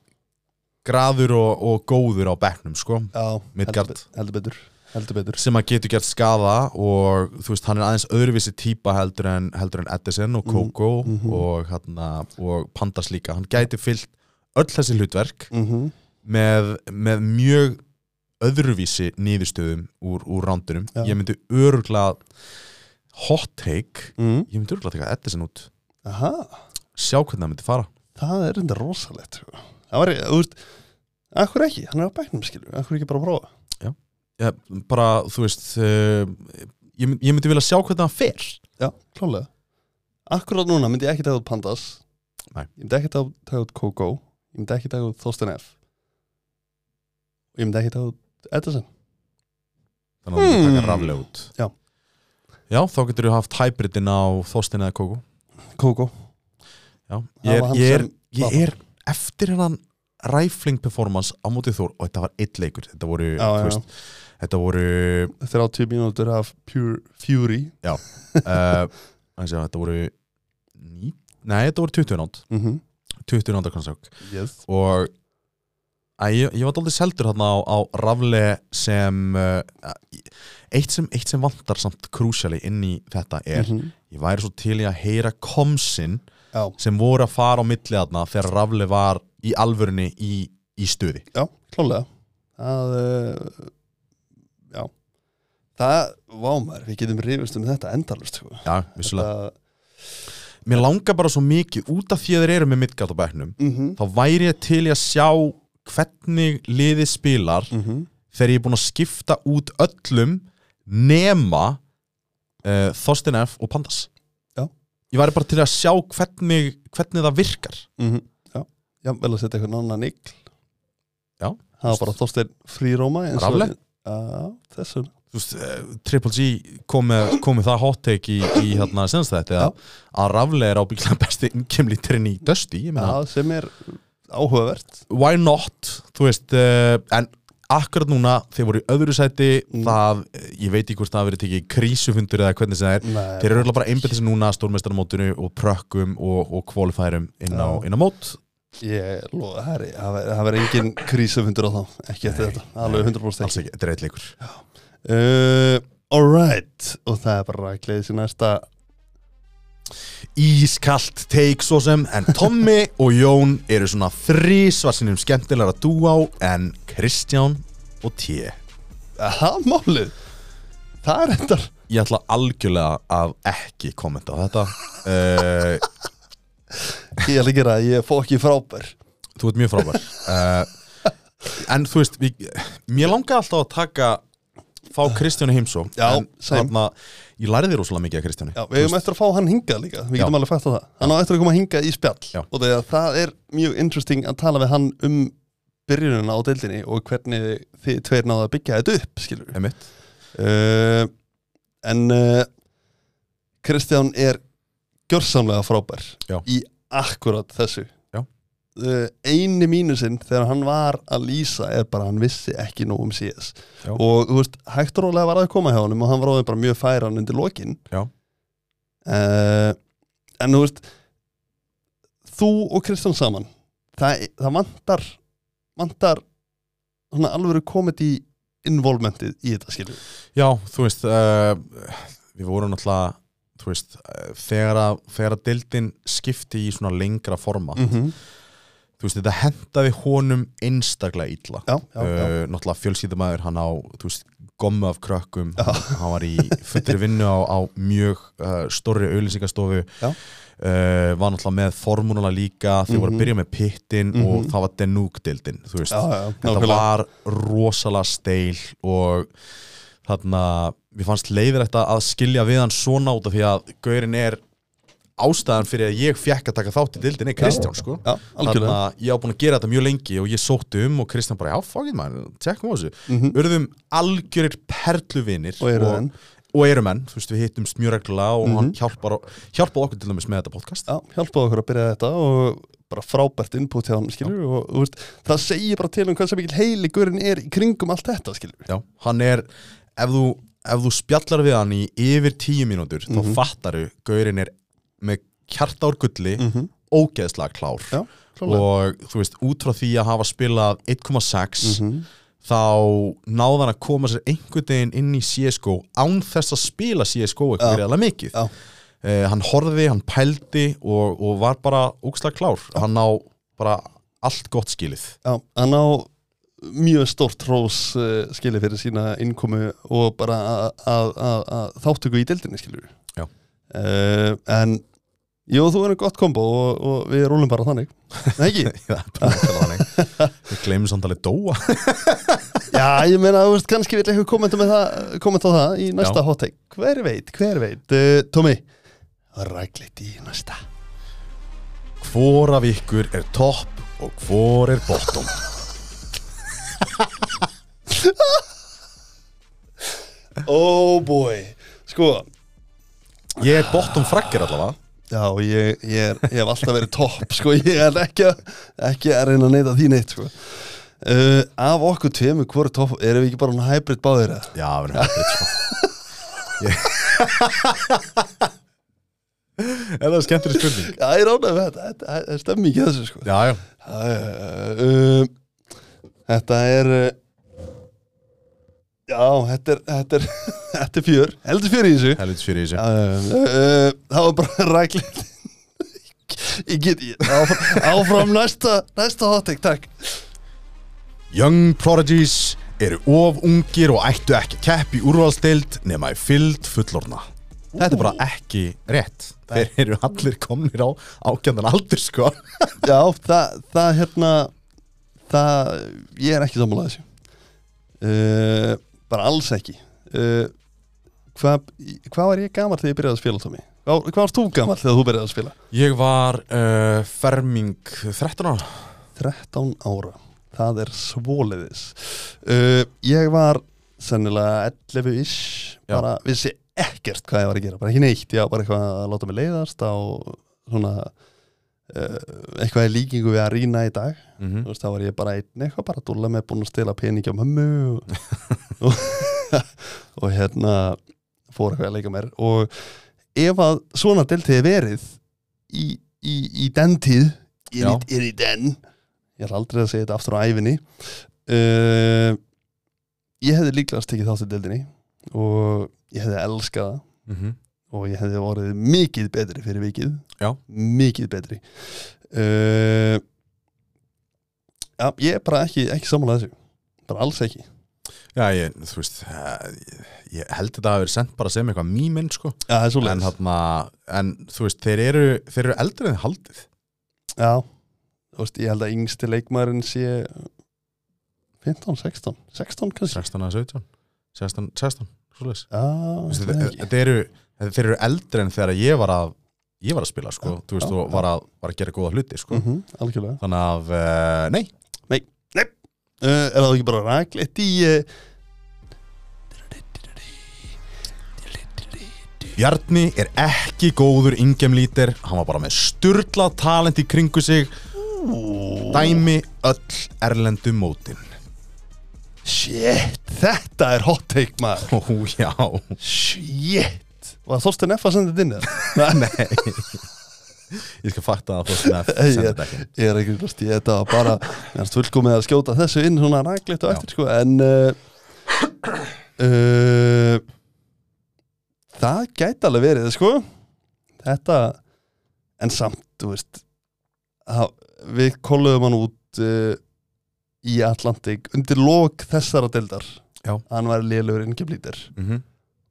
Speaker 2: graður og, og góður á bekknum sko,
Speaker 3: Já,
Speaker 2: Midgard.
Speaker 3: heldur, be- heldur betur Heldur betur
Speaker 2: sem að getur gert skafa og þú veist hann er aðeins öðruvísi típa heldur en, heldur en Edison
Speaker 3: Mhm,
Speaker 2: og Coco og, hana, og Pandas líka hann gæti fyllt öll þessi hlutverk
Speaker 3: mm -hmm.
Speaker 2: með, með mjög öðruvísi nýðustöðum úr, úr rándunum
Speaker 3: Já.
Speaker 2: ég myndi öruglega hot take ég myndi öruglega teka Edison út
Speaker 3: mhm. Aha
Speaker 2: sjá hvernig það myndi fara
Speaker 3: það er enda rosalegt sko. það var, þú veist akkur ekki, hann er á bæknum skilju, akkur ekki bara að prófa
Speaker 2: ja, bara, þú veist uh, ég, mynd- ég myndi vilja sjá hvernig það fer
Speaker 3: já, klálega akkurat núna myndi ég ekki taka út Pandas
Speaker 2: Nei.
Speaker 3: ég myndi ekki taka út- taka út Coco ég myndi ekki taka út Thorstein F og ég myndi ekki taka út Edison
Speaker 2: þannig að það
Speaker 3: Hmm.
Speaker 2: taka raflega út
Speaker 3: Já.
Speaker 2: Já, þá getur þú haft hybridin á Þorstein eða Kókó
Speaker 3: Coco,
Speaker 2: Já,
Speaker 3: það
Speaker 2: ég er,
Speaker 3: var hann
Speaker 2: ég er,
Speaker 3: sem
Speaker 2: ég er eftir hennan rifling performance á mótið Þór og þetta var eitt leikur þetta voru,
Speaker 3: Já, já,
Speaker 2: þú veist þetta voru,
Speaker 3: 30 mínútur af Pure Fury
Speaker 2: eh, uh, að segja, þetta voru ný, nei, þetta voru 20 nátt
Speaker 3: mm -hmm.
Speaker 2: 20 náttakonstrák
Speaker 3: yes.
Speaker 2: og Æ, ég, ég var daldið seldur hérna á, á rafle sem, uh, eitt sem eitt sem vantar samt krúsjali inn í þetta er,
Speaker 3: Mhm.
Speaker 2: ég væri svo til í að heyra komsin
Speaker 3: Já,
Speaker 2: sem voru að fara á milli þarna þegar rafle var í alvörunni í, í stuði
Speaker 3: já, klálega Það, uh, já Það, vámar, við getum rifist um þetta endalust sko.
Speaker 2: Já, vissulega
Speaker 3: Það,
Speaker 2: Mér langar bara svo mikið, út af því að þeir eru með midgat á bæknum
Speaker 3: mhm,
Speaker 2: þá væri ég til í að sjá hvernig liðið spilar
Speaker 3: mhm
Speaker 2: þegar ég er búinn að skipta út öllum nema uh, Þorsten F. og Pandas
Speaker 3: Já.
Speaker 2: Ég væri bara til að sjá hvernig, hvernig það virkar
Speaker 3: Mm já, já, vel að setja eitthvað annan ykl
Speaker 2: Já.
Speaker 3: Það var bara Þorstein fríróma eins og-
Speaker 2: Rafle?
Speaker 3: Já, þessu
Speaker 2: Þú veist, eh, Triple G kom með, kom með það hot take í, í hérna senast þetta
Speaker 3: Já.
Speaker 2: að, að Rafle er ábyggilega besti innkemlíturinn í Dusty ég meina,
Speaker 3: Já, sem er áhugavert
Speaker 2: why not þú veist, uh, en akkurat núna þeir voru í öðru sæti
Speaker 3: Mm.
Speaker 2: það, ég veit ekki hvort það hafi verið tekið krísufundur eða hvernig sem það er,
Speaker 3: Nei,
Speaker 2: þeir eru öll bara einbættis núna stórmestarmótinu og prökkum og, og kvalifærum inn á,
Speaker 3: Já.
Speaker 2: inn á mót
Speaker 3: Ég lofa, það er- það ver- það verður engin krísufundur á þá Ekki eftir þetta, alveg 100%
Speaker 2: alls ekki, þetta er eitt leikur
Speaker 3: uh, Alright, og það er bara að gleðið sér næsta
Speaker 2: Ískalt take svo sem en Tommy og Jón eru svona þrísvarsinum skemmtilega að dúa en Kristján og T
Speaker 3: Aha, málið Það er endar
Speaker 2: ég ætla algjörlega að ekki kommenta á þetta uh,
Speaker 3: Ég ætla að gera það, ég er fókið frábær
Speaker 2: þú ert mjög frábær uh, en þú veist við, mér langaði alltaf að taka fá Kristjáni heimsó
Speaker 3: Já,
Speaker 2: en,
Speaker 3: same.
Speaker 2: þarna, ég læriði rosalega mikið af Kristjáni
Speaker 3: Já, við hefum eftir að fá hann hingað líka, við
Speaker 2: Já.
Speaker 3: getum alveg fætt á það. Hann á eftir að koma hingað í spjall
Speaker 2: Já.
Speaker 3: og þegar það er mjög interesting að tala við hann um byrjunina á deildinni og hvernig þið tveir náðu að byggja þetta upp, skilur við.
Speaker 2: einmitt
Speaker 3: Uh, en uh, Kristján er gjörsamlega frábær
Speaker 2: Já.
Speaker 3: í akkurat þessu.
Speaker 2: Já.
Speaker 3: Uh, eini mínusinn þegar hann var að lýsa er bara að hann vissi ekki nóg um CS
Speaker 2: Já.
Speaker 3: og þú veist, hægt og rólega var að koma hjá honum og hann var orðinn bara mjög færan undir lokin
Speaker 2: Já.
Speaker 3: Eh, en þú veist þú og Kristján saman það, það vantar vantar svona alvöru komedi involvementið í þetta skilju
Speaker 2: já, þú veist uh, við vorum náttúrulega þú veist, uh, þegar að, þegar að dildin skipti í svona lengra forma
Speaker 3: -hmm.
Speaker 2: þú veist, þetta hendaði honum einstaklega illa
Speaker 3: já, já, já,
Speaker 2: Uh, náttúrulega fjölsýðumæður hann á þú veist, gommu af krökkum
Speaker 3: Já.
Speaker 2: hann var í fullri vinnu á, á mjög uh, stórri auðlýsingastofu
Speaker 3: Já.
Speaker 2: uh, var náttúrulega með formúluna líka þau voru
Speaker 3: Mhm.
Speaker 2: að byrja með pittin og
Speaker 3: Mhm.
Speaker 2: það var denúkdildin þú veist,
Speaker 3: já, já,
Speaker 2: þetta
Speaker 3: nákvæmlega
Speaker 2: var rosalega steil og þarna, mér fannst leiðir þetta að skilja við hann svona út af því að Gaurin er ástæðan fyrir að ég fekk að taka þátt í dildin er Kristján sko
Speaker 3: já, algjörlega
Speaker 2: að ég á búin að gera þetta mjög lengi og ég sótti um og Kristján bara, já, fokkin maður, tekkum á þessu
Speaker 3: Mhm.
Speaker 2: Urðum algjörir perluvinir
Speaker 3: og eru þenn
Speaker 2: og eru menn, þú veist, við hittum mjög reglulega og
Speaker 3: Mhm.
Speaker 2: hann hjálpar, hjálpar okkur til dæmis með þetta podcast
Speaker 3: já, hjálpaðu okkur að byrja þetta og bara frábært input hjá hann skilju og þú veist, það segir bara til um hvað sem mikil heiligurinn er í kringum allt þetta skilju
Speaker 2: Já, hann er, ef þú, ef þú spjallar við hann í yfir tíu mínútur
Speaker 3: Mhm.
Speaker 2: þá fattaru, Gaurin er með kjarta úr gulli,
Speaker 3: Mhm.
Speaker 2: ógeðslega klár
Speaker 3: já, klálega
Speaker 2: og þú veist, út frá því að hafa spilað 1,6
Speaker 3: Mhm.
Speaker 2: þá náði hann að koma sér einhvern veginn inn í CSGO án þess að spila CSGO eitthvað reyðlega mikið
Speaker 3: Já.
Speaker 2: eh, hann horfði, hann pældi og, og var bara ógslag klár hann á bara allt gott skilið
Speaker 3: Já, hann á mjög stórt hrós uh, skilið fyrir sína innkomu og bara að- að að- að þáttöku í deildinni skilur
Speaker 2: Já.
Speaker 3: uh, En Jó, þú erum gott kombo og, og við rúlum bara þannig Nei ekki?
Speaker 2: það er bara nákvæmlega þannig við gleymum samt alveg dóa
Speaker 3: Já, ég meina, þú veist, kannski vil eitthvað kommenta, með það, kommenta á það í næsta
Speaker 2: Já.
Speaker 3: hot take Hver veit, hver veit uh, Tómi, rækleitt í næsta
Speaker 2: hvor af ykkur er topp og hvor er bottom
Speaker 3: Oh boy Sko,
Speaker 2: ég er bottom frakkar allavega
Speaker 3: já, ég, ég, er, ég hef alltaf verið topp, sko, ég er ekki, að- ekki að reyna að neyta því neitt, sko. Uh, af okkur tveimur, hvort topp, erum við ekki bara hann hybrid báðir eða?
Speaker 2: já, við erum hægt sko. Ég- Er það skemmtileg spurning?
Speaker 3: Það er ánægð með þetta, þetta- það stemmi ekki þessu sko
Speaker 2: Já, já
Speaker 3: Það er, uh, Þetta er uh, Já, þetta er, þetta er, þetta er fjör, heldur fjör í þessu
Speaker 2: Helvits fyrir í þessu
Speaker 3: Uh, uh, Það var bara ræklið Ég get, ég, áfram, áfram næsta, næsta hottek, takk
Speaker 2: Young Prodigies eru of ungir og ættu ekki kepp í úrvalstild nema í fylld fullorna. Þetta er bara ekki rétt. Þeir eru allir komnir á ákjöndan aldur, sko.
Speaker 3: Já, það, það hérna það, ég er ekki sammála þessu uh, bara alls ekki uh, hvað hva var ég gamall þegar ég byrjaði að spila Tómi? Hvað, hvað varst þú gamall þegar þú byrjaði að spila?
Speaker 2: Ég var uh, ferming 13 ára.
Speaker 3: 13 ára, það er svoleiðis uh, ég var sennilega 11-ish
Speaker 2: Já.
Speaker 3: bara vissi ekkert hvað ég var að gera bara ekki neitt, já, bara eitthvað að láta mig leiðast á svona uh, eitthvað í líkingu við að rýna í dag
Speaker 2: Mm
Speaker 3: þú veist, þá var ég bara einn eitthvað bara að dúlla með búin að stela peningi á mömmu og, og, og hérna fór eitthvað að leika mér og ef að svona deltið er verið í, í, í den tíð ég er, í- er í den ég er aldrei að segja þetta aftur á æfinni uh, ég hefði líklega stekið þátt í deltinni og ég hefði elskað það
Speaker 2: -hmm.
Speaker 3: og ég hefði orðið mikið betri fyrir vikið
Speaker 2: Já.
Speaker 3: mikið betri uh, já, ég er bara ekki, ekki sammála þessu bara alls ekki
Speaker 2: Já, ég, þú veist, eh, ég- ég held þetta að vera sendt bara sem eitthvað mýminn, sko.
Speaker 3: já, það er svo
Speaker 2: En, hana, en þú veist, þeir eru, þeir eru eldri en haldið.
Speaker 3: já, þú veist, ég held að yngsti leikmaðurinn sé 15, 16 16 kannski já,
Speaker 2: 16 að 17. 16, 16, svo leis. Þú
Speaker 3: það
Speaker 2: veist,
Speaker 3: er
Speaker 2: þetta
Speaker 3: ekki
Speaker 2: þetta eru, þetta- eh, þeir eru eldri en þegar ég var að ég var að spila sko, þú veist,
Speaker 3: já,
Speaker 2: og
Speaker 3: já.
Speaker 2: var að, var að gera góða hluti sko.
Speaker 3: Mhm, algjörlega
Speaker 2: þannig að, uh, nei
Speaker 3: uh, er það ekki bara rakleitt í uh,
Speaker 2: Bjarni er ekki góður yngjemlítir, hann var bara með styrla talent í kringu sig dæmi öll erlendu mótin
Speaker 3: shit, þetta er hot take
Speaker 2: ó
Speaker 3: maður
Speaker 2: já,
Speaker 3: shit, var Þorsten F að senda þetta inn eða?
Speaker 2: nei ég skal fatta að Þorsten F
Speaker 3: Ég
Speaker 2: sendi
Speaker 3: er,
Speaker 2: þetta ekki
Speaker 3: ég er ekki hlust í þetta var bara, ég hans fullkomið að skjóta þessu inn svona ræklegt og
Speaker 2: Já.
Speaker 3: eftir sko en uh, uh, það gæti alveg verið sko þetta, en samt þú veist að, við kolluðum hann út uh, í Atlantik undir lok þessara deildar
Speaker 2: Já.
Speaker 3: hann var lélugur innkjöflítir
Speaker 2: mm -hmm.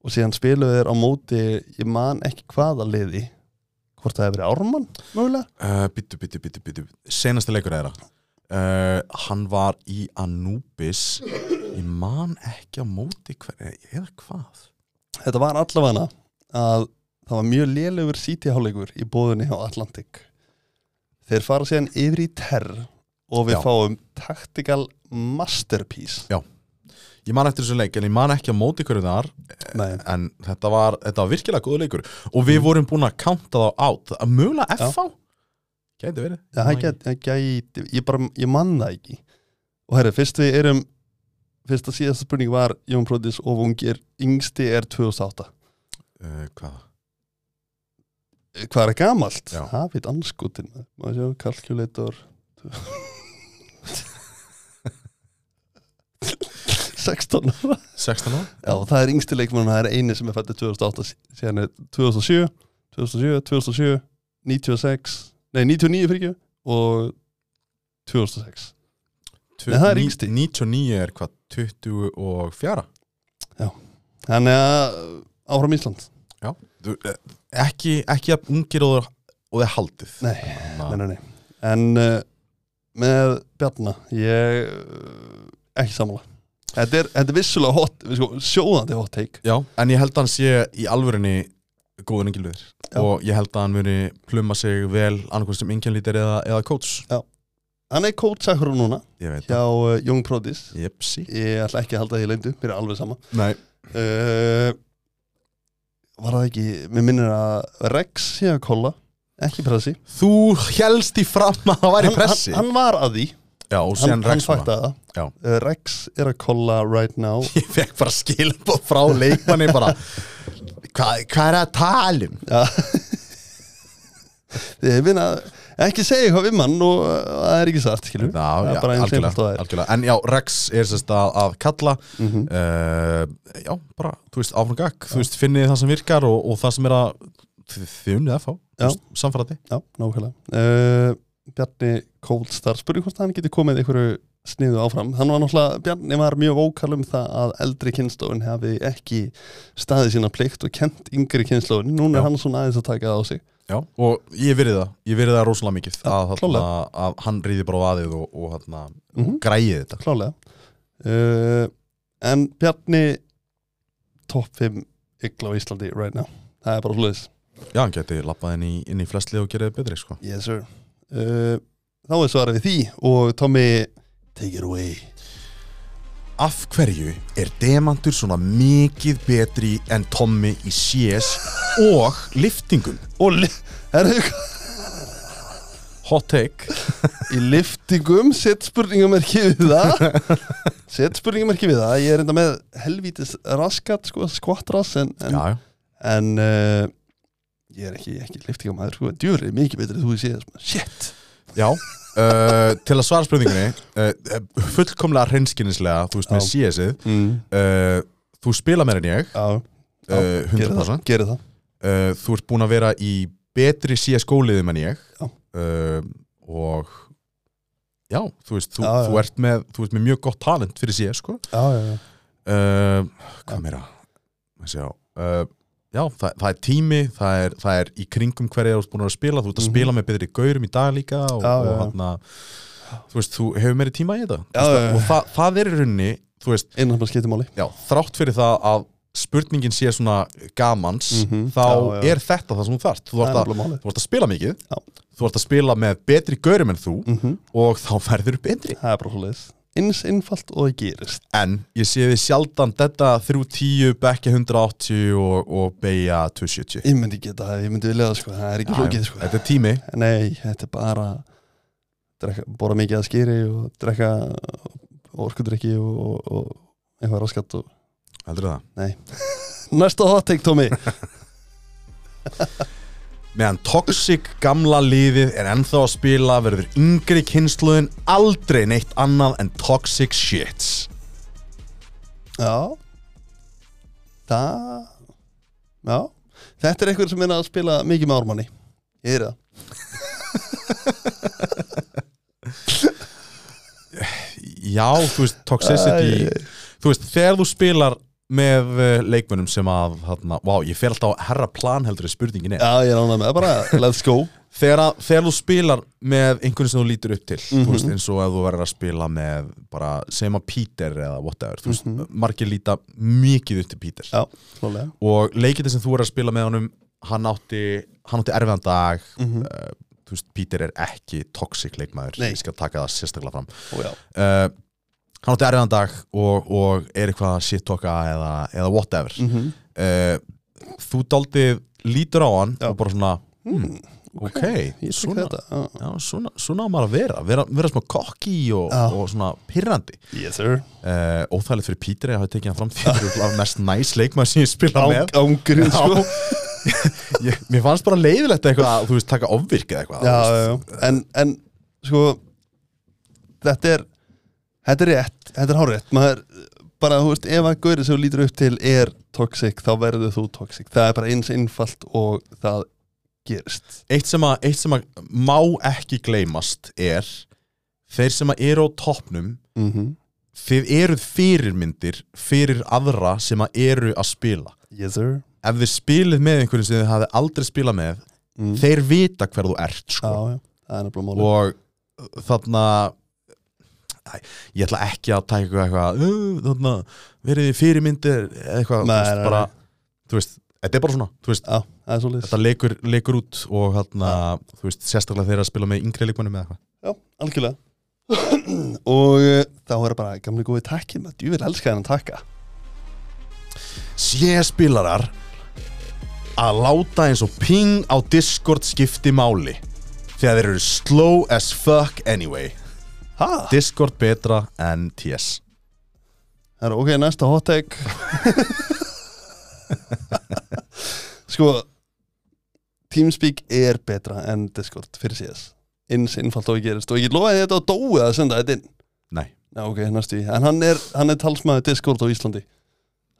Speaker 3: og síðan spiluðu þeir á móti ég man ekki hvaða liði hvort það hefur verið Ármann mögulega
Speaker 2: uh, Bittu, bittu, bittu, bittu Senasti leikur þeirra uh, Hann var í Anubis Ég man ekki á móti hver, Eða hvað
Speaker 3: þetta var allavega að það var mjög lélegur sítihállegur í bóðunni á Atlantik þeir fara síðan yfir í terr og við
Speaker 2: Já.
Speaker 3: fáum tactical masterpiece
Speaker 2: Ég man eftir þessu leik en ég man ekki á móti hverju þar
Speaker 3: Nei,
Speaker 2: En þetta var, þetta var virkilega góð leikur Og við vorum búin að counta þá át Að mögulega
Speaker 3: Mhm. Já.
Speaker 2: FH Gæti verið
Speaker 3: ja, hann gæti, hann gæti ég, bara, ég man það ekki og herri, fyrst við erum fyrst að síðasta spurning var Jón Brodís og ungir, yngsti er
Speaker 2: uh,
Speaker 3: 2008
Speaker 2: Hvað?
Speaker 3: hvað er gamalt?
Speaker 2: Já.
Speaker 3: Hafið anskutin maður sjá, kalkjuleitor 16 ára
Speaker 2: 16 ára?
Speaker 3: Já, og það er yngsti leikmann það er eini sem er fættið 2008 sí- síðan er 2007, 2007, 2007 96, nei 99 fyrir ekki og 2006 Nei, það er yngsti.
Speaker 2: 99 er hvað? 24?
Speaker 3: Þannig að áfram Ísland
Speaker 2: Já Þú, eh, Ekki, ekki að ungir og, og þeir haldið
Speaker 3: Nei,
Speaker 2: Þannig að-
Speaker 3: nei, nei, nei. En uh, með Bjarna ég uh, ekki sammála Þetta er, þetta er vissulega hot, sko, sjóðandi hot take
Speaker 2: Já, en ég held að hann sé í alvörinni góður engilviður
Speaker 3: Já.
Speaker 2: og ég held að hann muni pluma sig vel annarkvæmst sem engilvítir eða, eða coach
Speaker 3: Hann er kótsakur núna
Speaker 2: Ég veit
Speaker 3: hjá
Speaker 2: það
Speaker 3: uh, Young Prodis
Speaker 2: Jepsi
Speaker 3: Ég ætla ekki að halda því leyndu, mér er alveg sama
Speaker 2: Nei
Speaker 3: uh, Var það ekki Mér minnir að Rex sé að kolla Ekki pressi
Speaker 2: Þú helst í fram að það væri pressi
Speaker 3: hann, hann var að því
Speaker 2: Já, og
Speaker 3: Hann,
Speaker 2: síðan
Speaker 3: hann
Speaker 2: Rex var
Speaker 3: faktaði það
Speaker 2: Já.
Speaker 3: uh, Rex er að kolla right now
Speaker 2: Ég fekk bara skilabóð frá leikmanni bara Hvað hva er það að tala um?
Speaker 3: Já. ég finna ekki segja eitthvað við mann og uh, það er ekki satt skilur
Speaker 2: Já,
Speaker 3: það
Speaker 2: já,
Speaker 3: er bara eins
Speaker 2: algjörlega,
Speaker 3: einfalt og það er
Speaker 2: algjörlega En já, Rex er sérst að, að kalla mm
Speaker 3: Mhm.
Speaker 2: Eh, Já, bara, þú veist, áfram gag Þú veist, finnið það sem virkar og, og það sem er að þið þið unnið að fá,
Speaker 3: Já.
Speaker 2: þú veist, samfærati
Speaker 3: já, nákvæmlega uh, Bjarni Kólstar spurði hvort hann geti komið einhverju sniðu áfram hann var náttúrulega, Bjarni var mjög vókal um það að eldri kynslóðin hafi ekki staðið sína plikt og kent yngri kynslóðin,
Speaker 2: Já.
Speaker 3: núna er hann svona aðeins að taka það á sig
Speaker 2: Já, og ég virði það, ég virði það rosalega mikið að, að,
Speaker 3: klárlega.
Speaker 2: að, að hann ríði bara á aðið og, og, þarna,
Speaker 3: Mhm.
Speaker 2: og græði þetta
Speaker 3: klálega uh, en Bjarni top 5 ykla á Íslandi right now, það er bara hlutis
Speaker 2: Já, hann geti lappað inn í, inn í flestli og gerði betri, sko
Speaker 3: yes sir uh, þá er svarað við því og Tommy take it away
Speaker 2: Af hverju er demantur svona mikið betri en Tommy í CS og liftingum?
Speaker 3: og li- herðu hvað-
Speaker 2: Hot take
Speaker 3: í liftingum set spurningum er ekki við það set spurningum er ekki við það ég er enda með helvítis raskat sko, skvattrass en, en,
Speaker 2: Já, já
Speaker 3: en uh, ég er ekki, ekki liftingamæður sko, djúri mikið betri en þú séð shit
Speaker 2: Já, uh, til að svara spurningunni uh, fullkomlega hreinskynnislega þú veist með CS-ið
Speaker 3: mm.
Speaker 2: uh, þú spila meira en ég
Speaker 3: já, Já,
Speaker 2: uh,
Speaker 3: gerir það,
Speaker 2: 100%
Speaker 3: gerir það
Speaker 2: uh, þú ert búin að vera í betri CS-góliðum en ég
Speaker 3: Já.
Speaker 2: uh, og já, þú veist þú,
Speaker 3: Já, já.
Speaker 2: Þú, ert með, þú ert með mjög gott talent fyrir CS sko.
Speaker 3: já, já, já.
Speaker 2: uh, hvað meira Má sjá, uh, já, það, það er tími það er, það er í kringum hverja þú ert búin að vera að spila þú ert að
Speaker 3: Mhm.
Speaker 2: spila með betri gaurum í dag líka og,
Speaker 3: Já,
Speaker 2: og
Speaker 3: já, já.
Speaker 2: hann þú veist, þú hefur meiri tíma í þetta Þú
Speaker 3: Já,
Speaker 2: veist,
Speaker 3: já, já.
Speaker 2: og það, það er í rauninni þú veist,
Speaker 3: innan bara skiptir máli
Speaker 2: já, þrátt fyrir það að spurningin sé svona gamans
Speaker 3: Mhm.
Speaker 2: þá
Speaker 3: Já, já.
Speaker 2: er þetta það sem þú þarft þú
Speaker 3: Það er
Speaker 2: ert að,
Speaker 3: nefnilega málið.
Speaker 2: þú ert að spila mikið
Speaker 3: Já. Mm.
Speaker 2: þú ert að spila með betri gaurum en þú og þá verður betri
Speaker 3: Mhm. það er bara svo leiðis eins innfalt og það gerist
Speaker 2: En ég sé þið sjaldan þetta 310, bekki 180 og, og beigja 270
Speaker 3: ég myndi geta það, ég myndi vilja það sko það er ekki flókið sko
Speaker 2: Þetta er tími
Speaker 3: nei, þetta er bara drekka, bora mikið að skýri og drekka orkudrykki og, og, og eitthvað raskat og
Speaker 2: Heldur það
Speaker 3: næsta hot take Tommy
Speaker 2: Meðan toxic gamla liðið er ennþá að spila verður yngri kynsluðin aldrei neitt annað en toxic shits
Speaker 3: já það já, þetta er eitthvað sem er að spila mikið með ármanni ég er það
Speaker 2: Já, þú veist, toxicity
Speaker 3: Æ.
Speaker 2: Þú veist, þegar þú spilar með eh, leikmönnum sem að, hérna, vá, ég fer alltaf að herra plan heldur í spurningin er
Speaker 3: já, ég er ánægð með það bara, let's go
Speaker 2: þegar, að, þegar þú spilar með einhvern sem þú lítur upp til þú
Speaker 3: Mhm.
Speaker 2: veist, eins og að þú verður að spila með bara, segjum að Peter eða whatever þú veist, margir líta mikið upp til Peter
Speaker 3: Mhm. já, slólega
Speaker 2: og leikindi sem þú er að spila með honum hann átti, hann átti erfiðan dag uh, þú veist, Peter er ekki toxic leikmaður,
Speaker 3: Mhm. Nei.
Speaker 2: ég skal taka það sérstaklega fram
Speaker 3: og já
Speaker 2: uh, hann átti erfiðan dag og, og er eitthvað að shit-talka eða, eða whatever mm
Speaker 3: Mhm.
Speaker 2: þú daldið lítur á hann og bara svona hmm, ok,
Speaker 3: Ég tek
Speaker 2: svona,
Speaker 3: þetta já.
Speaker 2: já, svona, svona á maður að vera vera, vera smá kokki og,
Speaker 3: Já.
Speaker 2: og svona pirrandi
Speaker 3: Yes sir
Speaker 2: uh, óþægilegt fyrir Pítri að hafa tekið hann fram fyrir að mest næs leikmaður sem ég spila með
Speaker 3: Ángurinn sko
Speaker 2: Já. ég, mér fannst bara leiðilegt eitthvað að þú veist taka ofvirk eða eitthvað
Speaker 3: já, já, já. En, en sko Þetta er Þetta er rétt, þetta er hárétt Maður, bara, þú veist, ef að gaurið sem þú lítur upp til er toxic, þá verður þú toxic Það er bara eins innfalt og það gerist
Speaker 2: eitt sem, að, eitt sem að má ekki gleymast er þeir sem að eru á toppnum
Speaker 3: mm -hmm.
Speaker 2: þið eruð fyrirmyndir fyrir aðra sem að eru að spila
Speaker 3: Yes sir
Speaker 2: ef þið spilið með einhverjum sem þið hafið aldrei spilað með
Speaker 3: Mm.
Speaker 2: þeir vita hver þú ert
Speaker 3: Já,
Speaker 2: sko.
Speaker 3: já, það er nefnilega máli
Speaker 2: og uh, þarna Æ, ég ætla ekki að taka eitthvað, eitthvað "Ú, þarna, verið þið fyrirmyndir eða eitthvað, þú
Speaker 3: Nei,
Speaker 2: veist,
Speaker 3: nei,
Speaker 2: bara þú veist, þetta er bara svona, þú veist
Speaker 3: Já, það er svo
Speaker 2: þetta leikur, leikur út og þarna, þú veist, sérstaklega þeir að spila með yngri leikmannum eða eitthvað
Speaker 3: Já, algjörlega Og uh, þá er bara gamli góði takki með djúfir elskaðan að taka
Speaker 2: séspilarar að láta eins og ping á Discord skipti máli þegar þeir eru slow as fuck anyway
Speaker 3: Ha?
Speaker 2: Discord betra en TS
Speaker 3: Það er ok, næsta hot take Sko Teamspeak er betra en Discord fyrir CS eins einfalt og gerist og ég lofaði þetta á dói að senda þetta inn
Speaker 2: Nei.
Speaker 3: Já, ok, næstu í En hann er, hann er talsmaður Discord á Íslandi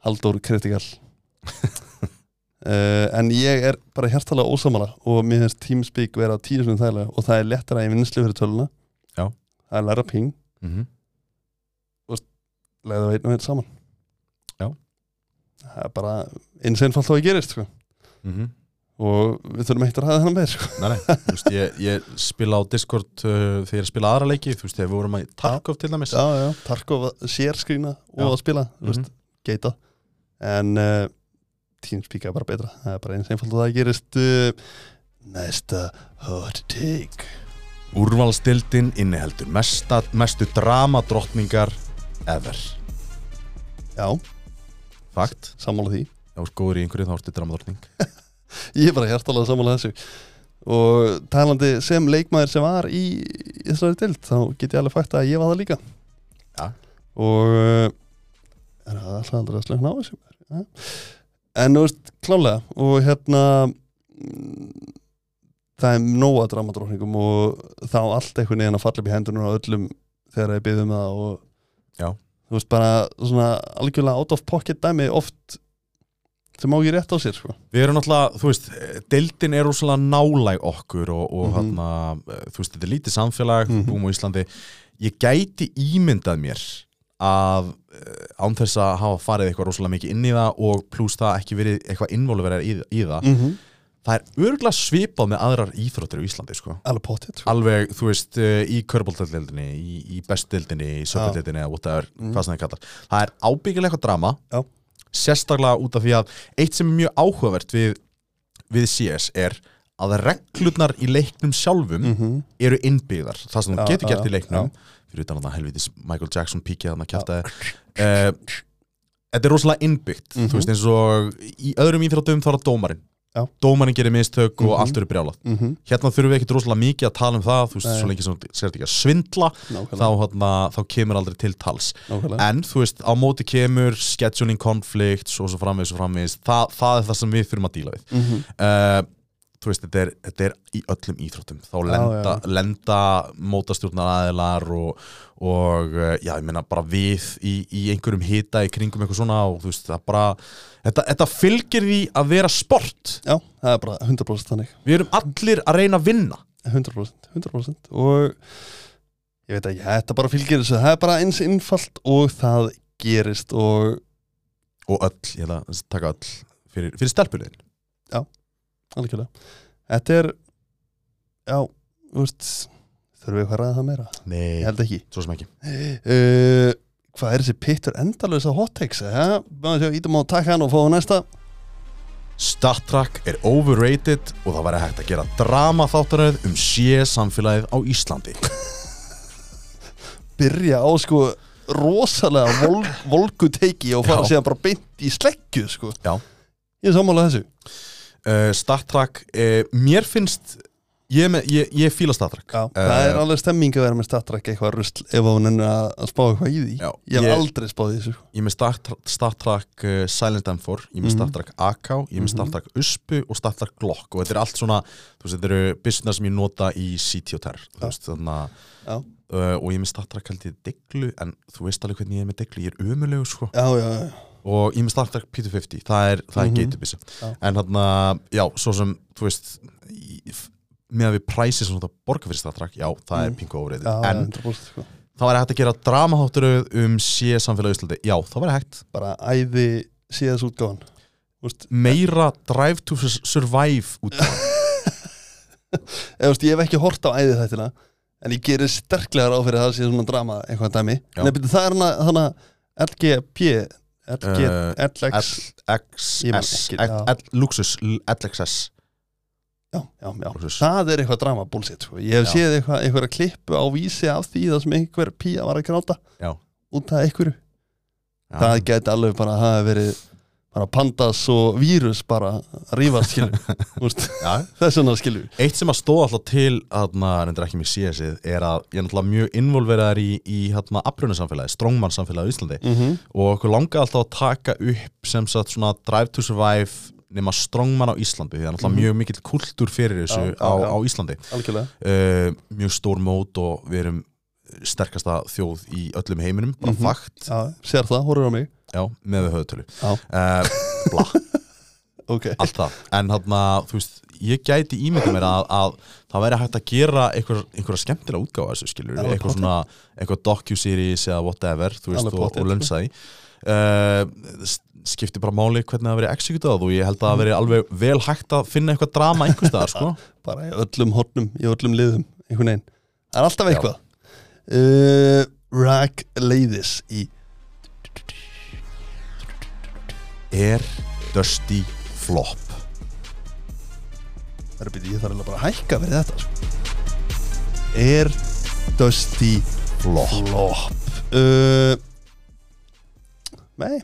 Speaker 3: Halldór Kritikal uh, En ég er bara hjartalega ósamala og mér finnst Teamspeak vera tíu sem þærlega og það er lettara í vinnslu fyrir töluna
Speaker 2: Já.
Speaker 3: Það er læra ping,
Speaker 2: Mm -hmm.
Speaker 3: leiðu einn og einn saman
Speaker 2: Já.
Speaker 3: Það er bara eins einfalt og það gerist sko.
Speaker 2: mhm.
Speaker 3: og við þurfum eitt að ræða þennan með sko.
Speaker 2: Nei, nei, þú veist, ég, ég spila á Discord uh, þegar ég spila aðra leiki, þú veist, þegar við vorum að í Tarkov til dæmis.
Speaker 3: já, já, Tarkov að sérskrína og
Speaker 2: Já.
Speaker 3: að spila, þú
Speaker 2: Mhm.
Speaker 3: veist, geita en uh, Teamspeak er bara betra það er bara eins einfalt og það gerist uh, næsta hot take Mhm.
Speaker 2: Úrvalstildin inniheldur mesta, mestu dramadrottningar ever.
Speaker 3: já,
Speaker 2: Fakt,
Speaker 3: sammála því
Speaker 2: ef þú ert góður í einhverju þá ertu dramadrottning.
Speaker 3: ég er bara hjartalega sammála þessu og talandi sem leikmaður sem var í í þessari dild, þá get ég alveg fætt að ég var það líka
Speaker 2: Já.
Speaker 3: og uh, er það alltaf aldrei að slökna á þessu ja. en þú veist, klálega og hérna mm, það er nóga dramadrókningum og þá allt einhvern veginn að falla upp í hendunum á öllum þegar ég byggðum það og
Speaker 2: Já.
Speaker 3: þú veist bara svona algjörlega out of pocket dæmi oft sem má ekki rétt á sér sko.
Speaker 2: Við erum náttúrulega, þú veist, deildin er úrsalega nálæg okkur og, og
Speaker 3: Mhm.
Speaker 2: þarna, eh, þú veist, þetta er lítið samfélag,
Speaker 3: Mhm.
Speaker 2: búum á Íslandi. Ég gæti ímyndað mér að eh, án þess að hafa farið eitthvað rosalega mikið inn í það og pluss það ekki verið eitthvað involverið í, í það,
Speaker 3: mm -hmm.
Speaker 2: það er örgulega svipað með aðrar íþróttir í Íslandi, sko.
Speaker 3: alveg pottitt sko.
Speaker 2: alveg, þú veist, eh, í körbóltældildinni, í, í bestdildinni, í söpildildinni eða whatever,
Speaker 3: Mhm.
Speaker 2: hvað sem það kallar. Það er ábyggilega eitthvað drama,
Speaker 3: Já.
Speaker 2: sérstaklega út af því að eitt sem er mjög áhugavert við, við CS er að reglurnar í leiknum sjálfum eru innbyggðar, það sem
Speaker 3: Mhm. Já,
Speaker 2: þú getur
Speaker 3: já,
Speaker 2: gert í leiknum, fyrir utan að það helvitis Michael Jackson píkja þannig að kjæfta þið. eh, Þetta er rosalega innbyggt, þú veist, eins og í öðrum íþróttum þá er það dómarinn.
Speaker 3: Mhm. Já.
Speaker 2: Dómarinn gerir mistök og allt eru brjálað
Speaker 3: mm -hmm.
Speaker 2: hérna þurfum við ekkert rosalega mikið að tala um það þú veist,
Speaker 3: Nei.
Speaker 2: svo lengi sem þú sért ekki að svindla þá,
Speaker 3: nákvæmlega,
Speaker 2: hana, þá kemur aldrei til tals
Speaker 3: nákvæmlega.
Speaker 2: en þú veist, á móti kemur scheduling konflikt, svo svo framvegis og framvegis Þa, það er það sem við þurfum að díla við
Speaker 3: Mm -hmm.
Speaker 2: uh, þú veist, þetta er, þetta er í öllum íþróttum, þá lenda, lenda mótastjórnar aðilar og, og eh, já, ég meina bara við í, í einhverjum hita í kringum eitthvað svona og þú veist, það bara þetta, þetta fylgir því að vera sport
Speaker 3: já, það er bara 100% þannig
Speaker 2: við erum allir að reyna að vinna
Speaker 3: 100%, 100% og ég veit ekki, þetta bara fylgir þessu það er bara eins innfalt og það gerist og
Speaker 2: og öll, ég ætla að taka öll fyrir, fyrir stelpunin
Speaker 3: algjörlega þetta er já, þú veist þurfum við eitthvað að ræða það meira,
Speaker 2: Nei,
Speaker 3: ég held ekki
Speaker 2: svo sem ekki
Speaker 3: uh, hvað er þessi pittur endalösa hot takes, ja? maður sjá, ítum á takkan og fáum næsta
Speaker 2: Star Trek er overrated og það væri hægt að gera drama þáttaröð um sé samfélagið á Íslandi
Speaker 3: byrja á sko rosalega vol, volgu teiki og fara
Speaker 2: Já.
Speaker 3: síðan bara beint í sleggju sko.
Speaker 2: Já.
Speaker 3: ég er sammála þessu
Speaker 2: uh, Star Trek, uh, mér finnst ég, er með, ég, ég fíla Star Trek
Speaker 3: Já,
Speaker 2: Eh,
Speaker 3: það er alveg stemming að vera með statræk eitthvað rusl ef hún er að að spá eitthvað í því
Speaker 2: Já,
Speaker 3: Ég hef
Speaker 2: ég-
Speaker 3: aldrei spáð í þessu sko.
Speaker 2: ég er með Star, Tra- Star Trek uh, Silent M4, ég er með Star
Speaker 3: Mhm.
Speaker 2: Trek AK ég er með Star Trek USPU og Star Trek Glock og þetta er allt svona, þú veist, þetta eru business sem ég nota í CT og TER þú veist, þannig að
Speaker 3: Já,
Speaker 2: Uh, og ég er með Star Trek held ég deglu en þú veist alveg hvernig ég er með deglu, ég er umulegu sko.
Speaker 3: já, já, já.
Speaker 2: og ég er með Star Trek P250 það er, það er mm
Speaker 3: Mhm.
Speaker 2: -hmm. geitubissa
Speaker 3: Já.
Speaker 2: en hann að, já, svo sem þú veist, í- f- með að við præsið sem þetta borga fyrir Star Trek, já, það er pingu óriðið,
Speaker 3: Mm. já, já
Speaker 2: en
Speaker 3: 100%, sko.
Speaker 2: það væri hægt að gera dramahátturöð um sé samfélagi Íslandi, já, það væri hægt
Speaker 3: Bara æði síðast útgáðan Úst,
Speaker 2: meira Drive to Sur- Survive út
Speaker 3: eða, úst, eh, Ég hef ekki hort á æði þættina En ég gerir sterklega ráð fyrir að það sé svona drama eitthvað dæmi
Speaker 2: Já.
Speaker 3: Nei, byrju, það er hana, hana LGP LG,
Speaker 2: Eh,
Speaker 3: LX Ég man
Speaker 2: LXS
Speaker 3: ekki, já.
Speaker 2: Luxus, LXS
Speaker 3: já, já, já.
Speaker 2: Lúxus.
Speaker 3: Það er eitthvað drama bullshit sko. Ég
Speaker 2: Já.
Speaker 3: hef séð eitthvað, eitthvað klippu á vísi af því það sem einhver pía var að gráta
Speaker 2: Já.
Speaker 3: út af einhverju
Speaker 2: Já.
Speaker 3: það gæti alveg bara að hafa verið bara pandas og vírus bara að rífast skilju
Speaker 2: Já.
Speaker 3: þess vegna skilju
Speaker 2: Eitt sem að stóða alltaf til hérna, reyndar ekki mér CS-ið er að ég er náttúrulega mjög involveraðar í, í hérna, afbrunarsamfélagi, strongmann samfélagi á Íslandi
Speaker 3: mm -hmm.
Speaker 2: og okkur langaði alltaf að taka upp sem sagt svona Drive to Survive nema strongman á Íslandi því það er náttúrulega mjög mikill kultúr fyrir þessu
Speaker 3: Mhm. Já, já,
Speaker 2: á,
Speaker 3: já.
Speaker 2: á Íslandi
Speaker 3: algjörlega
Speaker 2: uh, mjög stór mót og við erum sterkasta þjóð í öllum heiminum bara mm
Speaker 3: Mhm.
Speaker 2: fakt,
Speaker 3: Já, sér það, horfður á mig
Speaker 2: já, með við höfutölu
Speaker 3: Já.
Speaker 2: uh, bla,
Speaker 3: ok,
Speaker 2: allt það en þarna, þú veist, ég gæti ímynda mér að, að það væri hægt að gera einhver, einhverja skemmtilega útgáfa af þessu skilur
Speaker 3: Já,
Speaker 2: eitthvað
Speaker 3: pottet.
Speaker 2: svona, eitthvað docu-series eða whatever, þú veist,
Speaker 3: Alveg
Speaker 2: og,
Speaker 3: pottet,
Speaker 2: og lönsaði uh, skipti bara máli hvernig það veri executað og ég held að það veri alveg vel hægt að finna eitthvað drama einhvers staðar, sko
Speaker 3: bara í öllum hornum, í öllum liðum einhvern veginn, það er alltaf
Speaker 2: Já.
Speaker 3: eitthvað uh, Rack leiðis í
Speaker 2: er Dusty Flop
Speaker 3: Það er byrju, ég þarf eiginlega bara að hækka fyrir þetta sko. Er Dusty
Speaker 2: Flop
Speaker 3: Flop uh, Nei,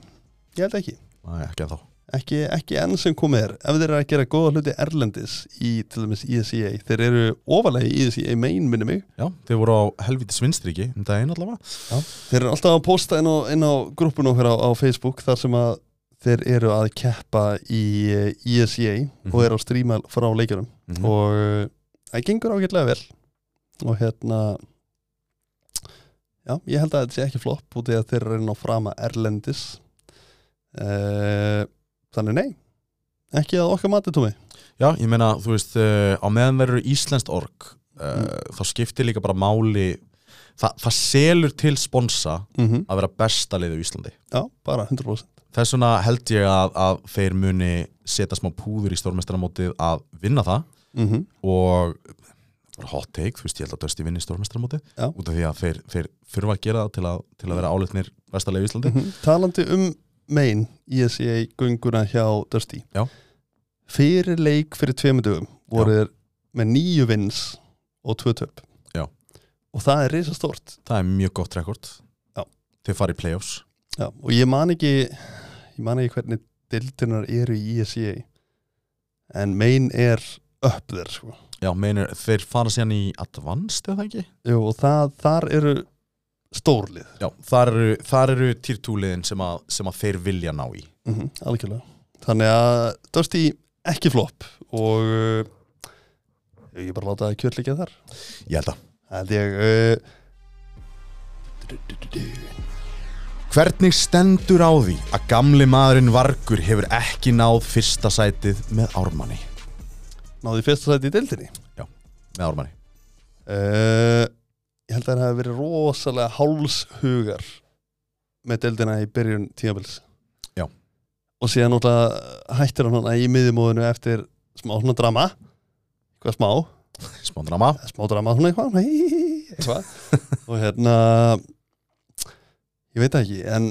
Speaker 3: ég held ekki
Speaker 2: Nei, ekki að þá
Speaker 3: ekki, ekki enn sem komið er ef þeir eru að gera góða hluti erlendis í til dæmis E ESEA, þeir eru ofalegi í E ESEA main minni mig
Speaker 2: Já, þeir voru á helvítis vinstriki um daginn allavega
Speaker 3: þeir eru alltaf að posta inn á, inn á grúppun okkar á, á Facebook þar sem að þeir eru að keppa í eh, ESEA og eru að stríma frá leikjunum
Speaker 2: Mhm.
Speaker 3: og eh, það gengur ágætlega vel og hérna já, ég held að þetta sé ekki flopp út í að þeir eru að reyna að frama erlendis uh, þannig nei ekki að okkar mati tómi
Speaker 2: Já, ég meina, þú veist, uh, á meðan verður Íslenskt org uh,
Speaker 3: Mm.
Speaker 2: þá skiptir líka bara máli Þa, það selur til sponsa
Speaker 3: mm -hmm.
Speaker 2: að vera besta liðið í Íslandi
Speaker 3: já, bara 100%
Speaker 2: Þess vegna held ég að, að þeir muni setja smá púður í stórmestaramótið að vinna það
Speaker 3: mm
Speaker 2: Mhm,
Speaker 3: -hmm.
Speaker 2: og bara hot take, þú veist, ég held að Dösti vinni stórmestaramótið
Speaker 3: Já.
Speaker 2: út af því að þeir, þeir þurfa að gera það til að, til að vera álutnir besta liðið í Íslandi
Speaker 3: talandi um E main ESEA gönguna hjá Dusty
Speaker 2: Já.
Speaker 3: fyrir leik fyrir tveimundugum voru þeir með nýju vins og tvö töp
Speaker 2: Já.
Speaker 3: og það er risastórt
Speaker 2: Það er mjög gott rekord
Speaker 3: Já.
Speaker 2: Þeir fara í playoffs
Speaker 3: Já, og ég man ekki ég man ekki hvernig dildunar eru í E ESEA en main er upp þér sko.
Speaker 2: Já, meinir, þeir fara síðan í advanced eða ekki?
Speaker 3: Jú, og það, þar eru stórlið
Speaker 2: Já, þar eru, þar eru týrtúliðin sem, að- sem að þeir vilja ná í
Speaker 3: mm algjörlega þannig að Dusty ekki flopp og uh, ég bara láta það kjörleika þar
Speaker 2: Ég held að
Speaker 3: Það er ég uh,
Speaker 2: Hvernig stendur á því að gamli maðurinn Vargur hefur ekki náð fyrsta sætið með ármanni?
Speaker 3: náði í fyrsta sæti í dildinni
Speaker 2: Með ármanni
Speaker 3: uh, ég held að það hafi verið rosalega hálshugar með deildina í byrjun tímabils
Speaker 2: Já.
Speaker 3: og síðan náttúrulega hættir hann hana í miðjumóðinu eftir smá svona drama eitthvað smá,
Speaker 2: Spondrama
Speaker 3: smá drama svona eitthvað, hí, hí, hí, eitthvað. og hérna ég veit það ekki en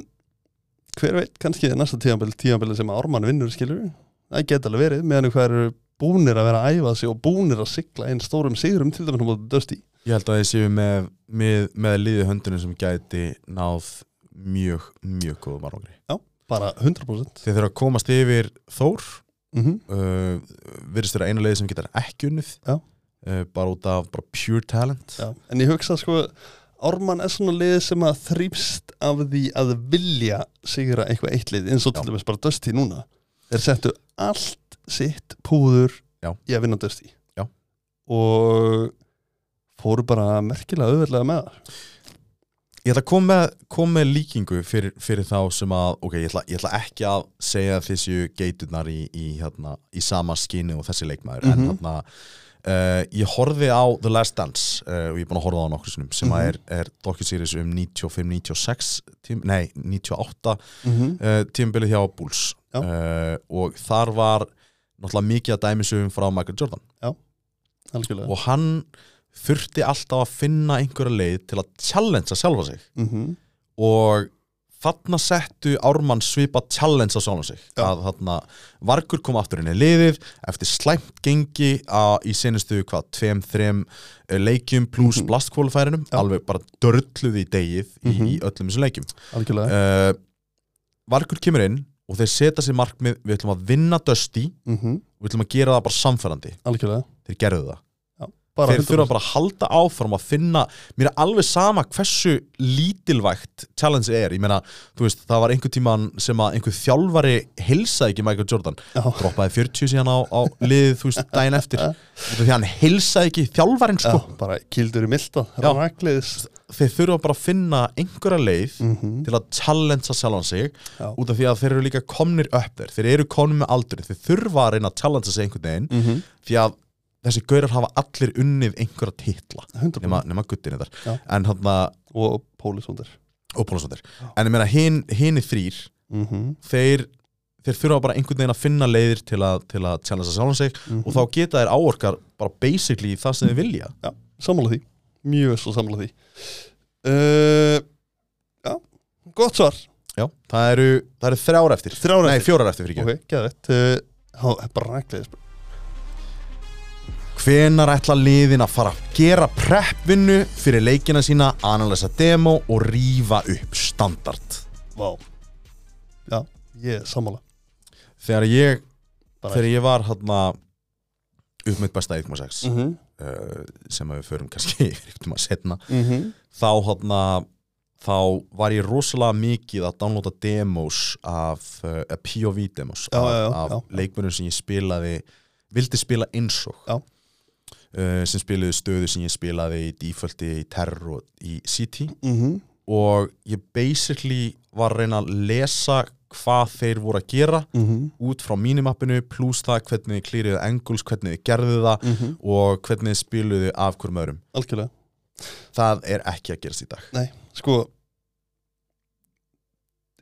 Speaker 3: hver veit, kannski er næsta tímabil tímabili sem að Orman vinnur skilur það geta alveg verið, meðan hvað eru búnir að vera að æfa sig og búnir að sigla einn stórum sigurum til dæmis á móti Dusty
Speaker 2: Ég held að þeir séu með, með, með liðið höndunum sem gæti náð mjög, mjög góðum árangri
Speaker 3: bara 100%
Speaker 2: Þeir þurfa að komast yfir Þór
Speaker 3: mm -hmm.
Speaker 2: uh, virðist vera eina leiði sem getur ekki unnið
Speaker 3: Já.
Speaker 2: uh, bara út af bara pure talent
Speaker 3: en ég hugsa sko Ármann er svona lið sem að þrýfst af því að vilja sigra eitthvað eitt lið eins og til
Speaker 2: Já.
Speaker 3: dæmis bara Dusty núna þeir settu allt sitt púður
Speaker 2: Já.
Speaker 3: í að vinna Dusty
Speaker 2: Já.
Speaker 3: og fóru bara merkilega auðveldlega með það
Speaker 2: ég ætla að koma með, kom með líkingu fyrir, fyrir þá sem að ok, ég ætla, ég ætla ekki að segja að þið séu geiturnar í, í, hérna, í sama skinni og þessi leikmaður en
Speaker 3: Mhm.
Speaker 2: hérna Uh, ég horfði á The Last Dance uh, og ég er búin að horfa á nokkur sinnum sem mm
Speaker 3: Mhm.
Speaker 2: er, er dokuseries um 95-96 tím- nei, 98
Speaker 3: mm -hmm.
Speaker 2: uh, tímabilið hjá Bulls
Speaker 3: Já.
Speaker 2: uh, og þar var náttúrulega mikið að dæmisum frá Michael Jordan
Speaker 3: algjörlega
Speaker 2: og hann þurfti alltaf að finna einhverja leið til að challengea sjálfa sig
Speaker 3: mm -hmm.
Speaker 2: og þarna settu Ármann svipa challengea sjálfa sig
Speaker 3: Já.
Speaker 2: að þarna Vargur kom aftur inn í liðið eftir slæmt gengi að, í senustu hvað, tveim, þreim eh, leikjum pluss
Speaker 3: Mhm.
Speaker 2: blastkvólfærinum
Speaker 3: Já.
Speaker 2: alveg bara dörluð í degið
Speaker 3: Mhm.
Speaker 2: í, í öllum þessum leikjum
Speaker 3: algjörlega
Speaker 2: uh, Vargur kemur inn og þeir setja sér markmið við ætlum að vinna Dusty
Speaker 3: mm -hmm.
Speaker 2: og við ætlum að gera það bara samferðandi
Speaker 3: algjörlega
Speaker 2: þeir gerðu það
Speaker 3: bara
Speaker 2: þeir
Speaker 3: 100%.
Speaker 2: þurfa bara að halda áfram að finna mér er alveg sama hversu lítilvægt challenge er, ég meina þú veist, það var einhver tíman sem að einhver þjálfari hilsaði ekki Michael Jordan
Speaker 3: Já.
Speaker 2: droppaði 40 síðan á, á liðið þú veist, daginn eftir, Út af því að hann hilsaði ekki þjálfarin sko,
Speaker 3: Já, bara kildur í milda,
Speaker 2: Já.
Speaker 3: rakleiðis
Speaker 2: þeir þurfa bara að finna einhverja leið
Speaker 3: Mhm.
Speaker 2: til að challengea sjálfan sig
Speaker 3: Já.
Speaker 2: út af því að þeir eru líka komnir upp þeir þeir eru komnir með aldur, þeir þurfa að reyna að challengea sig einhvern veginn
Speaker 3: Mhm.
Speaker 2: því að þessi gaurar hafa allir unnið einhverja titla
Speaker 3: 100%.
Speaker 2: nema, nema guttinni þar
Speaker 3: Já.
Speaker 2: en hann
Speaker 3: og pólisóndir
Speaker 2: óbúinastóttir en ég meina hin, hini þrýr
Speaker 3: mm -hmm.
Speaker 2: þeir, þeir þurfa bara einhvern veginn að finna leiðir til að, til að challengea sjálfan sig
Speaker 3: Mhm.
Speaker 2: og þá geta þeir áorkar bara basically það sem þeir vilja
Speaker 3: Já, sammála því, mjög svo sammála því uh, Já, gott svar
Speaker 2: Já, það eru, það eru þrjár eftir
Speaker 3: Þrjár
Speaker 2: Nei,
Speaker 3: eftir.
Speaker 2: fjórar eftir fyrir ekki
Speaker 3: Ok, geðvett uh, Það er bara rakleiðis
Speaker 2: Hvenar ætla liðin að fara að gera prepvinnu fyrir leikina sína, analysa demo og rífa upp standard
Speaker 3: Vá Já, ég er sammála
Speaker 2: Þegar ég,
Speaker 3: Bara-
Speaker 2: þegar ég var hérna uppmynd besta 1.6
Speaker 3: mm -hmm.
Speaker 2: uh, sem að við förum kannski yktum að setna
Speaker 3: Mm
Speaker 2: þá hérna þá var ég rosalega mikið að downloada demos af uh, eh, POV demos
Speaker 3: Já,
Speaker 2: af,
Speaker 3: já, já,
Speaker 2: af
Speaker 3: já.
Speaker 2: leikmönnum sem ég spilaði vildi spila eins og
Speaker 3: Já.
Speaker 2: Eh, sem spiluðu stöðu sem ég spilaði í Defaulti, í Terror og í City
Speaker 3: mhm,
Speaker 2: og ég basically var að reyna að lesa hvað þeir voru að gera
Speaker 3: mhm,
Speaker 2: út frá mínimappinu pluss það hvernig þið klýriðu engulls, hvernig þið gerðu það
Speaker 3: mhm.
Speaker 2: og hvernig þið spiluðu af hverjum öðrum
Speaker 3: Algjörlega
Speaker 2: það er ekki að gerast í dag
Speaker 3: Nei, sko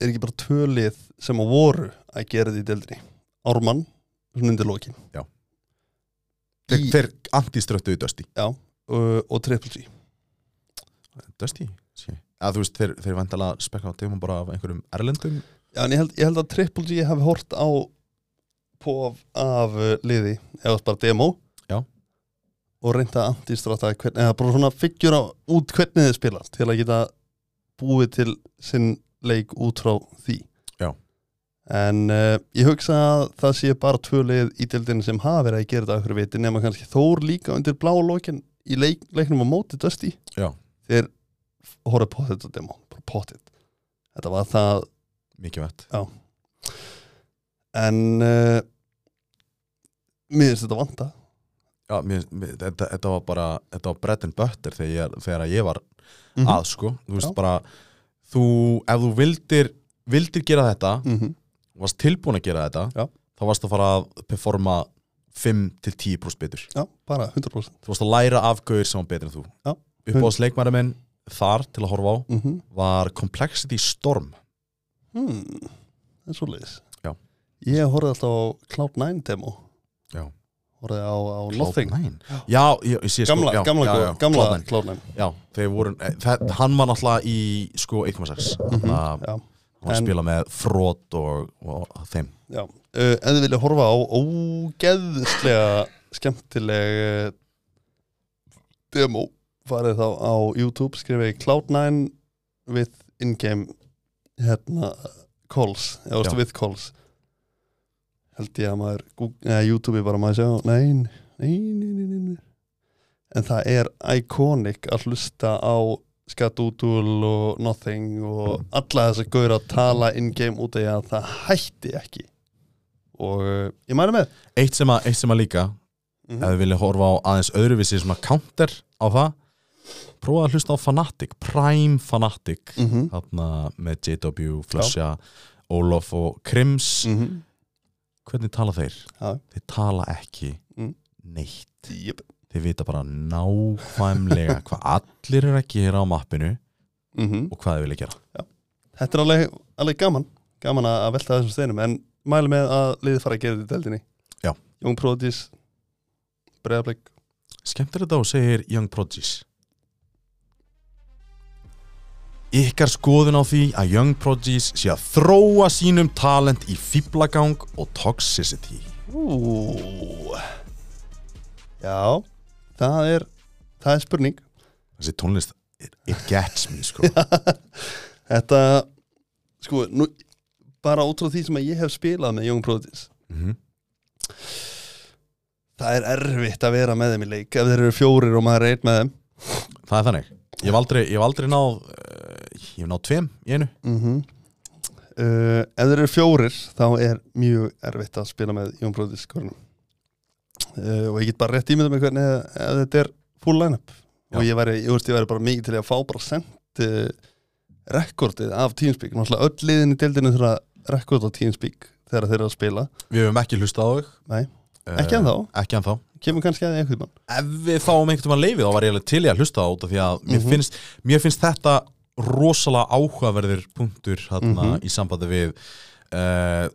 Speaker 3: Er ekki bara tölið sem að voru að gera því deildri Ármann, svona undir lokin
Speaker 2: Já.
Speaker 3: Í,
Speaker 2: Þeir- þeir antiströttuðu Dusty
Speaker 3: Já, og, eh, og Triple G
Speaker 2: Dusty? Sí. Eða, þú veist, þeir, þeir vantala spekka á tegum bara af einhverjum erlendum
Speaker 3: Já, en ég held, ég held að Triple G hafi hort á pof af uh, liði eða bara demo
Speaker 2: Já.
Speaker 3: og reynda að antistrata hvern, eða bara svona figgjura út hvernig þið spila til að geta búið til sinn leik út frá því
Speaker 2: Já.
Speaker 3: En uh, ég hugsa að það sé bara tvö lið í deildinu sem hafa verið að gera þetta okkur viti nema kannski Þór líka undir blá lokin í leik, leiknum á móti Dusty
Speaker 2: Já.
Speaker 3: Þeir horfðu på þetta demo, bara potið Þetta var það
Speaker 2: mikið vett
Speaker 3: en uh, mér finnst þetta vanta
Speaker 2: Já, mér, mér, þetta, þetta var bara þetta var bread and butter þegar ég, þegar ég var
Speaker 3: Mhm.
Speaker 2: að sko, þú veist
Speaker 3: Já.
Speaker 2: bara þú, ef þú vildir vildir gera þetta,
Speaker 3: mm -hmm.
Speaker 2: varst tilbúin að gera þetta
Speaker 3: Já.
Speaker 2: þá varst að fara að performa 5-10% betur
Speaker 3: já, bara 100%
Speaker 2: þú varst að læra af gauðir sem var betur en þú
Speaker 3: Já.
Speaker 2: uppáðs leikmæri minn þar til að horfa á
Speaker 3: mm -hmm.
Speaker 2: var Complexity Storm
Speaker 3: hmm. það er svo leiðis
Speaker 2: Já.
Speaker 3: ég horfði alltaf á Cloud9 demo
Speaker 2: Já.
Speaker 3: horfði á, á Nothing
Speaker 2: Cloud9. já, ég, ég sé sko
Speaker 3: gamla,
Speaker 2: já,
Speaker 3: gamla,
Speaker 2: já, já, Cloud9.
Speaker 3: gamla Cloud9
Speaker 2: Já, þeir voru, eh, það, hann var náttúrulega í sko 1.6 mm hann
Speaker 3: Mhm, já,
Speaker 2: var að
Speaker 3: En-
Speaker 2: spila með Frot og, og þeim
Speaker 3: já uh, en þið vilja horfa á ógeðslega skemmtileg eh, demo farið þá á YouTube skrifið Cloud9 with in-game hérna calls,
Speaker 2: Já.
Speaker 3: eða veist with calls held ég að maður Google, eða YouTube bara maður sjá nein, nein, nein, nein, nein en það er iconic að hlusta á skatútúl og nothing og alla þess að gauður að tala in-game út af því að það hætti ekki og eh, ég mæli með
Speaker 2: Eitt sem að, eitt sem að líka,
Speaker 3: Mhm.
Speaker 2: ef við vilja horfa á aðeins öðruvísi svona counter á það prófa að hlusta á Fnatic, Prime Fnatic
Speaker 3: mm -hmm.
Speaker 2: þarna með JW, Flusha Olof og Krims
Speaker 3: Mm
Speaker 2: hvernig tala þeir?
Speaker 3: Já.
Speaker 2: Þeir tala ekki
Speaker 3: Mm.
Speaker 2: neitt
Speaker 3: Yep.
Speaker 2: þeir vita bara nákvæmlega hvað allir eru að gera á mappinu
Speaker 3: Mm
Speaker 2: og hvað þeir vilja gera
Speaker 3: Þetta er alveg, alveg gaman gaman að að velta þessum steinum en mæli með að liðið fara að gera þetta í deldinni
Speaker 2: Já.
Speaker 3: Jón Pródís Breiðablik
Speaker 2: Skemmtir þetta og segir Young Prodigies Ykkar skoðun á því að Young Prodigies sé að þróa sínum talent í fýblagang og toxicity
Speaker 3: Ú. Já það er, það er spurning
Speaker 2: Þessi tónlist, it, it gets me sko
Speaker 3: Þetta sko, nú, bara út frá því sem að ég hef spilað með Jón Pródís
Speaker 2: Mhm.
Speaker 3: það er erfitt að vera með þeim í leik ef þeir eru fjórir og maður er einn með þeim
Speaker 2: Það er þannig Ég hef aldrei, ég hef aldrei náð uh, Ég hef náð tveim í einu
Speaker 3: uh, Mhm. ef þeir eru fjórir þá er mjög erfitt að spila með Jón Bróðis uh, Eh, og ég get bara rétt ímyndum með hvernig ef, ef þetta er full line-up
Speaker 2: Já.
Speaker 3: og ég væri, ég, veist, ég væri bara mikið til í að fá bara sent uh, rekordið af Teamspeak náttúrulega öll liðin í deildinu þurfa rekord á Teamspeak þegar þeir eru að spila
Speaker 2: Við hefum ekki hlustað á þau
Speaker 3: Nei,
Speaker 2: Eh,
Speaker 3: ekki ennþá,
Speaker 2: Ekki ennþá
Speaker 3: kemur kannski að því einhvern mann
Speaker 2: Ef við fáum einhvern veginn leifið þá var ég alveg til í að hlusta á þetta því að mér, finnst, mér finnst þetta rosalega áhugaverðir punktur hérna, í sambandi við uh,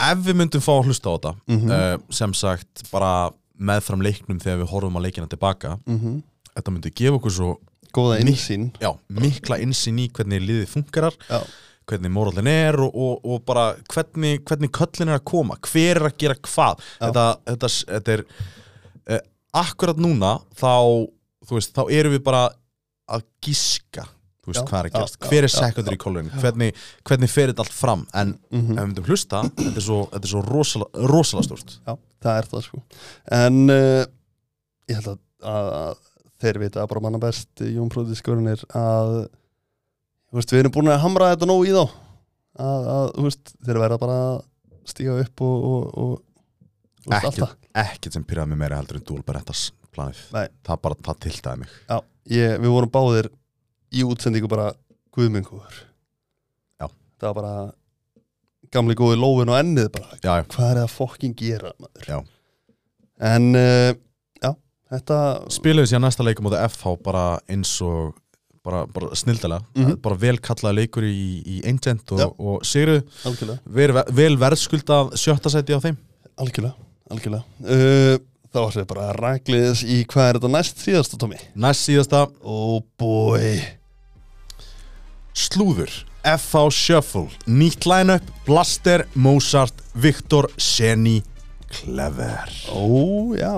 Speaker 2: ef við myndum fá að hlusta á þetta uh, sem sagt bara meðfram leiknum þegar við horfum á leikina tilbaka
Speaker 3: Mhm.
Speaker 2: þetta myndi gefa okkur svo
Speaker 3: góða
Speaker 2: Mikið.
Speaker 3: innsýn
Speaker 2: já, mikla innsýn í hvernig liðið funkarar
Speaker 3: Já.
Speaker 2: hvernig morallin er og, og, og bara hvernig, hvernig köllin er að koma hver er að gera hvað þetta, þetta, þetta er eh, akkurat núna þá, þú veist, þá erum við bara að gíska þú veist,
Speaker 3: Já,
Speaker 2: hvað er að
Speaker 3: já,
Speaker 2: gerast,
Speaker 3: já,
Speaker 2: hver er
Speaker 3: já, Mhm.
Speaker 2: secondary call-in hvernig, hvernig fer þetta allt fram en ef við myndum hlusta, þetta er svo, þetta er svo rosalega, rosalega stort
Speaker 3: Já, það er það sko En uh, ég held að, að þeir vita bara manna best eh, Jón Próðiskurinn er að þú veist, við erum búin að hamra þetta nógu í þá að, að þú veist, þeir verða bara að stíga upp og, og, og þú veist, allt
Speaker 2: ekkert,
Speaker 3: það.
Speaker 2: ekkert sem pyrraði mig meira heldur en Dúl Berettas planið,
Speaker 3: Nei.
Speaker 2: það bara, það tiltaði mig
Speaker 3: Já, ég, við vorum báðir í útsendingu bara guðmengur
Speaker 2: Já.
Speaker 3: Það var bara gamli góði lófin og ennið bara
Speaker 2: já, já,
Speaker 3: hvað er það að fokkin gera maður
Speaker 2: Já.
Speaker 3: En uh, já, þetta
Speaker 2: spiluðu síðan næsta leikum á FH bara eins og bara, bara snildalega,
Speaker 3: Mhm.
Speaker 2: bara vel kallaða leikur í, í Ancient
Speaker 3: Já.
Speaker 2: og, og Sigru
Speaker 3: algjörlega
Speaker 2: vel, vel verðskuldað sjötta sæti á þeim
Speaker 3: Algjörlega, algjörlega uh, Þá ætlum við bara að rækliðis í hvað er þetta næst síðasta, Tommy?
Speaker 2: næst síðasta
Speaker 3: Oh boy
Speaker 2: slúður FH Shuffle, nýtt line-up Blaster, Mozart, Viktor Seni, Clever
Speaker 3: Ó, já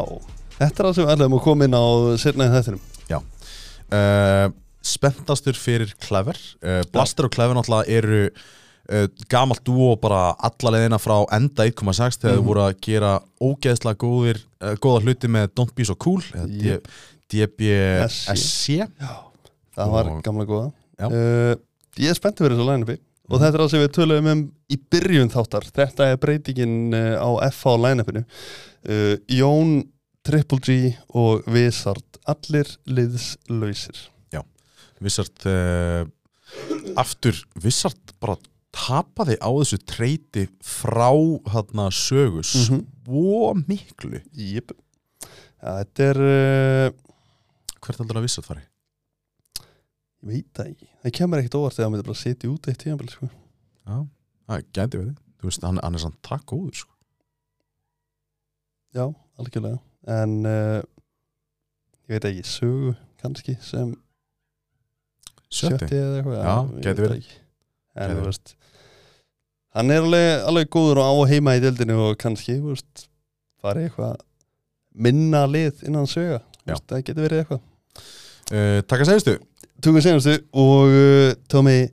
Speaker 3: Þetta er það sem við ætlum að koma inn á setna í þettinum
Speaker 2: Já uh, Spenntastur fyrir Clever uh, Blaster og Clever náttúrulega eru uh, gamalt dúo bara alla leiðina frá enda 1.6 þegar þau voru að gera ógeðslega góðir uh, góða hluti með Don't Be So Cool eða D-
Speaker 3: Jep.
Speaker 2: DBSC
Speaker 3: Já Það var
Speaker 2: Og-
Speaker 3: gamla góða
Speaker 2: Já.
Speaker 3: uh, Ég er spenntið fyrir þessu line-upi Og þetta er það sem við töluðum um í byrjun þáttar Þetta er breytingin eh, á FH line-upinu uh, Jón, Triple G og Vizard Allir liðslausir
Speaker 2: Vissart uh, aftur Vissart bara tapaði á þessu treyti frá þarna sögu
Speaker 3: Mhm.
Speaker 2: svo miklu
Speaker 3: Jip Þetta er uh,
Speaker 2: hvert heldur að Vissart fari?
Speaker 3: Ég veit það ekki. Það kemur ekkert óvart þegar hann myndi bara setja út eitt tíðanbel, sko.
Speaker 2: Já, það gæti verið Þú veist, hann, hann er samt takk góður sko.
Speaker 3: Já, algjörlega. En uh, ég veit ekki, sögu kannski sem
Speaker 2: Sjötti.
Speaker 3: sjötti eða eitthvað.
Speaker 2: Já,
Speaker 3: ég
Speaker 2: gæti
Speaker 3: veit
Speaker 2: verið.
Speaker 3: ekki. En
Speaker 2: Gæti
Speaker 3: þú
Speaker 2: verið.
Speaker 3: veist, hann er alveg, alveg góður og á heima í deildinu og kannski, þú veist, farið eitthvað minna lið innan söga. Þú
Speaker 2: Já.
Speaker 3: veist, það getur verið eitthvað.
Speaker 2: Uh, takk að segjastu
Speaker 3: Tökum senastu og uh, Tommy,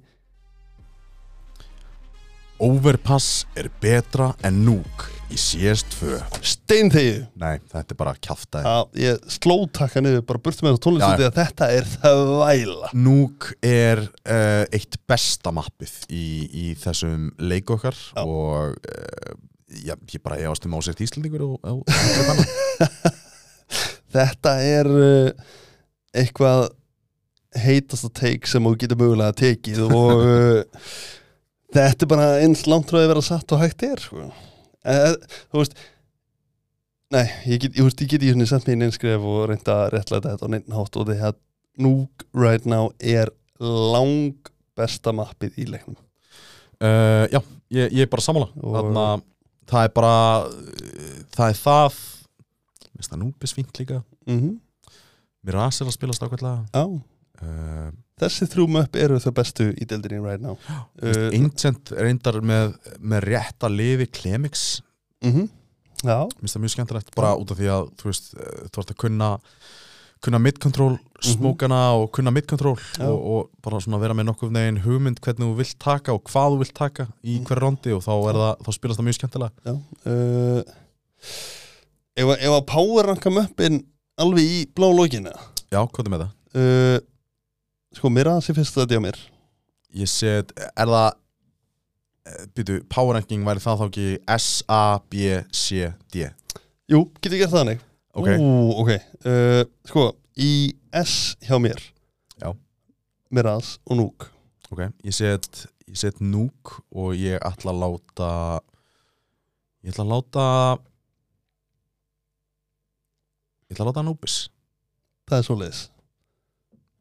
Speaker 2: Overpass er betra en núk í CS2
Speaker 3: steinþegju.
Speaker 2: Nei, þetta er bara kjaftaði
Speaker 3: Já, ég sló takka niður, bara burtu með þetta tónlistandi að þetta er það væla.
Speaker 2: Núk er uh, eitt besta mappið í, í þessum leik okkar
Speaker 3: Já.
Speaker 2: og uh, já, ég bara efast um ásett Íslandingur og, og, og
Speaker 3: þetta er uh, eitthvað heitasta teik sem þú getur mögulega tekið og uh, þetta er bara eins langt frá að vera satt og hægt er sko. Eh, þú veist nei, ég get, ég, veist, ég get í sent mig inn einskref og reynda að réttlæta þetta á neitt hátt og því að Nuke right now er lang besta mappið í leiknum
Speaker 2: uh, Já, ég, ég er bara sammála
Speaker 3: Og-
Speaker 2: Þannig að það er bara uh, það er það Veist það Núk er svínt líka
Speaker 3: mm
Speaker 2: Mirage er að spilast ákveðlega
Speaker 3: Já,
Speaker 2: uh,
Speaker 3: þessi þrjú möpp eru þau bestu í deildinni right now Eh,
Speaker 2: Uh, Ancient reyndar með, með rétta liði Klemix,
Speaker 3: mm Já,
Speaker 2: minnst það mjög skemmtilegt bara út af því að þú veist, eh, þú ert að kunna kunna mid-control smókana og kunna mid-control
Speaker 3: Já.
Speaker 2: og, og bara svona vera með nokkuð negin hugmynd hvernig þú vilt taka og hvað þú vilt taka í hverju rondi og þá, er það, þá spilast það mjög skemmtilega
Speaker 3: Já, uh, eh, ef, að- ef að power ranka möppin alveg í blá lókina
Speaker 2: Já, hvað er með það?
Speaker 3: uh, sko, mér aðeins í fyrsta þetta hjá mér
Speaker 2: Ég set, er það eh, Býtu, power ranking væri það þá ekki S, A, B, C, D
Speaker 3: jú, getur ég gert það þannig
Speaker 2: Ok,
Speaker 3: Ú, ok uh, sko, í S hjá mér
Speaker 2: Já.
Speaker 3: mér aðeins og núk
Speaker 2: ok Ég set, ég set núk og ég ætla að láta Ég ætla að láta Ég ætla að láta Anubis
Speaker 3: það er svoleiðis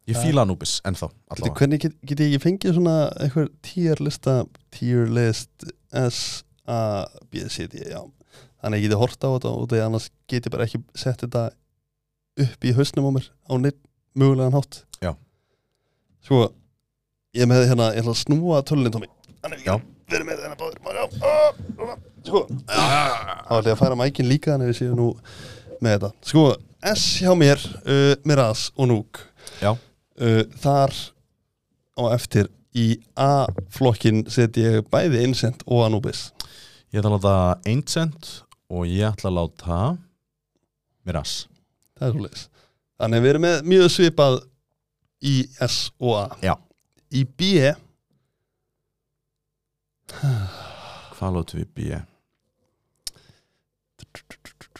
Speaker 2: Ég
Speaker 3: Það-
Speaker 2: fíla Anubis ennþá
Speaker 3: Bíddu,
Speaker 2: allavega
Speaker 3: hvernig get, get ég ekki fengið svona eitthvað tier lista tier list S A B C D já þannig ég geti hort á þetta og því annars get ég bara ekki sett þetta upp í hausnum á mér á neitt mögulegan hátt
Speaker 2: Já.
Speaker 3: sko ég með hérna ég ætla að snúa tölunni Tómi þannig
Speaker 2: Já.
Speaker 3: við verðum með þetta báður sko þá ætla ég að færa mækin líka þannig við séum nú með þetta sko S hjá mér uh, Miraz og Núk
Speaker 2: Já.
Speaker 3: uh, þar á eftir í A-flokkin set ég bæði Incent og Anubis
Speaker 2: Ég ætla að láta Ancient og ég ætla að láta Miras
Speaker 3: það er svo þannig að við erum með mjög svipað í S og A
Speaker 2: Já.
Speaker 3: í B
Speaker 2: Hvað látum við B?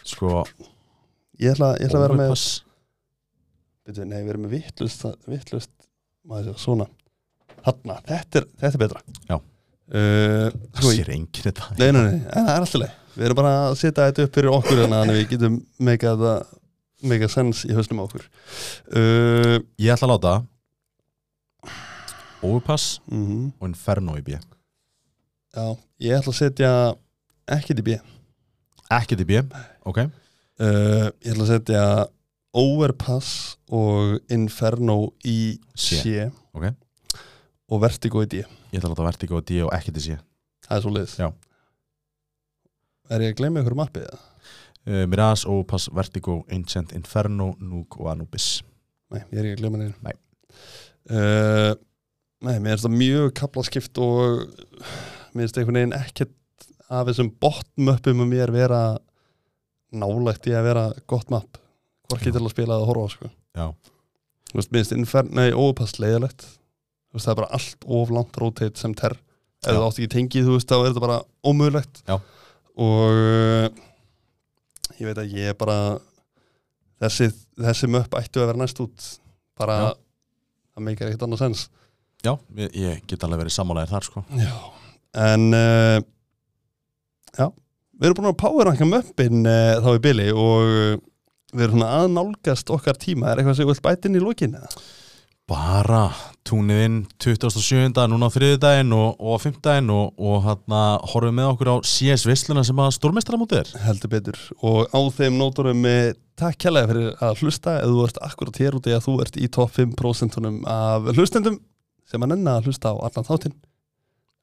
Speaker 2: Sko
Speaker 3: ég ætla, ég ætla að vera með
Speaker 2: Overpass.
Speaker 3: Bíddu, nei, við erum með vittlust vittlust, maður sér, svona þarna, þetta er, þetta er betra
Speaker 2: Já.
Speaker 3: uh,
Speaker 2: Það
Speaker 3: sko,
Speaker 2: sér enginn þetta
Speaker 3: Nei, nei, nei, en það er alltaf leið Við erum bara að setja þetta upp fyrir okkur hérna, Þannig að við getum meika þetta meika sens í hausnum á okkur uh,
Speaker 2: Ég ætla að láta Overpass
Speaker 3: mm
Speaker 2: og Inferno í B
Speaker 3: Já, ég ætla að setja ekkert í B uh,
Speaker 2: Ekkert í B, ok
Speaker 3: Eh, Ég ætla að setja Overpass og Inferno í
Speaker 2: C.
Speaker 3: C,
Speaker 2: Ok.
Speaker 3: Og Vertigo í D
Speaker 2: Ég ætla að láta Vertigo í D og ekkert í C
Speaker 3: Það er svo leiðis
Speaker 2: Já.
Speaker 3: Er ég að gleyma ykkur um mappið það?
Speaker 2: uh, Miras, Overpass, Vertigo, Ancient, Inferno, Nuke og Anubis
Speaker 3: Nei, ég er ekki að glemma neina
Speaker 2: Nei.
Speaker 3: Eh, Nei, mér er þetta mjög kaplaskipt og mér er þetta einhvern veginn ekkert af þessum botmöppum um mér vera nálægt í að vera gott mapp hvorki
Speaker 2: Já.
Speaker 3: til að spila eða horfa á, sko.
Speaker 2: Já.
Speaker 3: Þú veist, mér er infern, nei, óupass leiðilegt Þú veist, það er bara allt of langt rotate sem ter ef
Speaker 2: Já.
Speaker 3: það átt ekki tengið, þú veist, þá er þetta bara ómögulegt
Speaker 2: Já.
Speaker 3: og eh, ég veit að ég er bara þessi, þessi möpp ættu að vera næst út bara
Speaker 2: Já.
Speaker 3: það meikar ekkert annað sens
Speaker 2: Já, ég, ég get alveg verið sammálaðir þar sko
Speaker 3: já. en uh, já við erum búin að powerranka möppin uh, þá í byli og eh, við erum svona að nálgast okkar tíma er eitthvað sem við vilt bæta inn í lokin eða?
Speaker 2: Bara túnið inn 27. núna á þriðudaginn og, og á fimmtudaginn og, og hérna horfum með okkur á CS Veisluna sem að stórmestaramótið er
Speaker 3: heldur betur og á þeim nóturum eh, takk kjærlega fyrir að hlusta ef þú ert akkurat hér út í að þú ert í topp 5% af hlustendum sem að nenna að hlusta á allan þáttinn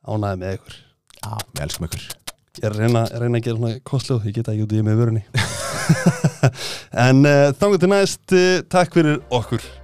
Speaker 3: ánæði með ykkur
Speaker 2: Já, við elskum ykkur
Speaker 3: Ég er að reyna, að reyna að gera svona kostljóð, ég geta ekki út eh, í með vörunni. en uh, þangur til næst, uh, eh, takk fyrir okkur.